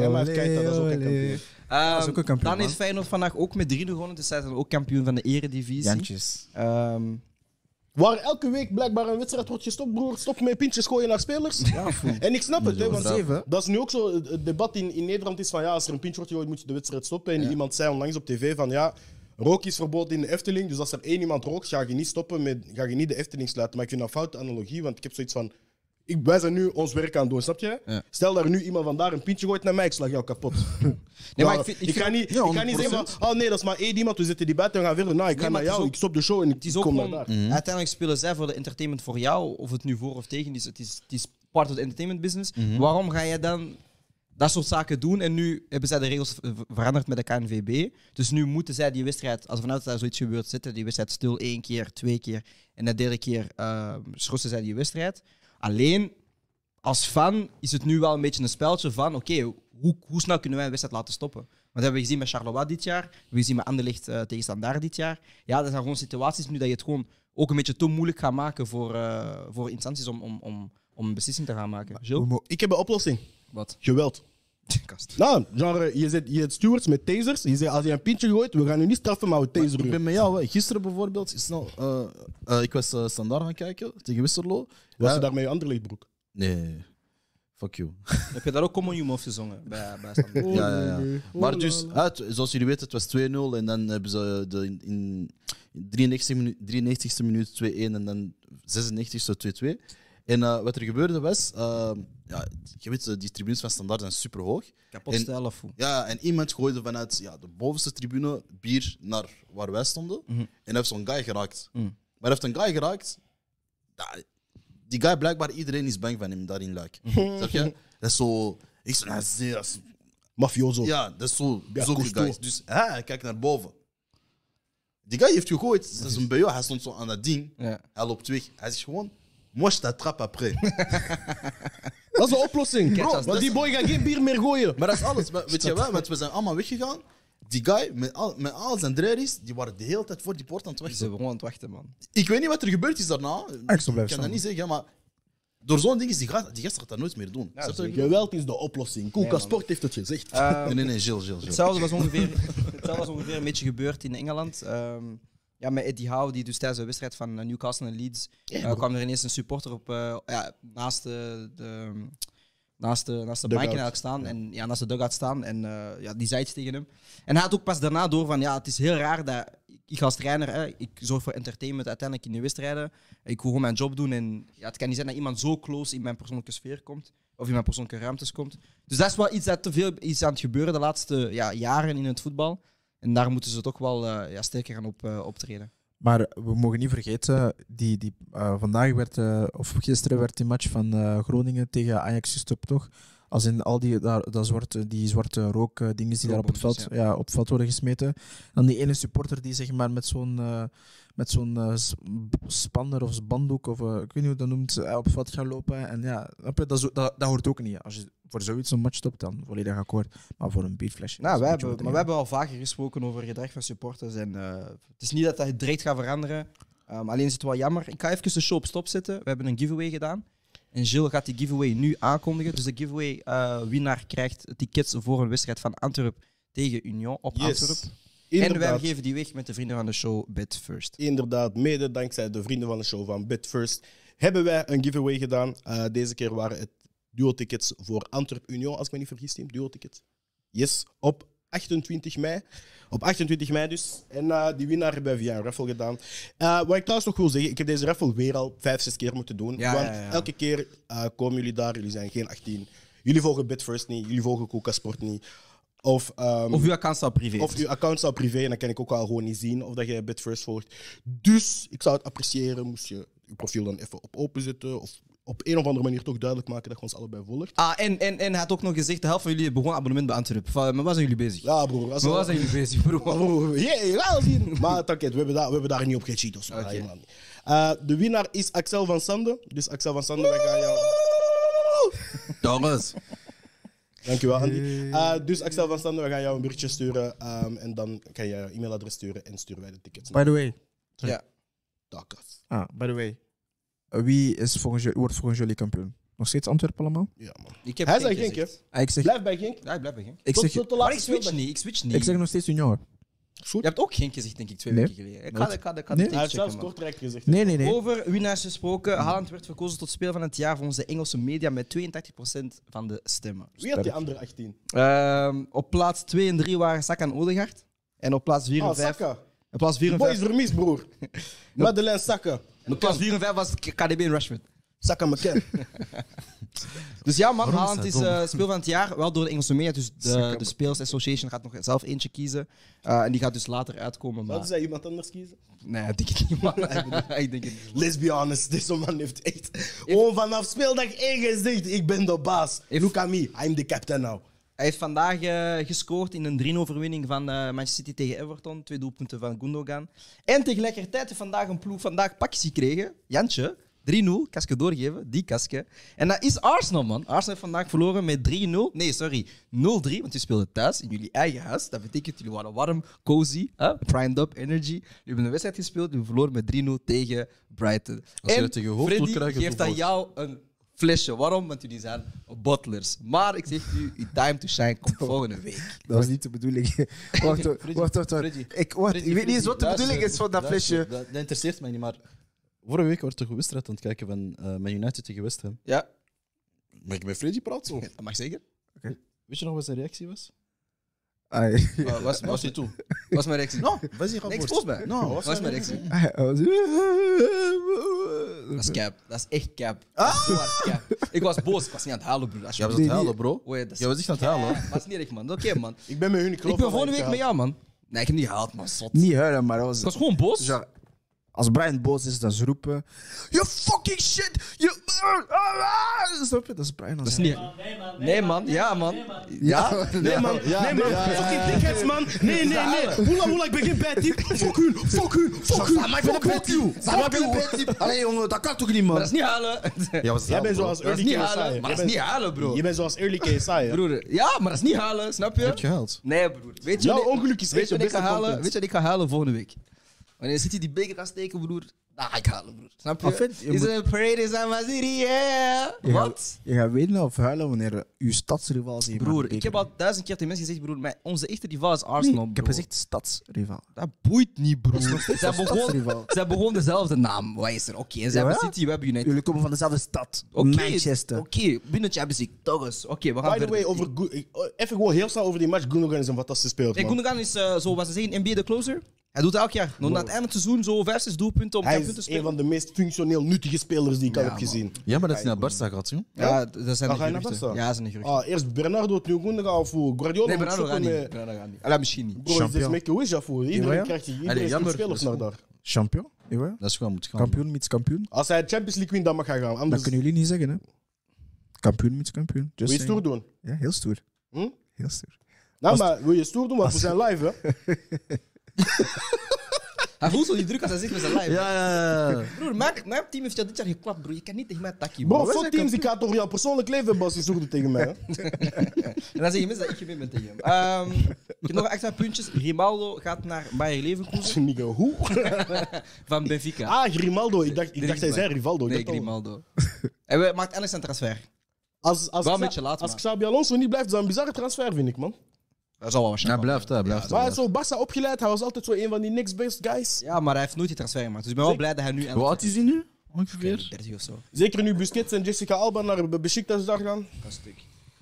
Speaker 6: Ja, maar even kijken, dat is ook
Speaker 5: ole,
Speaker 6: een
Speaker 5: ole.
Speaker 6: kampioen.
Speaker 2: Ehm,
Speaker 5: Dat is ook een kampioen,
Speaker 2: Dan is
Speaker 5: man.
Speaker 2: Feyenoord vandaag ook met 3-0 gewonnen, dus zij zijn ook kampioen van de eredivisie.
Speaker 5: Jantjes.
Speaker 2: Ehm
Speaker 6: Waar elke week blijkbaar een wedstrijd wordt gestopt, broer. Stop met pintjes gooien naar spelers. en ik snap het, hè, want
Speaker 5: Zeven.
Speaker 6: dat is nu ook zo. Het het debat in, in Nederland is van ja, als er een pintje wordt gegooid, moet je de wedstrijd stoppen. En iemand zei onlangs op tv van ja, rook is verboden in de Efteling. Dus als er één iemand rookt, ga je niet stoppen met, ga je niet de Efteling sluiten. Maar ik vind dat een foute analogie, want ik heb zoiets van. Ik, wij zijn nu ons werk aan het doen, snap je?
Speaker 2: Ja.
Speaker 6: Stel dat er nu iemand vandaar een pintje gooit naar mij, ik slag jou kapot.
Speaker 2: Nee, maar
Speaker 6: Ja,
Speaker 2: ik vind- ik
Speaker 6: ik ga
Speaker 2: vind-
Speaker 6: niet,
Speaker 5: Ja,
Speaker 6: ik ga niet zeggen van, oh nee, dat is maar één iemand, we zetten die buiten en we gaan verder. Nou, ik ga
Speaker 2: Nee, maar
Speaker 6: naar
Speaker 2: het is
Speaker 6: jou,
Speaker 2: ook-
Speaker 6: ik stop de show en ik
Speaker 2: Het is ook
Speaker 6: kom
Speaker 2: gewoon,
Speaker 6: naar daar.
Speaker 2: uiteindelijk spelen zij voor de entertainment voor jou, of het nu voor of tegen is. Het is, het is part of the entertainment business. Waarom ga jij dan dat soort zaken doen? En nu hebben zij de regels ver- veranderd met de KNVB. Dus nu moeten zij die wedstrijd, als vanuit dat er zoiets gebeurt, zetten die wedstrijd stil één keer, twee keer. En de derde keer eh schorsen zij die wedstrijd. Alleen, als fan is het nu wel een beetje een speltje van oké, hoe, hoe snel kunnen wij een wedstrijd laten stoppen? Want dat hebben we gezien met Charleroi dit jaar, we hebben gezien met Anderlecht eh, tegen Standaard dit jaar. Ja, dat zijn gewoon situaties nu dat je het gewoon ook een beetje te moeilijk gaat maken voor, eh, voor instanties om, om, om, om een beslissing te gaan maken. Jill?
Speaker 6: Oh, Ik heb een oplossing.
Speaker 2: Wat?
Speaker 6: Geweld.
Speaker 2: Kast.
Speaker 6: Nou, genre, je zet, je zet stewards met tasers. Je zegt, als je een pintje gooit, we gaan je niet straffen, maar we taseren
Speaker 7: Ik
Speaker 6: je.
Speaker 7: ben met jou. hè. Gisteren bijvoorbeeld, snel, eh, eh, ik was eh, standaard gaan kijken tegen Westerlo.
Speaker 6: Was
Speaker 7: Ja.
Speaker 6: je daarmee je anderlegbroek?
Speaker 7: Nee, fuck you.
Speaker 2: Heb je daar ook Common Human gezongen bij, bij Standaard?
Speaker 7: ja, ja, ja. Maar dus, uit, zoals jullie weten, het was 2-0 en dan hebben ze de, in, in 93 minu- 93ste minuut 2-1 en dan 96ste 2-2. En eh, wat er gebeurde was, eh, ja, je weet, eh, die tribunes van standaard zijn super hoog.
Speaker 2: Kapot
Speaker 7: En-
Speaker 2: stijl of hoe?
Speaker 7: Ja, en iemand gooide vanuit ja, de bovenste tribune bier naar waar wij stonden. En hij heeft zo'n guy geraakt.
Speaker 2: Mhm.
Speaker 7: Maar hij heeft een guy geraakt. ja, die guy, blijkbaar iedereen is bang van hem daarin luik. Snap je? Dat is zo. Ik zeg, nou, zie, dat is-
Speaker 6: Mafioso.
Speaker 7: ja, dat is zo.
Speaker 6: Ja,
Speaker 7: zo
Speaker 6: Cousteau.
Speaker 7: guys. Dus hè, hij kijkt naar boven. Die guy heeft gegooid. Dat is een BO. Hij stond zo aan dat ding.
Speaker 2: Ja.
Speaker 7: Hij loopt weg. Hij zegt gewoon: Moi, je t'attrape après.
Speaker 6: Dat is de oplossing.
Speaker 2: Kijk, dat
Speaker 6: Bro,
Speaker 2: is-
Speaker 6: want die boy gaat geen bier meer gooien.
Speaker 7: Maar dat is alles. Maar Weet je wat? Want we zijn allemaal weggegaan. Die guy met al, met al zijn drerries, die waren de hele tijd voor die poort aan het
Speaker 2: Ze
Speaker 7: wachten.
Speaker 2: waren gewoon aan het wachten, man.
Speaker 7: Ik weet niet wat er gebeurd is daarna.
Speaker 5: Ik zou blijven
Speaker 7: kan dat
Speaker 5: staan.
Speaker 7: niet zeggen, maar door zo'n ding is die gast, die gast gaat dat nooit meer doen. Snap je wat ik bedoel?
Speaker 6: Geweld is de oplossing. Koelka Sport heeft het gezegd.
Speaker 7: nee, nee, nee, Gilles, Gilles. Gilles.
Speaker 2: Hetzelfde was ongeveer, hetzelfde was ongeveer een beetje gebeurd in Engeland. Ehm, ja, met Eddie Howe, die dus tijdens de wedstrijd van eh, Newcastle en Leeds eh, kwam er ineens een supporter op, eh, ja, naast de, ehm, de, naast de, naast de bank
Speaker 6: Dugout.
Speaker 2: eigenlijk staan. En, ja, naast de dugout staan. En eh, ja, die zei iets tegen hem. En hij had ook pas daarna door van, ja, het is heel raar dat ik als trainer, hè, ik zorg voor entertainment uiteindelijk in de wedstrijden. Ik wil gewoon mijn job doen. En ja, het kan niet zijn dat iemand zo close in mijn persoonlijke sfeer komt. Of in mijn persoonlijke ruimtes komt. Dus dat is wel iets dat te veel is aan het gebeuren de laatste ja, jaren in het voetbal. En daar moeten ze toch wel eh, ja, sterker gaan op, eh, optreden.
Speaker 5: Maar we mogen niet vergeten, die, die, eh, vandaag werd, eh, of gisteren werd die match van eh, Groningen tegen Ajax gestopt, toch? Als in al die, daar, dat zwarte, die zwarte rook, eh, dingen die daar op het, veld,
Speaker 2: Rookbommetjes,
Speaker 5: ja. op het veld worden gesmeten. Dan die ene supporter die zeg maar, met zo'n eh, met zo'n eh, s- b- spanner of spandoek, of eh, ik weet niet hoe dat noemt, eh, op het veld gaan lopen. En ja, snap je, dat, zo- dat, dat hoort ook niet. Als je voor zoiets een match stopt, dan volledig akkoord. Maar voor een bierflesje...
Speaker 2: Nou,
Speaker 5: dat
Speaker 2: we
Speaker 5: is een beetje
Speaker 2: hebben, maar we hebben al vaker gesproken over gedrag van supporters. En eh, het is niet dat dat direct gaat veranderen. Ehm, alleen is het wel jammer. Ik ga even de show op stop zetten. We hebben een giveaway gedaan. En Gilles gaat die giveaway nu aankondigen. Dus de giveaway-winnaar krijgt tickets voor een wedstrijd van Antwerp tegen Union op Antwerp. En wij
Speaker 6: Inderdaad.
Speaker 2: geven die weg met de vrienden van de show Bed First.
Speaker 6: Inderdaad, mede dankzij de vrienden van de show van Bid First hebben wij een giveaway gedaan. Eh, deze keer waren het duo-tickets voor Antwerp Union, als ik me niet vergis, team. Duo-tickets. Yes, op 28 mei. Op 28 mei dus. En eh, die winnaar hebben wij via een raffle gedaan. Eh, wat ik trouwens nog wil zeggen, ik heb deze raffle weer al vijf, zes keer moeten doen.
Speaker 2: Ja,
Speaker 6: want
Speaker 2: ja, ja.
Speaker 6: elke keer eh, komen jullie daar, jullie zijn geen 18. Jullie volgen Bid First niet, jullie volgen Coca Sport niet. Of, ehm,
Speaker 2: Of uw account staat privé.
Speaker 6: of je account staat privé en dan kan ik ook wel gewoon niet zien of dat je Bitfirst volgt. Dus ik zou het appreciëren moest je je profiel dan even op openzetten of op een of andere manier toch duidelijk maken dat je ons allebei volgt.
Speaker 2: Ah, en, en, en hij had ook nog gezegd, de helft van jullie hebben gewoon een abonnement bij Antwerp. Van, Maar waar zijn jullie bezig?
Speaker 6: Ja, broer. Als
Speaker 2: Maar waar zijn jullie bezig, broer?
Speaker 6: Jee, wel zien. Maar het oké, we, hebben daar- we hebben daar niet op gecheat of zo. Ja, helemaal niet. Eh, de winnaar is Axel van Sande. Dus Axel van Sande, wij gaan jou...
Speaker 7: Jongens.
Speaker 6: Dankjewel, Andy. Eh, dus Axel van Sande, wij gaan jou een berichtje sturen. ehm, en dan kan je je e-mailadres sturen en sturen wij de tickets naar
Speaker 5: By the way,
Speaker 6: Dakas.
Speaker 5: Ah, by the way. Wie is volgens jullie, wordt volgens jullie kampioen? Nog steeds Antwerpen allemaal?
Speaker 6: Ja, man.
Speaker 2: Ik heb
Speaker 6: Hij
Speaker 2: Genk
Speaker 6: zei Genk, hè?
Speaker 2: gezegd.
Speaker 5: Ah, ik, zeg,
Speaker 6: Blijf bij Genk.
Speaker 2: Ja, ik blijf bij Genk.
Speaker 5: ik,
Speaker 6: Tot,
Speaker 5: zeg,
Speaker 6: tot de
Speaker 2: Maar
Speaker 6: laatste
Speaker 2: ik switch
Speaker 6: speeldag.
Speaker 2: niet, ik switch niet.
Speaker 5: ik zeg nog steeds junior.
Speaker 2: Je hebt ook Genk gezegd, denk ik, twee
Speaker 5: Nee.
Speaker 2: weken geleden. Ik kan,
Speaker 5: Nooit.
Speaker 2: ik kan, ik kan
Speaker 5: Nee.
Speaker 2: het
Speaker 6: Hij heeft
Speaker 2: checken,
Speaker 6: zelfs
Speaker 2: man.
Speaker 6: Kortrijk gezegd.
Speaker 5: Nee, nee, Mhm. nee.
Speaker 2: Over winnaars gesproken, Haaland werd verkozen tot speler van het jaar volgens de Engelse media met 82% van de stemmen.
Speaker 6: Wie had die andere 18?
Speaker 2: Ehm, op plaats 2 en 3 waren Saka en Odegaard. En op plaats 4 en
Speaker 6: Ah,
Speaker 2: 5...
Speaker 6: Saka.
Speaker 2: op plaats 4
Speaker 6: Die
Speaker 2: en
Speaker 6: boy
Speaker 2: 5,
Speaker 6: is vermist, broer. Madeleine Saka.
Speaker 2: en op plaats 4 en 5 was K- KDB en Rashford.
Speaker 6: Saka McKen.
Speaker 2: Dus ja, man, Haaland is eh speel van het jaar. Wel door de Engelse media. Dus de, de Speels Association gaat nog zelf eentje kiezen. Eh, en die gaat dus later uitkomen.
Speaker 6: Wat is
Speaker 2: Maar...
Speaker 6: dat, iemand anders kiezen?
Speaker 2: Nee, ik denk het niet, man. ik denk het niet.
Speaker 6: Let's be honest, deze man heeft echt... Gewoon vanaf speeldag 1 gezegd, ik ben de baas.
Speaker 2: If-
Speaker 6: Look at me, I'm the captain now.
Speaker 2: Hij heeft vandaag eh, gescoord in een 3-overwinning van eh, Manchester City tegen Everton. Twee doelpunten van Gundogan. En tegelijkertijd heeft vandaag een ploeg vandaag pakjes gekregen. Jantje. 3-0, kasje doorgeven, die kasje. En dat is Arsenal, man. Arsenal heeft vandaag verloren met 3-0. Nee, sorry, 0-3, want je speelde thuis in jullie eigen huis. Dat betekent, jullie waren warm, cozy, hè? primed up, energy. Jullie hebben een wedstrijd gespeeld, jullie verloren met 3-0 tegen Brighton.
Speaker 7: Als je
Speaker 2: En
Speaker 7: dat tegen je hoofd
Speaker 2: Freddy
Speaker 7: wil krijgen,
Speaker 2: geeft aan
Speaker 7: vervolg.
Speaker 2: jou een flesje. Waarom? Want jullie zijn bottlers. Maar ik zeg u, uw time to shine komt volgende week.
Speaker 5: Dat was niet de bedoeling. wacht, wacht, wacht. wacht.
Speaker 7: Freddy.
Speaker 5: Ik, wacht, ik weet niet eens wat de
Speaker 7: Luister,
Speaker 5: bedoeling is van dat
Speaker 7: luister,
Speaker 5: flesje.
Speaker 7: Dat, dat interesseert mij niet, maar... Vorige week werd toch een wedstrijd aan het kijken van eh Man United tegen West Ham.
Speaker 2: Ja,
Speaker 7: Maar ik met Freddy praat zo.
Speaker 2: dat mag zeker.
Speaker 7: Weet je nog wat zijn reactie was?
Speaker 5: Ai.
Speaker 2: Wat was,
Speaker 7: Eh, Was
Speaker 2: was,
Speaker 7: hij toe?
Speaker 2: was mijn reactie? No,
Speaker 7: Was hij
Speaker 2: niks volgens mij.
Speaker 7: Nou,
Speaker 2: was,
Speaker 7: was
Speaker 2: mijn reactie?
Speaker 5: Ai, hij was-
Speaker 2: Dat is cap. Dat is echt cap. Dat is zo hard cap. Ik was boos. Ik was niet aan het halen, broer.
Speaker 7: Jij was
Speaker 2: Alsjeblieft.
Speaker 7: aan het huilen, bro.
Speaker 2: Oh ja, dat is-
Speaker 7: Jij was echt aan het huilen.
Speaker 2: Ja, Dat is niet echt, man. Oké, man.
Speaker 6: Ik ben met hun, ik
Speaker 2: Ik
Speaker 6: geloof
Speaker 2: ben
Speaker 6: dat
Speaker 2: volgende
Speaker 6: ik
Speaker 2: week
Speaker 6: ga-
Speaker 2: met jou, man. Nee, ik heb niet gehaald, man. Zot.
Speaker 5: Niet huilen, maar dat
Speaker 2: Ik
Speaker 5: was...
Speaker 2: was gewoon boos.
Speaker 5: Ja, Als Brian boos is, dan is roepen. You fucking shit! You... Snap je? Dat is Brian.
Speaker 2: Dat is niet... Nee, man. Ja, man.
Speaker 7: Ja?
Speaker 6: Nee, man. nee, man. Fucking dickheads, man. Nee, nee, nee. Hoela, hoela, ik ben geen bad type. Fuck hun, fuck hun, fuck hun.
Speaker 5: Maar ik ben
Speaker 6: fuck
Speaker 5: een bad
Speaker 6: hun.
Speaker 5: type. Maar ik ben een bad type. Allee, jongen, dat kan toch
Speaker 2: Maar
Speaker 5: niet, man?
Speaker 2: dat is niet halen. Dat
Speaker 7: Ja, was
Speaker 6: Jij bent zoals
Speaker 2: is
Speaker 6: Early
Speaker 2: niet
Speaker 6: KSI.
Speaker 2: halen. Maar
Speaker 6: Jij
Speaker 2: dat is niet
Speaker 6: bent-
Speaker 2: halen, bro.
Speaker 6: Je bent zoals Early KSI, hè.
Speaker 2: Broer, ja, maar dat is niet halen, snap je?
Speaker 7: Heb je gehaald?
Speaker 2: Nee, broer. Weet je,
Speaker 6: Jouw
Speaker 2: wat ik-
Speaker 6: ongeluk is
Speaker 2: weet
Speaker 6: echt
Speaker 2: je
Speaker 6: je
Speaker 2: wat ik
Speaker 6: beste
Speaker 2: ga halen?
Speaker 6: content.
Speaker 2: Weet je wat ik ga halen volgende week? Wanneer zit hij die beker gaat steken, broer? Daar ga ik halen, broer. Snap je?
Speaker 5: Ah, vet, je
Speaker 2: Is
Speaker 5: moet-
Speaker 2: er een parade in San Maziri, yeah!
Speaker 5: Je gaat-
Speaker 2: Wat?
Speaker 5: Je gaat wenen of huilen wanneer uw stadsrivaal zegt...
Speaker 2: Broer, ik heb al duizend keer tegen mensen gezegd, broer, mijn, onze echte rival is Arsenal,
Speaker 5: Ik heb
Speaker 2: bro.
Speaker 5: gezegd stadsrivaal.
Speaker 2: dat boeit niet, broer. Ze hebben
Speaker 5: stadsrivaal.
Speaker 2: gewoon, ze hebben gewoon dezelfde naam. Wat is er? Oké, en ze
Speaker 5: Ja,
Speaker 2: hebben
Speaker 5: ja?
Speaker 2: City, we hebben United.
Speaker 5: Jullie komen van dezelfde stad.
Speaker 2: Oké,
Speaker 5: Manchester.
Speaker 2: Oké, binnen Champions League, toch eens. Oké, we gaan
Speaker 6: By the
Speaker 2: verder.
Speaker 6: way, over Gu- ik- oh, even gewoon heel snel over die match. Gundogan is een fantastische speler,
Speaker 2: Hey,
Speaker 6: man.
Speaker 2: Gundogan is, eh, zo wat ze zeggen, NBA de closer. Hij doet het elk jaar. Nog na het einde van het seizoen zo vijf, zes doelpunten om
Speaker 6: Hij
Speaker 2: kampioen te
Speaker 6: is een
Speaker 2: spelen.
Speaker 6: van de meest functioneel nuttige spelers die ik al heb gezien.
Speaker 7: Ja, maar dat is naar Barca gaat, joh.
Speaker 2: Ja, d- dat zijn
Speaker 6: Dan
Speaker 2: de
Speaker 6: ga je naar
Speaker 2: geruchten.
Speaker 6: Barca.
Speaker 2: Ja, dat zijn de geruchten.
Speaker 6: Ah, eerst Bernardo, het nu Gundogan of hoe? Guardiola
Speaker 2: nee,
Speaker 6: moet
Speaker 2: Bernardo gaat
Speaker 6: zoeken
Speaker 2: niet.
Speaker 6: met-
Speaker 2: Bernardo gaat niet. Allee, misschien niet.
Speaker 6: Bro, het is
Speaker 7: Champion.
Speaker 6: make a wish daarvoor.
Speaker 5: Ja, ja.
Speaker 6: Iedereen krijgt hier.
Speaker 7: Allee,
Speaker 6: Iedereen
Speaker 7: jammer,
Speaker 6: zoekt spelers
Speaker 2: dus-
Speaker 7: dat
Speaker 6: naar
Speaker 7: is
Speaker 6: daar.
Speaker 5: Champion? Jawel.
Speaker 7: Dat is gewoon moet gaan.
Speaker 5: Kampioen, meets kampioen.
Speaker 6: Als hij Champions League wint, dan mag hij gaan.
Speaker 5: Dat
Speaker 6: Anders
Speaker 5: kunnen jullie dus niet zeggen, hè? Kampioen, meets kampioen. Just
Speaker 6: wil je
Speaker 5: saying.
Speaker 6: stoer doen.
Speaker 5: Ja, heel stoer.
Speaker 6: Hm?
Speaker 5: Heel stoer.
Speaker 6: Nou, maar wil je stoer doen, want we zijn live, hè?
Speaker 2: Hij voelt zo die druk als hij zegt met zijn lijf.
Speaker 7: Ja, ja, ja.
Speaker 2: Broer, mijn, mijn team heeft jou dit jaar geklapt, broer. Je kan niet tegen mij takkie,
Speaker 6: Bro,
Speaker 2: Wij
Speaker 6: voor
Speaker 2: zijn
Speaker 6: teams, ik
Speaker 2: kampioen.
Speaker 6: ga toch jouw persoonlijk leven hebben als je stoer doet tegen mij, hè?
Speaker 2: En dan zeg je mensen dat ik gemeen ben tegen hem. Ehm, ik heb nog extra puntjes. Grimaldo gaat naar Bayer Leverkusen
Speaker 6: Nigga, hoe?
Speaker 2: van Benfica.
Speaker 6: Ah, Grimaldo. Ik dacht, ik dacht hij zei Rivaldo. Ik
Speaker 2: Nee,
Speaker 6: dacht al-
Speaker 2: Grimaldo. En we maakt eindelijk zijn transfer.
Speaker 6: Als, als,
Speaker 2: Wel
Speaker 6: Xa-
Speaker 2: een beetje laat,
Speaker 6: als
Speaker 2: maar.
Speaker 6: Xabi Alonso niet blijft, is dat een bizarre transfer, vind ik, man.
Speaker 2: Dat zal wel
Speaker 7: Hij
Speaker 2: waarschijnlijk.
Speaker 7: blijft, hij blijft.
Speaker 6: Maar hij is zo Barca opgeleid. Hij was altijd zo een van die next-best guys.
Speaker 2: Ja, maar hij heeft nooit die transfer gemaakt. Dus ik ben wel blij dat hij nu
Speaker 7: Hoe
Speaker 2: eindelijk...
Speaker 7: oud is hij nu? Ongeveer.
Speaker 2: 30 of zo.
Speaker 6: Zeker nu Busquets en Jessica Alba naar Be- Besiktas daar gaan.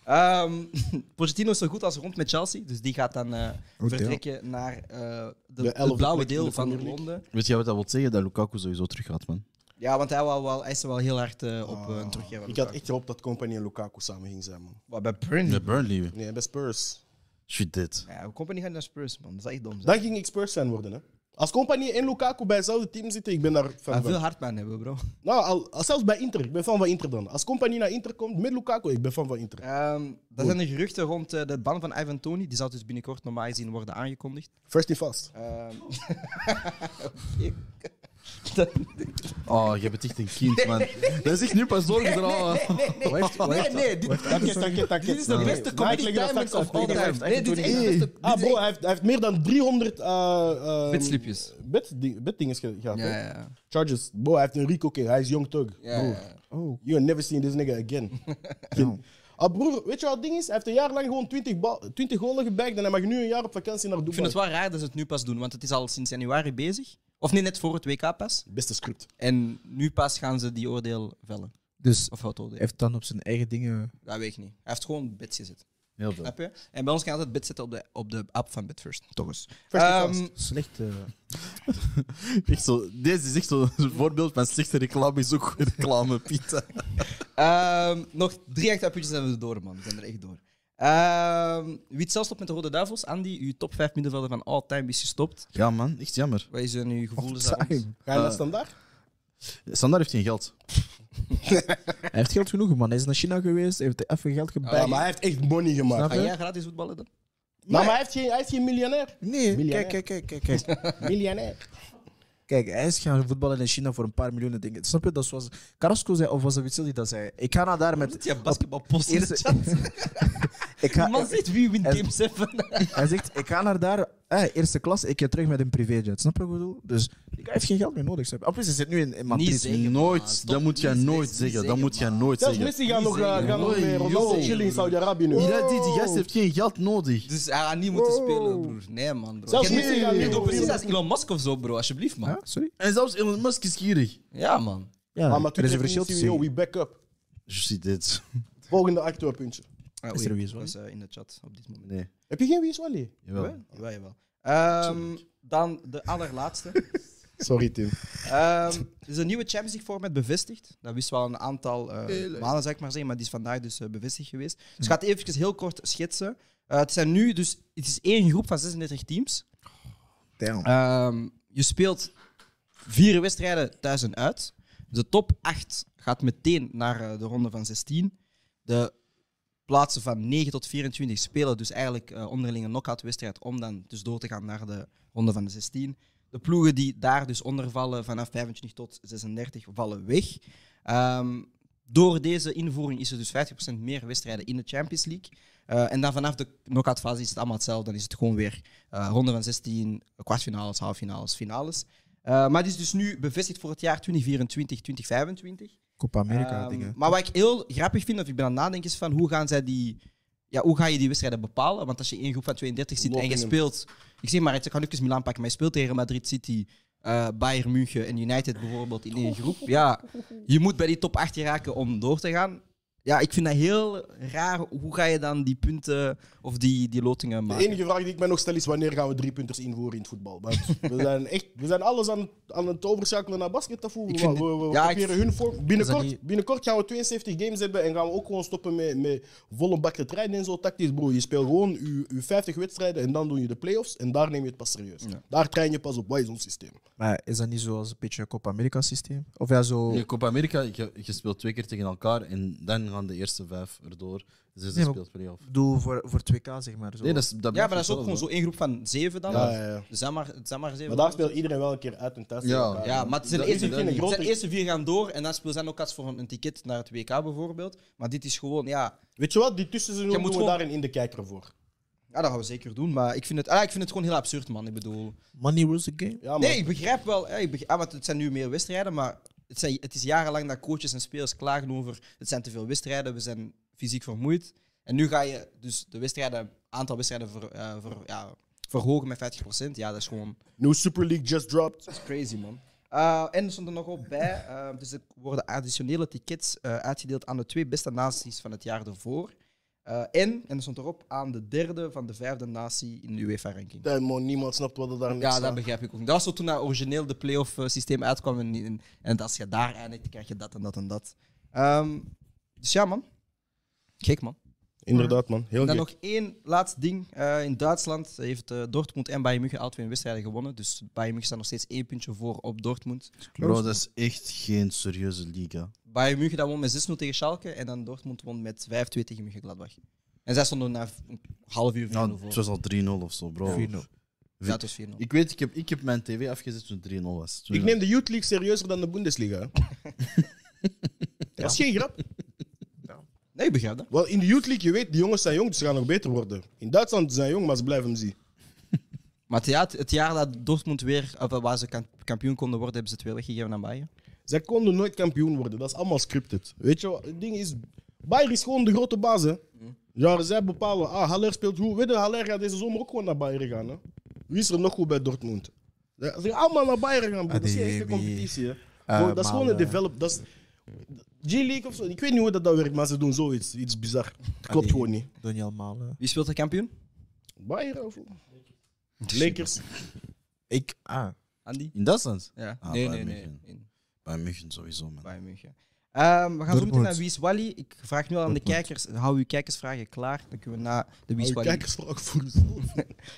Speaker 2: Ehm Pochettino is zo goed als rond met Chelsea, dus die gaat dan eh, vertrekken naar eh, de,
Speaker 6: De
Speaker 2: het
Speaker 6: elfde
Speaker 2: blauwe
Speaker 6: plek in
Speaker 2: deel
Speaker 6: de
Speaker 2: van
Speaker 6: Premier League.
Speaker 2: Londen.
Speaker 7: Weet jij wat dat wil zeggen? Dat Lukaku sowieso terug gaat, man.
Speaker 2: Ja, want hij, wou wel, hij is er wel heel hard eh, op eh, een teruggeven.
Speaker 6: Ik had echt gehoopt dat Company en Lukaku samen gingen zijn, man.
Speaker 2: Wat, bij Burnley?
Speaker 7: Met Burnley.
Speaker 6: Nee, bij Spurs.
Speaker 7: Shit, dit.
Speaker 2: Ja, company gaat naar Spurs, man. Dat zou echt dom zijn.
Speaker 6: Dan ging ik Spurs fan worden, hè. Als Company en Lukaku bij hetzelfde team zitten, ik ben daar fan
Speaker 2: Hij wil
Speaker 6: van.
Speaker 2: hardman hebben, bro.
Speaker 6: Nou, al, al- zelfs bij Inter. Ik ben fan van Inter dan. Als Company naar Inter komt met Lukaku, ik ben fan van Inter.
Speaker 2: Ehm dat zijn de geruchten rond eh, de ban van Ivan Tony. Die zou dus binnenkort normaal gezien worden aangekondigd.
Speaker 6: First and fast.
Speaker 2: Ehm
Speaker 7: Oh, je bent echt een kind, man. Dat is echt nu pas zorgen er al.
Speaker 2: Oh, nee, nee, dit,
Speaker 6: Dank je, dank je, dank je.
Speaker 2: dit is de beste
Speaker 6: Mike,
Speaker 2: comedy
Speaker 6: leg dat
Speaker 2: diamonds
Speaker 6: straks
Speaker 2: of
Speaker 6: uit,
Speaker 2: all
Speaker 6: leg dat
Speaker 2: time.
Speaker 6: straks
Speaker 2: Nee, dit is echt de beste...
Speaker 6: Ah, bro, hij heeft, hij heeft meer dan 300 eh eh,
Speaker 2: Bedslipjes.
Speaker 6: Bed, beddinges ge- gehad.
Speaker 2: Ja,
Speaker 6: hè?
Speaker 2: ja, ja.
Speaker 6: Charges. Bro, hij heeft een Rico kill. Hij is young thug.
Speaker 2: Ja,
Speaker 6: broer.
Speaker 2: ja, ja.
Speaker 5: Oh.
Speaker 6: You're never seeing this nigga again. Geen- Ah, broer, weet je wat het ding is? Hij heeft een jaar lang gewoon 20, bal- 20 golen gebagd en hij mag nu een jaar op vakantie naar
Speaker 2: Ik vind
Speaker 6: Dubai.
Speaker 2: het wel raar dat ze het nu pas doen, want het is al sinds januari bezig. Of nee, net voor het WK pas.
Speaker 6: Beste script.
Speaker 2: En nu pas gaan ze die oordeel vellen.
Speaker 5: Dus
Speaker 2: Of het oordeel.
Speaker 5: heeft dan op zijn eigen dingen.
Speaker 2: Dat weet ik niet. Hij heeft gewoon bits gezet.
Speaker 7: Heel veel.
Speaker 2: Snap je? En bij ons kan je altijd bits zetten op de, op de app van Bitfirst. Toch eens.
Speaker 6: First and
Speaker 2: Ehm,
Speaker 6: fast.
Speaker 5: Slecht. eh,
Speaker 7: Echt zo, deze is echt zo'n voorbeeld van slechte reclame is ook goede reclame, Piet.
Speaker 2: ehm, nog drie extra puntjes zijn we door, man. We zijn er echt door. Ehm wie het zelfs stopt met de Rode Duivels? Andy, uw top 5 middenvelder van all time is gestopt.
Speaker 7: Ja, man, echt jammer.
Speaker 2: Wat is zijn uw gevoelens daarom?
Speaker 5: Time.
Speaker 6: Ga je naar standaard?
Speaker 7: Standaard heeft geen geld.
Speaker 5: Hij heeft geld genoeg, man. Hij is naar China geweest, hij heeft even geld gebijt.
Speaker 6: Ja, maar hij heeft echt money gemaakt.
Speaker 5: Ah, Snap
Speaker 2: Ga
Speaker 6: Nou,
Speaker 5: je?
Speaker 2: jij gratis voetballen dan?
Speaker 6: maar hij heeft geen, hij is geen miljonair.
Speaker 5: Nee,
Speaker 6: Miljonair.
Speaker 5: kijk, kijk, kijk, kijk, kijk.
Speaker 6: Miljonair.
Speaker 5: Kijk, hij is gaan voetballen in China voor een paar miljoenen dingen. Snap je? Dat is zoals Carrasco zei, of was dat Witsel die dat zei? Ik ga naar daar met...
Speaker 2: Ja, basketbalpost in de
Speaker 5: Eerste-
Speaker 2: chat.
Speaker 5: Ik
Speaker 2: Die
Speaker 5: ga,
Speaker 2: man zegt wie wint
Speaker 5: en-
Speaker 2: Game 7.
Speaker 5: hij zegt, ik ga naar daar, eh, eerste klas, ik keer terug met een privéjet. Snap je wat ik bedoel? Dus die guy heeft geen geld meer nodig. Snap je? Op plus, hij zit nu in, in Madrid.
Speaker 2: Niet zeggen, man.
Speaker 7: Nooit,
Speaker 2: Stop,
Speaker 7: dat moet je
Speaker 2: niet
Speaker 7: nooit
Speaker 2: zeggen,
Speaker 7: zeggen.
Speaker 2: niet zeggen,
Speaker 7: Dat moet je
Speaker 2: man.
Speaker 7: nooit
Speaker 6: Zelfs
Speaker 7: zeggen.
Speaker 6: Messi gaat nog, eh,
Speaker 2: zeggen,
Speaker 6: gaat nog
Speaker 7: man.
Speaker 6: mee Ronaldo
Speaker 7: Yo.
Speaker 6: chillen in Saudi-Arabi nu.
Speaker 7: Ja, die, die gast heeft geen geld nodig.
Speaker 2: Dus hij gaat niet moeten spelen, broer. Nee, man, bro.
Speaker 6: Zelfs
Speaker 2: Jij doet-
Speaker 6: Messi gaat
Speaker 2: jij
Speaker 6: niet
Speaker 2: doet
Speaker 6: op
Speaker 2: precies
Speaker 6: vier-
Speaker 2: als Elon Musk of zo, bro. Alsjeblieft, man.
Speaker 5: Huh? Sorry?
Speaker 7: En zelfs Elon Musk is gierig.
Speaker 2: Ja, man.
Speaker 5: Ja,
Speaker 6: Ah, maar toen
Speaker 5: er is een
Speaker 6: heeft hij
Speaker 5: verschil tussen...
Speaker 6: gezien, yo, we back up.
Speaker 7: Je ziet dit.
Speaker 6: Volgende actueel puntje.
Speaker 2: Ah,
Speaker 5: Is
Speaker 2: oei,
Speaker 5: er wie is wel?
Speaker 2: dat is, eh, in de chat op dit moment.
Speaker 7: Nee,
Speaker 6: Heb je geen Wieswally?
Speaker 7: jawel.
Speaker 2: Jawel, jawel. Ehm, dan de allerlaatste.
Speaker 6: Sorry, Tim.
Speaker 2: Ehm, er is een nieuwe Champions League format bevestigd. Dat wist wel een aantal eh, maanden, zou ik maar zeggen, maar die is vandaag dus eh, bevestigd geweest. Dus ik ga het even heel kort schetsen. Eh, het zijn nu dus, het is één groep van 36 teams.
Speaker 5: Damn.
Speaker 2: Ehm, je speelt vier wedstrijden thuis en uit. De top 8 gaat meteen naar eh, de ronde van 16. De plaatsen van 9 tot 24 spelen dus eigenlijk eh onderling een knock-out wedstrijd om dan dus door te gaan naar de ronde van de 16. De ploegen die daar dus onder vallen vanaf 25 tot 36 vallen weg. Ehm, door deze invoering is er dus 50% meer wedstrijden in de Champions League. Eh, en dan vanaf de knock-out fase is het allemaal hetzelfde. Dan is het gewoon weer eh, ronde van 16, kwartfinales, halffinales, finales. Eh, maar het is dus nu bevestigd voor het jaar 2024, 2025.
Speaker 5: Copa America
Speaker 2: Ehm,
Speaker 5: dingen.
Speaker 2: Maar wat ik heel grappig vind, of ik ben aan het nadenken, is van hoe gaan zij die. Ja, hoe ga je die wedstrijden bepalen? Want als je in een groep van 32 zit en je
Speaker 6: Lottingen.
Speaker 2: speelt. Ik zeg maar, ik kan ook eens Milan pakken, maar je speelt tegen Madrid City, eh, Bayern München en United bijvoorbeeld in één groep. Ja, je moet bij die top 8 raken om door te gaan. Ja, ik vind dat heel raar. Hoe ga je dan die punten of die, die lotingen
Speaker 6: De
Speaker 2: maken?
Speaker 6: enige vraag die ik mij nog stel is wanneer gaan we drie punters invoeren in het voetbal? Want we zijn echt, we zijn alles aan, aan het overschakelen naar basket te voeren.
Speaker 2: Ik
Speaker 6: We,
Speaker 2: vind
Speaker 6: we,
Speaker 2: dit-
Speaker 6: we
Speaker 2: ja, ik
Speaker 6: proberen
Speaker 2: vind-
Speaker 6: hun vorm.
Speaker 2: Is dat
Speaker 6: Binnenkort,
Speaker 2: niet-
Speaker 6: binnenkort gaan we 72 games hebben en gaan we ook gewoon stoppen met, met volle bak te trainen en zo tactisch, bro. Je speelt gewoon je, je 50 wedstrijden en dan doe je de playoffs en daar neem je het pas serieus. Daar train je pas op. Wat is ons systeem?
Speaker 5: Maar is dat niet zoals een beetje een Copa America systeem? Of ja, zo.
Speaker 7: In Copa America, je, je speelt twee keer tegen elkaar en dan gaan de eerste vijf erdoor. Dus je
Speaker 5: Nee, maar-
Speaker 7: speelt play-off.
Speaker 5: Ik bedoel, voor, voor 2K zeg maar. Zo.
Speaker 7: Nee, dat is, dat
Speaker 2: Ja,
Speaker 7: blijft
Speaker 2: maar dat is ook gewoon
Speaker 7: hetzelfde.
Speaker 2: zo één groep van 7 dan.
Speaker 6: Ja, ja, ja.
Speaker 2: Er zijn maar, er zijn maar zeven.
Speaker 6: Maar daar speelt iedereen wel een keer uit en thuis. tegen
Speaker 7: Ja.
Speaker 6: elkaar.
Speaker 2: Ja, maar het zijn
Speaker 7: Dat
Speaker 2: de
Speaker 7: is
Speaker 2: eerste,
Speaker 7: het
Speaker 6: niet.
Speaker 2: het zijn de eerste vier gaan door en dan speel zijn ook als voor een, een ticket naar het WK bijvoorbeeld. Maar dit is gewoon, ja,
Speaker 6: Weet je wat? Die tussenseizoen
Speaker 2: Je
Speaker 6: doen
Speaker 2: moet
Speaker 6: we
Speaker 2: gewoon-
Speaker 6: daarin in de kijker voor.
Speaker 2: ja, dat gaan we zeker doen. Maar ik vind het, ah, ik vind het gewoon heel absurd, man. Ik bedoel,
Speaker 5: Money rules the game.
Speaker 6: Ja, man.
Speaker 2: nee, ik begrijp wel, hè, ik begrijp, ah, want het zijn nu meer wedstrijden, maar het, zijn, het is jarenlang dat coaches en spelers klagen over het zijn te veel wedstrijden, we zijn fysiek vermoeid. En nu ga je dus de wedstrijden, aantal wedstrijden ver, eh, ver- ja, verhogen met 50%. Ja, dat is gewoon
Speaker 6: New Super League just dropped.
Speaker 2: Dat is crazy, man. Eh, en er stond er nog op bij, eh, dus er worden additionele tickets eh, uitgedeeld aan de twee beste naties van het jaar ervoor. Eh, en, en er stond erop, aan de derde van de vijfde natie in de UEFA-ranking.
Speaker 6: Damn, man, niemand snapt wat er daar
Speaker 2: Ja, dat begrijp ik ook. niet. Dat was zo toen dat origineel de playoff eh, systeem uitkwam. En, en, en als je daar eindigt, krijg je dat en dat en dat. Ehm, dus ja, man. Gek, man.
Speaker 6: Inderdaad, man. Heel
Speaker 2: En dan
Speaker 6: gek.
Speaker 2: nog één laatste ding. Eh, in Duitsland heeft eh, Dortmund en Bayern München al twee wedstrijden gewonnen. Dus Bayern München staat nog steeds één puntje voor op Dortmund.
Speaker 7: Bro, dat is echt geen serieuze liga.
Speaker 2: Bayern München dat won met 6-0 tegen Schalke en dan Dortmund won met 5-2 tegen Mönchengladbach. En zij stonden na een half uur 4-0
Speaker 7: Ja,
Speaker 2: voor.
Speaker 7: het was al 3-0 of zo, bro.
Speaker 5: 4-0.
Speaker 2: Ja, het was 4-0.
Speaker 7: Ik weet, ik heb, ik heb mijn tv afgezet toen 3-0 was. Toen-
Speaker 6: Ik neem de Youth League serieuzer dan de Bundesliga. hè. Dat is geen grap.
Speaker 2: Nee, ik begrijp dat.
Speaker 6: Wel, in de Youth League, je weet, die jongens zijn jong, dus ze gaan nog beter worden. In Duitsland zijn ze jong, maar ze blijven hem zien.
Speaker 2: Maar het jaar, het jaar dat Dortmund weer, of eh, waar ze kamp- kampioen konden worden, hebben ze het weer weggegeven aan Bayern.
Speaker 6: Zij konden nooit kampioen worden. Dat is allemaal scripted. Weet je wat? Het ding is, Bayern is gewoon de grote baas. Hè? Ja, zij bepalen, ah, Haller speelt goed. Weet je, Haller gaat deze zomer ook gewoon naar Bayern gaan. Hè? Wie is er nog goed bij Dortmund? Ze ze gaan allemaal naar Bayern gaan, broer. Dat is geen echte
Speaker 5: Adeyemi. Ah,
Speaker 6: competitie. Hè? Gewoon, dat is gewoon een
Speaker 5: Malen.
Speaker 6: develop. Dat is G-League of zo. Ik weet niet hoe dat, dat werkt, maar ze doen zoiets. Iets bizar. Het klopt gewoon niet.
Speaker 5: Doe niet allemaal. eh.
Speaker 2: Wie speelt de kampioen?
Speaker 6: Bayern of Lakers.
Speaker 5: Ik. Ah.
Speaker 2: Andy?
Speaker 7: In Duitsland?
Speaker 2: Ja.
Speaker 7: Ah,
Speaker 2: nee, nee,
Speaker 7: Bayern
Speaker 2: nee.
Speaker 7: München.
Speaker 2: In
Speaker 7: Bij München sowieso, man.
Speaker 2: Bayern München. Ehm, we gaan zo meteen
Speaker 5: Dortmund.
Speaker 2: naar Wie is Wally. Ik vraag nu al aan de
Speaker 7: Dortmund.
Speaker 2: kijkers, hou uw kijkersvragen klaar. Dan kunnen we naar de Wie is
Speaker 6: Kijk
Speaker 2: Wally.
Speaker 6: eens vraag voor jezelf.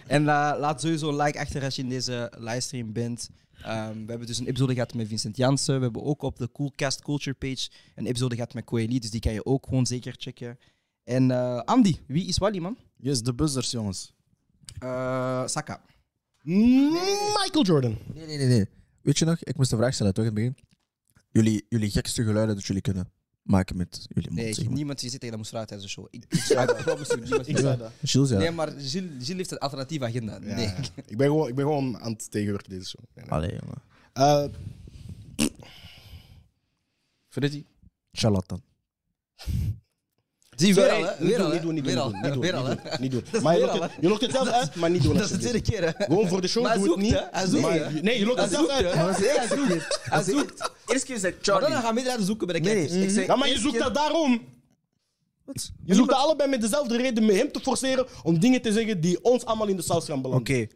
Speaker 2: En eh, laat sowieso een like achter als je in deze livestream bent. Ehm, we hebben dus een episode gehad met Vincent Jansen. We hebben ook op de Coolcast Culture page een episode gehad met Coeli. Dus die kan je ook gewoon zeker checken. En eh, Andy, wie is Wally, man?
Speaker 7: Yes, de buzzers, jongens.
Speaker 2: Eh, Saka.
Speaker 6: Michael Jordan.
Speaker 5: Nee, nee, nee, nee. Weet je nog? Ik moest een vraag stellen toch in het begin. Jullie, jullie gekste geluiden dat jullie kunnen maken met jullie mond.
Speaker 2: Nee,
Speaker 5: zeg maar.
Speaker 2: niemand die zit tegen dat moest vragen tijdens de show. Ik, ik, ik promise you, niemand-
Speaker 5: Gilles, ja.
Speaker 2: Nee, maar Gilles, Gilles heeft een alternatieve agenda.
Speaker 6: Ja,
Speaker 2: Nee.
Speaker 6: ja. Ik, ben gewoon, ik ben gewoon aan het tegenwerken deze show. Nee, nee.
Speaker 5: Allee, jongen.
Speaker 6: Eh,
Speaker 7: Freddy?
Speaker 5: Charlatan.
Speaker 2: Zie je wel,
Speaker 6: nee,
Speaker 2: hè?
Speaker 6: niet
Speaker 2: Weer al,
Speaker 6: doen,
Speaker 2: hè?
Speaker 6: niet doen, niet
Speaker 2: Weer al,
Speaker 6: doen, niet doen,
Speaker 2: Weer al, hè?
Speaker 6: niet doen, niet doen. Maar je
Speaker 2: weer
Speaker 6: lokt
Speaker 2: al,
Speaker 6: het- je lokt het zelf uit, maar niet doen.
Speaker 2: Dat is de tweede
Speaker 6: alsjeblieft.
Speaker 2: keer, hè?
Speaker 6: Gewoon voor de show
Speaker 2: Maar hij
Speaker 6: doe het
Speaker 2: zoekt,
Speaker 6: niet.
Speaker 2: hè? Hij zoekt,
Speaker 6: maar-
Speaker 2: hè?
Speaker 6: nee, je lokt
Speaker 2: Hij
Speaker 6: het zelf
Speaker 2: zoekt,
Speaker 6: uit.
Speaker 2: hè?
Speaker 5: Hij zoekt. Hij zoekt. Eerst keer zei
Speaker 2: Maar dan gaan we eruit zoeken bij de
Speaker 5: Nee,
Speaker 2: kijkers.
Speaker 5: ik zei.
Speaker 6: Ja, maar je
Speaker 5: eerst
Speaker 6: zoekt
Speaker 5: keer-
Speaker 6: dat daarom.
Speaker 5: Wat?
Speaker 6: Je zoekt dat allebei met dezelfde reden met hem te forceren om dingen te zeggen die ons allemaal in de saus gaan belanden.
Speaker 5: Oké.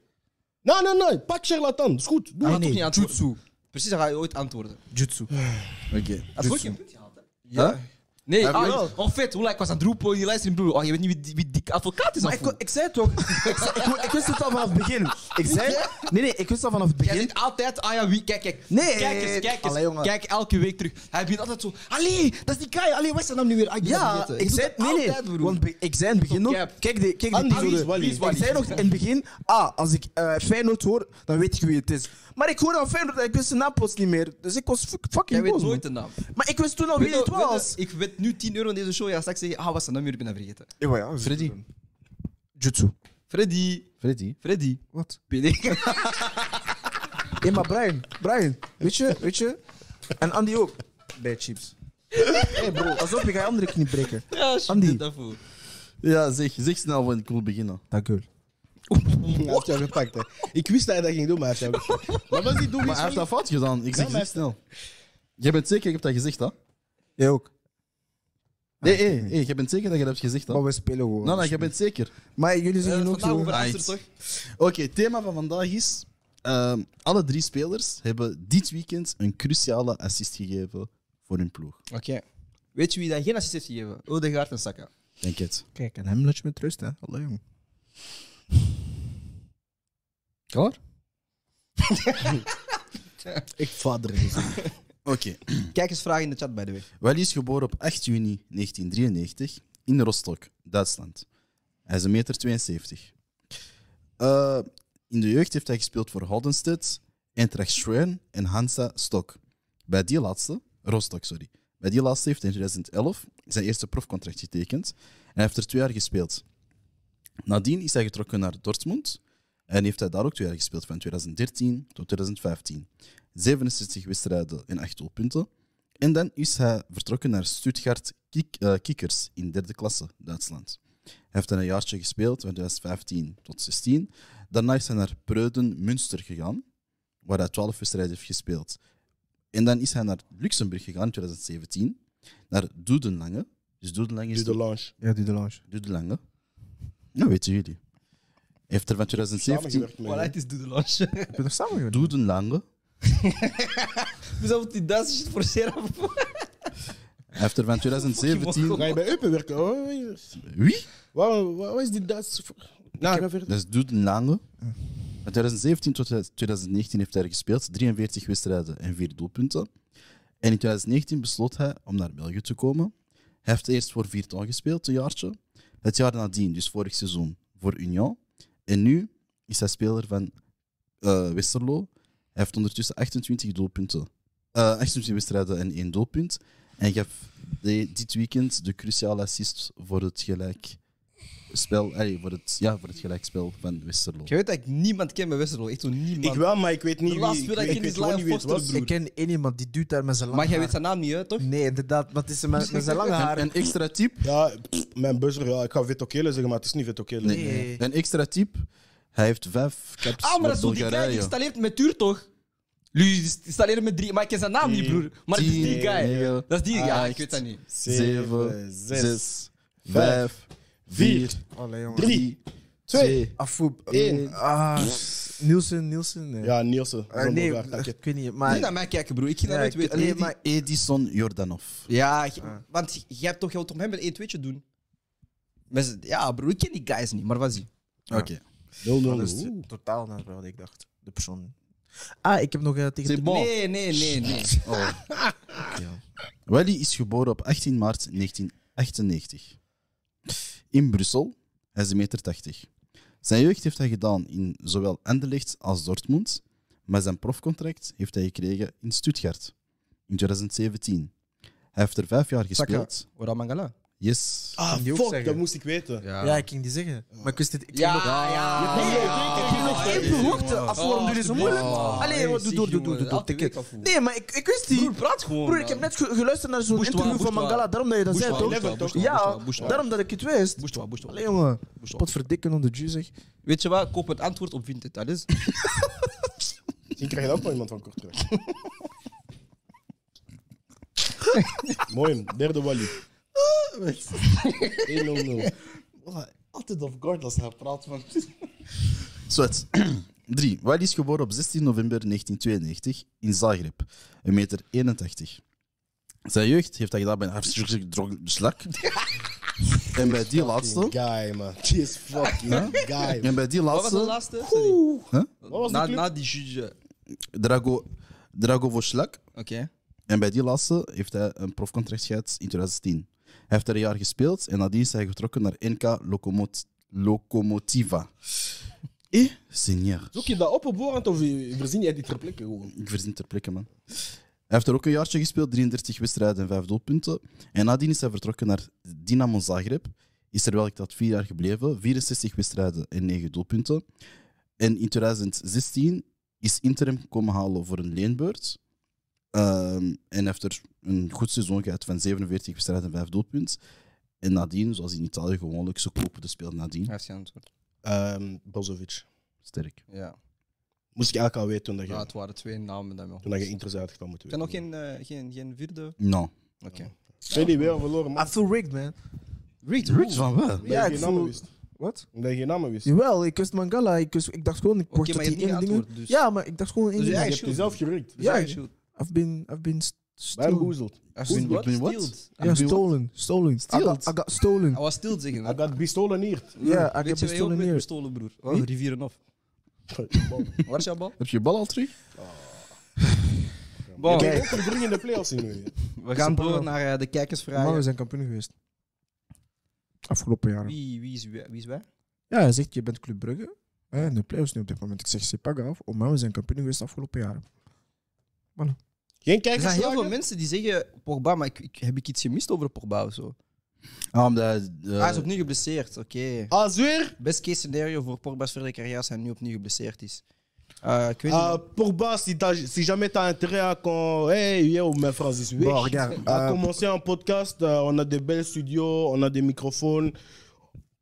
Speaker 6: Nee, nee, nee. Pak charlatan. Is goed. Doe
Speaker 2: Hij
Speaker 6: het.
Speaker 2: gaat toch
Speaker 5: nee,
Speaker 2: niet antwoorden. Precies, dan ga je ooit antwoorden.
Speaker 5: Jutsu.
Speaker 7: Oké.
Speaker 2: Dat is goed, je punt gehaald, hè?
Speaker 7: Ja?
Speaker 2: Nee,
Speaker 7: Heb je
Speaker 2: ah,
Speaker 7: wel?
Speaker 2: oh vet, hoe ik was aan het roepen, die luistert broer. Oh, je weet niet wie, die- wie die advocaat is
Speaker 5: Maar
Speaker 2: aan
Speaker 5: ik, kon- ik zei het toch. ik, zei- ik, ik wist het al vanaf het begin. Ik zei... Nee, nee, ik wist al vanaf het
Speaker 2: Jij
Speaker 5: begin.
Speaker 2: zit altijd, ah ja, wie, kijk, kijk.
Speaker 5: Nee.
Speaker 2: Kijk eens, kijk eens.
Speaker 5: Allee, jongen.
Speaker 2: Kijk elke week terug. Hij begint altijd zo, allee, dat is die guy, allee, wat is zijn naam nu weer? Ah, ik ben dat
Speaker 5: Ja,
Speaker 2: vergeten.
Speaker 5: ik
Speaker 2: doe
Speaker 5: zei...
Speaker 2: dat
Speaker 5: Nee, nee.
Speaker 2: altijd, broer.
Speaker 5: Want be- ik zei in het begin nog...
Speaker 2: cap.
Speaker 5: Kijk die, kijk die
Speaker 6: Andy is
Speaker 5: episode.
Speaker 6: Wally.
Speaker 5: Ik zei nog in het begin... Ah, als ik eh Feyenoord hoor, dan weet ik wie het is. Maar ik hoorde aan Feyenoord en ik wist zijn naam plots niet meer. Dus ik was fuck- fucking
Speaker 2: Jij weet
Speaker 5: boos, man.
Speaker 2: nooit de naam.
Speaker 5: Maar ik wist toen al wie
Speaker 2: Weet
Speaker 5: het
Speaker 2: je- weet je-
Speaker 5: was.
Speaker 2: Ik weet nu 10 euro in deze show, ja, straks zeggen, ah, wat is zijn naam weer, ik ben dat vergeten.
Speaker 5: Ja, ja.
Speaker 7: Freddy.
Speaker 5: Jutsu.
Speaker 2: Freddy,
Speaker 7: Freddy?
Speaker 2: Freddy.
Speaker 5: Wat?
Speaker 2: PD.
Speaker 5: Ja, maar Brian, Brian, weet je, weet je? En Andy ook. Bij chips. Hé hey bro, alsof je je andere knie breken.
Speaker 2: Ja,
Speaker 5: Andy.
Speaker 2: shit, daarvoor.
Speaker 7: Ja, zeg, zeg snel, want ik wil beginnen.
Speaker 5: Dank u.
Speaker 6: Hij heeft jou gepakt, hè. Ik wist dat hij dat ging doen, maar hij heeft jou gepakt. Maar was die doe
Speaker 7: Maar hij heeft dat fout gedaan. Ik zeg
Speaker 6: maar hij
Speaker 7: zeg snel. Jij bent zeker, ik heb dat gezegd, hè?
Speaker 5: Jij ook.
Speaker 7: Nee, hé, hé, jij bent zeker dat je dat hebt gezegd, hè?
Speaker 5: Maar we spelen gewoon.
Speaker 7: Nee, nee, jij bent zeker.
Speaker 5: Maar jullie zijn hier nog
Speaker 2: Eh, Vandaag
Speaker 5: zo.
Speaker 2: over Aster,
Speaker 7: Aight.
Speaker 2: toch?
Speaker 7: Oké, het thema van vandaag is... ehm, alle drie spelers hebben dit weekend een cruciale assist gegeven voor hun ploeg.
Speaker 2: Oké. Weet je wie dat geen assist heeft gegeven? Odegaard en Saka.
Speaker 7: Denk het.
Speaker 5: Kijk, en hem laat je met rust, hè? Allee, jong.
Speaker 7: Klaar?
Speaker 6: Echt vader. is hij.
Speaker 7: Oké.
Speaker 2: Kijk eens vragen in de chat, by the way.
Speaker 7: Wally is geboren op 8 juni 1993 in Rostock, Duitsland. Hij is 1,72 meter. 72. Eh, in de jeugd heeft hij gespeeld voor Haldenstedt, Eintracht Schwerin en Hansa Stok. Bij die laatste, Rostock, sorry. Bij die laatste heeft hij in 2011 zijn eerste profcontract getekend en hij heeft er twee jaar gespeeld. Nadien is hij getrokken naar Dortmund en heeft hij daar ook twee jaar gespeeld, van 2013 tot 2015. 67 wedstrijden en 8 doelpunten. En dan is hij vertrokken naar Stuttgart Kik- eh, Kickers in derde klasse, Duitsland. Hij heeft dan een jaartje gespeeld, van 2015 tot 16. Daarna is hij naar Preuden Münster gegaan, waar hij 12 wedstrijden heeft gespeeld. En dan is hij naar Luxemburg gegaan in 2017, naar Doedenlange. Dus Doedenlange is
Speaker 6: Dus de launch.
Speaker 5: Ja, die de lounge.
Speaker 7: Doedenlange. Nou, weten jullie. Hij heeft er van 2017
Speaker 6: Samengewerkt
Speaker 2: Voilà,
Speaker 6: met
Speaker 2: het is doe de lunch.
Speaker 5: Heb je nog samen gedaan?
Speaker 7: Doedenlange.
Speaker 2: Dus dat moet die Duitse shit forceren.
Speaker 7: Hij heeft er van
Speaker 6: hem.
Speaker 7: 2017...
Speaker 6: Ga je bij Eupen werken? Oh, hoor?
Speaker 7: Wie?
Speaker 6: Wat, wat is die Duits? Nou,
Speaker 7: Dat is Doeden Lange. Van 2017 tot 2019 heeft hij gespeeld, 43 wedstrijden en 4 doelpunten. En in 2019 besloot hij om naar België te komen. Hij heeft eerst voor Vierton gespeeld, een jaartje. Het jaar nadien, dus vorig seizoen, voor Union. En nu is hij speler van eh, Westerlo. Hij heeft ondertussen 28 doelpunten. eh, 28 wedstrijden en 1 doelpunt. En gaf de- dit weekend de cruciale assist voor het gelijk spel, allee, voor het, ja, voor het gelijkspel van Westerlo.
Speaker 2: Je weet dat ik niemand ken bij Westerlo. Echt zo niemand.
Speaker 6: ik wel, maar ik weet niet
Speaker 2: De
Speaker 6: wie.
Speaker 2: laatste
Speaker 6: Ik
Speaker 2: keer dat
Speaker 6: weet,
Speaker 2: ik
Speaker 6: ik
Speaker 2: in
Speaker 6: weet
Speaker 2: die
Speaker 6: gewoon niet wie het
Speaker 2: Lion
Speaker 6: was.
Speaker 2: Foster
Speaker 5: Ik ken één iemand die duwt daar met zijn lange
Speaker 2: maar jij weet
Speaker 5: haar.
Speaker 2: zijn naam niet, hè, toch?
Speaker 5: Nee, inderdaad, maar het is met, met zijn lange
Speaker 7: Een,
Speaker 5: haar.
Speaker 7: een extra tip.
Speaker 6: Ja, pff, mijn buzzer, ja, ik ga Vetokele zeggen, maar het is niet Vetokele.
Speaker 7: Nee.
Speaker 5: Nee.
Speaker 7: Een extra tip. Hij heeft vijf caps
Speaker 2: Ah, maar dat
Speaker 7: voor
Speaker 2: is zo die guy die
Speaker 7: Bulgarije.
Speaker 2: installeert met Tuur, toch? Lui die installeert met drie. Maar ik ken zijn naam niet, broer. Maar het is die
Speaker 7: Tien,
Speaker 2: guy.
Speaker 7: negen,
Speaker 2: Dat is die Ja, ik
Speaker 7: acht,
Speaker 2: weet dat niet.
Speaker 7: Zeven,
Speaker 6: zes,
Speaker 7: zes, vijf, vier,
Speaker 5: Allee, jongen.
Speaker 6: drie, twee.
Speaker 5: Afoep.
Speaker 6: Eén.
Speaker 5: Ah, Nielsen, Nielsen. nee.
Speaker 6: Ja, Nielsen.
Speaker 5: Eh,
Speaker 6: van
Speaker 5: nee,
Speaker 6: Bulgaar, dank je.
Speaker 5: ik weet niet,
Speaker 2: Niet
Speaker 5: maar...
Speaker 2: naar mij kijken, broer. Ik ging dat
Speaker 5: Ja,
Speaker 2: nooit
Speaker 5: ik-
Speaker 2: weten.
Speaker 5: nee,
Speaker 2: Nee, die-
Speaker 5: maar-
Speaker 7: Edison Jordanov.
Speaker 2: Ja, je- want jij hebt toch jij wilt om hem een 1-2'tje doen? Met z'n- ja, broer, ik ken die guys niet, maar wat is die?
Speaker 7: Oké.
Speaker 6: Nul, nul,
Speaker 5: Dat is
Speaker 6: nul.
Speaker 5: totaal naar wat ik dacht. De persoon. Ah, ik heb nog eh, tegen...
Speaker 7: C'est bon.
Speaker 2: Nee, nee, nee, nee.
Speaker 7: Wally is geboren op 18 maart 1998. In Brussel. Hij is 1,80 meter. 80. Zijn jeugd heeft hij gedaan in zowel Anderlecht als Dortmund. Maar zijn profcontract heeft hij gekregen in Stuttgart. In 2017. Hij heeft er vijf jaar gespeeld.
Speaker 2: Ora Mangala.
Speaker 7: Yes.
Speaker 6: Ah,
Speaker 5: die ook
Speaker 6: fuck,
Speaker 5: zeggen.
Speaker 6: dat moest ik weten.
Speaker 5: Ja, ik ging die zeggen. Maar ik wist dit... Ik
Speaker 2: Ja,
Speaker 5: ging nog-
Speaker 2: ja.
Speaker 5: Nee, ik ging nog één behoefte. Af, waarom doen jullie zo moeilijk?
Speaker 2: Oh,
Speaker 5: Allee,
Speaker 2: nee,
Speaker 5: wat doe,
Speaker 2: zie,
Speaker 5: doe, doe, doe,
Speaker 2: jongen,
Speaker 5: doe, doe.
Speaker 2: elke
Speaker 5: tik
Speaker 2: week
Speaker 5: het.
Speaker 2: afvoer.
Speaker 5: Nee, maar ik, ik wist die...
Speaker 2: Broer, praat gewoon.
Speaker 5: Broer, ik heb net ge- geluisterd naar zo'n
Speaker 2: Boestwa,
Speaker 5: interview van
Speaker 2: boestwa.
Speaker 5: Mangala, daarom dat je dat zei,
Speaker 2: Boestwa,
Speaker 5: toch?
Speaker 2: boestwa, boestwa,
Speaker 5: Ja,
Speaker 2: boestwa, boestwa.
Speaker 5: daarom dat ik het wist.
Speaker 2: Boestwa, boestwa.
Speaker 5: Allee, jongen.
Speaker 2: Boestwa.
Speaker 5: Potverdikken onder Ju, zeg.
Speaker 2: Weet je wat? Koop het antwoord op Vinted. Dat is.
Speaker 6: Misschien krijg je daar ook wel iemand van kort terug. Mooi, man. derde Wally. Ah, 1-0-0.
Speaker 7: Altijd of guard als hij praat, man. Zwet. 3. Wally is geboren op 16 november 1992 in Zagreb, 1,81 meter. 81. Zijn jeugd heeft dat gedaan bij een hartstikke dronk slak. en bij die laatste.
Speaker 6: Guy, man. Die is fucking guy. man.
Speaker 7: En bij die
Speaker 2: Wat was de
Speaker 7: laatste.
Speaker 2: laatste? Sorry.
Speaker 6: Wat was de
Speaker 2: Na,
Speaker 6: club?
Speaker 2: na die juge.
Speaker 7: Drago, Drago voor slak.
Speaker 2: Oké.
Speaker 7: En bij die laatste heeft hij een profcontract gehad in 2010. Hij heeft er een jaar gespeeld en nadien is hij getrokken naar NK Locomot Locomotiva. Eh, senior.
Speaker 6: Zoek je dat op op voorhand of je- verzin jij die ter plekke gewoon?
Speaker 7: Ik verzin ter plekke, man. Hij heeft er ook een jaartje gespeeld, 33 wedstrijden en 5 doelpunten. En nadien is hij vertrokken naar Dinamo Zagreb. Is er wel ik dat vier jaar gebleven, 64 wedstrijden en 9 doelpunten. En in 2016 is interim komen halen voor een leenbeurt. Ehm, en heeft er een goed seizoen gehad van 47 wedstrijden en 5 doelpunten. En nadien, zoals in Italië gewoonlijk, ze kopen de speel nadien.
Speaker 2: Dat is je antwoord.
Speaker 6: Ehm Bozovic.
Speaker 7: Sterk.
Speaker 2: Ja.
Speaker 6: Moest ik eigenlijk al weten toen, dat
Speaker 2: ja,
Speaker 6: je,
Speaker 2: het waren twee namen die me
Speaker 6: toen dat je interesse had gedaan moeten
Speaker 2: Kan nog
Speaker 6: weten.
Speaker 2: geen, eh, geen, geen vierde?
Speaker 7: Nou.
Speaker 2: Oké.
Speaker 6: Ben je weer verloren, man?
Speaker 5: I feel rigged, man.
Speaker 2: Reed,
Speaker 7: Rich van wel.
Speaker 6: Omdat je
Speaker 5: ik
Speaker 6: geen
Speaker 5: voel-
Speaker 6: namen wist.
Speaker 5: Wat?
Speaker 6: Omdat je geen namen wist.
Speaker 5: Jawel, ik kust Mangala. Ik, kus, ik dacht gewoon, ik
Speaker 2: Oké,
Speaker 5: word
Speaker 2: maar
Speaker 5: tot
Speaker 2: je
Speaker 5: die
Speaker 2: hebt
Speaker 5: ene
Speaker 2: niet
Speaker 5: ding.
Speaker 2: geantwoord, dus.
Speaker 5: Ja, maar ik dacht gewoon één
Speaker 2: Dus
Speaker 6: Je
Speaker 5: ding.
Speaker 2: jij- dus
Speaker 6: hebt
Speaker 2: shoot.
Speaker 6: jezelf gerukt.
Speaker 5: Ja,
Speaker 2: Ja,
Speaker 5: ik- I've been, I've been st-
Speaker 6: Bij hem
Speaker 5: stolen.
Speaker 6: boezeld.
Speaker 7: Who's what? Been what?
Speaker 5: Ja, stolen. Stolen. I got, I got stolen.
Speaker 2: Hij was stil zeggen.
Speaker 6: Hij had pistolen hier.
Speaker 5: Ja, ik heb
Speaker 2: Weet je,
Speaker 5: gestolen
Speaker 2: ook weer
Speaker 5: hier.
Speaker 2: gestolen, broer. Oh, rivieren of. Waar is jouw bal?
Speaker 7: Heb je je bal al terug?
Speaker 2: Bon,
Speaker 6: Kijk, ook verdringen in de playoffs in nu.
Speaker 2: we gaan door naar eh, de
Speaker 5: Maar we
Speaker 2: kijkersvragen.
Speaker 5: zijn kampioen geweest. Afgelopen jaren.
Speaker 2: Wie, wie, is, wie is wij?
Speaker 5: Ja, hij zegt, je bent Club Brugge. Eh, in de play-offs nu op dit moment. Ik zeg, c'est pas grave. Oh, maar we zijn kampioen geweest afgelopen jaren.
Speaker 6: Geen
Speaker 2: Er
Speaker 6: kijkers.
Speaker 2: zijn heel veel mensen die zeggen Pogba, maar ik, ik- heb ik iets gemist over Pogba of zo?
Speaker 7: Ah, omdat hij, eh,
Speaker 2: Hij is opnieuw geblesseerd, oké.
Speaker 6: Als weer.
Speaker 2: Best case scenario voor Pogba's verdere carrière is hij nu opnieuw geblesseerd is. Eh, ik weet
Speaker 6: Ah,
Speaker 2: niet.
Speaker 6: Pogba, si, t'as- si jamais t'as intérêt à quand. Hey, yo, mais Francis, oui.
Speaker 5: Bon, regarde.
Speaker 6: a
Speaker 5: euh,
Speaker 6: commencé un podcast, euh, on a des belles studios, on a des microphones.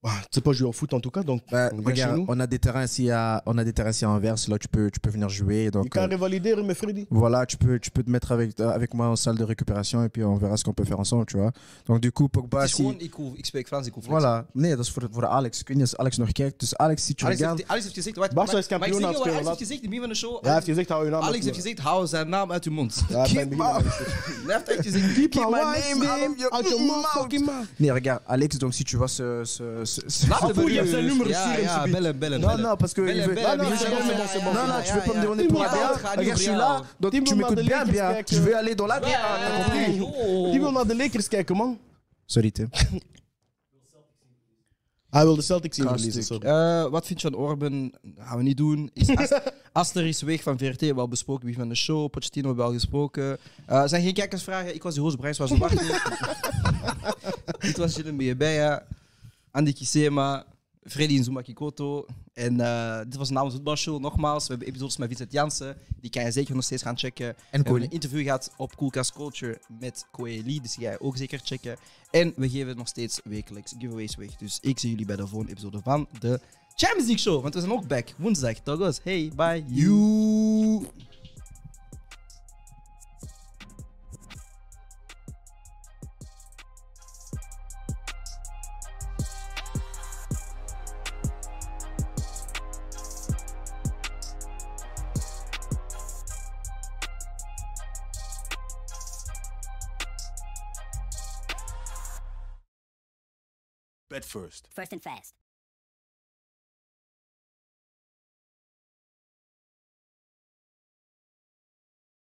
Speaker 6: Ah, tu sais pas jouer au foot en tout cas, donc
Speaker 8: Bah,
Speaker 6: on vient chez
Speaker 8: regarde,
Speaker 6: nous.
Speaker 8: on a des terrains ici à, on a des terrains ici à Anvers. Là, tu peux, tu peux venir jouer.
Speaker 6: Il
Speaker 8: Donc,
Speaker 6: t'a
Speaker 8: euh,
Speaker 6: révalidé, mais Freddy.
Speaker 8: voilà, tu peux, tu peux te mettre avec, euh, avec moi en salle de récupération et puis on verra ce qu'on peut faire ensemble, tu vois. Donc, du coup, Pogba,
Speaker 2: Het is
Speaker 8: si-
Speaker 2: gewoon, ik, hoef- ik spreek Frans, ik hoef niks.
Speaker 8: Voilà. Nee, dat is voor, voor Alex. Ik weet niet als Alex nog kijkt. Dus Alex, si tu
Speaker 2: Alex
Speaker 8: regardes...
Speaker 2: heeft, Alex heeft gezegd, wacht,
Speaker 6: Barca
Speaker 2: maar-
Speaker 6: is
Speaker 2: maar
Speaker 6: kampioen
Speaker 2: ik zeg
Speaker 6: aan
Speaker 2: je
Speaker 6: het
Speaker 2: wat
Speaker 6: spelen,
Speaker 2: Alex heeft gezegd in het begin van de show.
Speaker 6: Ja, heeft gezegd, hou je naam
Speaker 2: Alex heeft
Speaker 6: uit.
Speaker 2: gezegd, hou zijn naam uit uw mond.
Speaker 6: Ja, bij het begin al.
Speaker 2: Hij heeft echt gezegd, keep
Speaker 6: Ah,
Speaker 2: my name out of your-
Speaker 6: Uit je mouth, Ah, fucking mouth.
Speaker 8: Nee, regarde, Alex, donc si tu vois ce... ce, ce, ce-
Speaker 2: Laat de
Speaker 6: Apoel, je hebt zijn
Speaker 2: beurt.
Speaker 6: nummer
Speaker 2: Ja,
Speaker 6: sturen,
Speaker 2: ja,
Speaker 6: subiet.
Speaker 2: bellen, bellen.
Speaker 8: Non,
Speaker 2: bellen.
Speaker 8: non, parce que...
Speaker 2: Bellen,
Speaker 8: il veut- Ah,
Speaker 2: bellen,
Speaker 8: Non, non,
Speaker 2: bellen,
Speaker 8: je- non,
Speaker 6: bellen, bellen,
Speaker 8: non,
Speaker 6: bellen,
Speaker 2: bellen,
Speaker 8: tu veux pas me
Speaker 2: bellen,
Speaker 8: demander pour la
Speaker 6: bellen,
Speaker 8: BA
Speaker 2: bellen,
Speaker 8: Regarde, je suis là,
Speaker 2: bellen,
Speaker 8: donc
Speaker 6: bellen,
Speaker 8: tu m'écoutes bien,
Speaker 6: bellen,
Speaker 8: bien.
Speaker 6: bellen,
Speaker 8: Je vais aller dans la
Speaker 2: nou,
Speaker 8: BA, t'as compris
Speaker 2: Hey, oh.
Speaker 6: Die wil naar de Lakers kijken, man.
Speaker 8: Sorry, Tim.
Speaker 6: Hij wil de Celtics zien
Speaker 8: Karstik.
Speaker 6: verliezen, sorry.
Speaker 2: Eh, wat vind je van Orban? Gaan we niet doen. Is As- Aster is weg van VRT, we hebben al besproken wie van de show. Pochettino hebben we al gesproken. Eh, zijn geen kijkersvragen. Ik was de host, Brian was Martin. Dit was Jillen Bejebeja, Andy Kisema, Freddy Nzuma Kikoto. En eh, dit was namens Voetbal Show. Nogmaals, we hebben episodes met Vincent Jansen. Die kan je zeker nog steeds gaan checken. En we hebben
Speaker 8: Coeli.
Speaker 2: een interview gehad op Coolcast Culture met Coeli. Dus die ga je ook zeker checken. En we geven nog steeds wekelijks giveaways weg. Dus ik zie jullie bij de volgende episode van de Champions League Show. Want we zijn ook back woensdag. Douglas, hey, bye. you.
Speaker 1: Bet first.
Speaker 4: First and fast.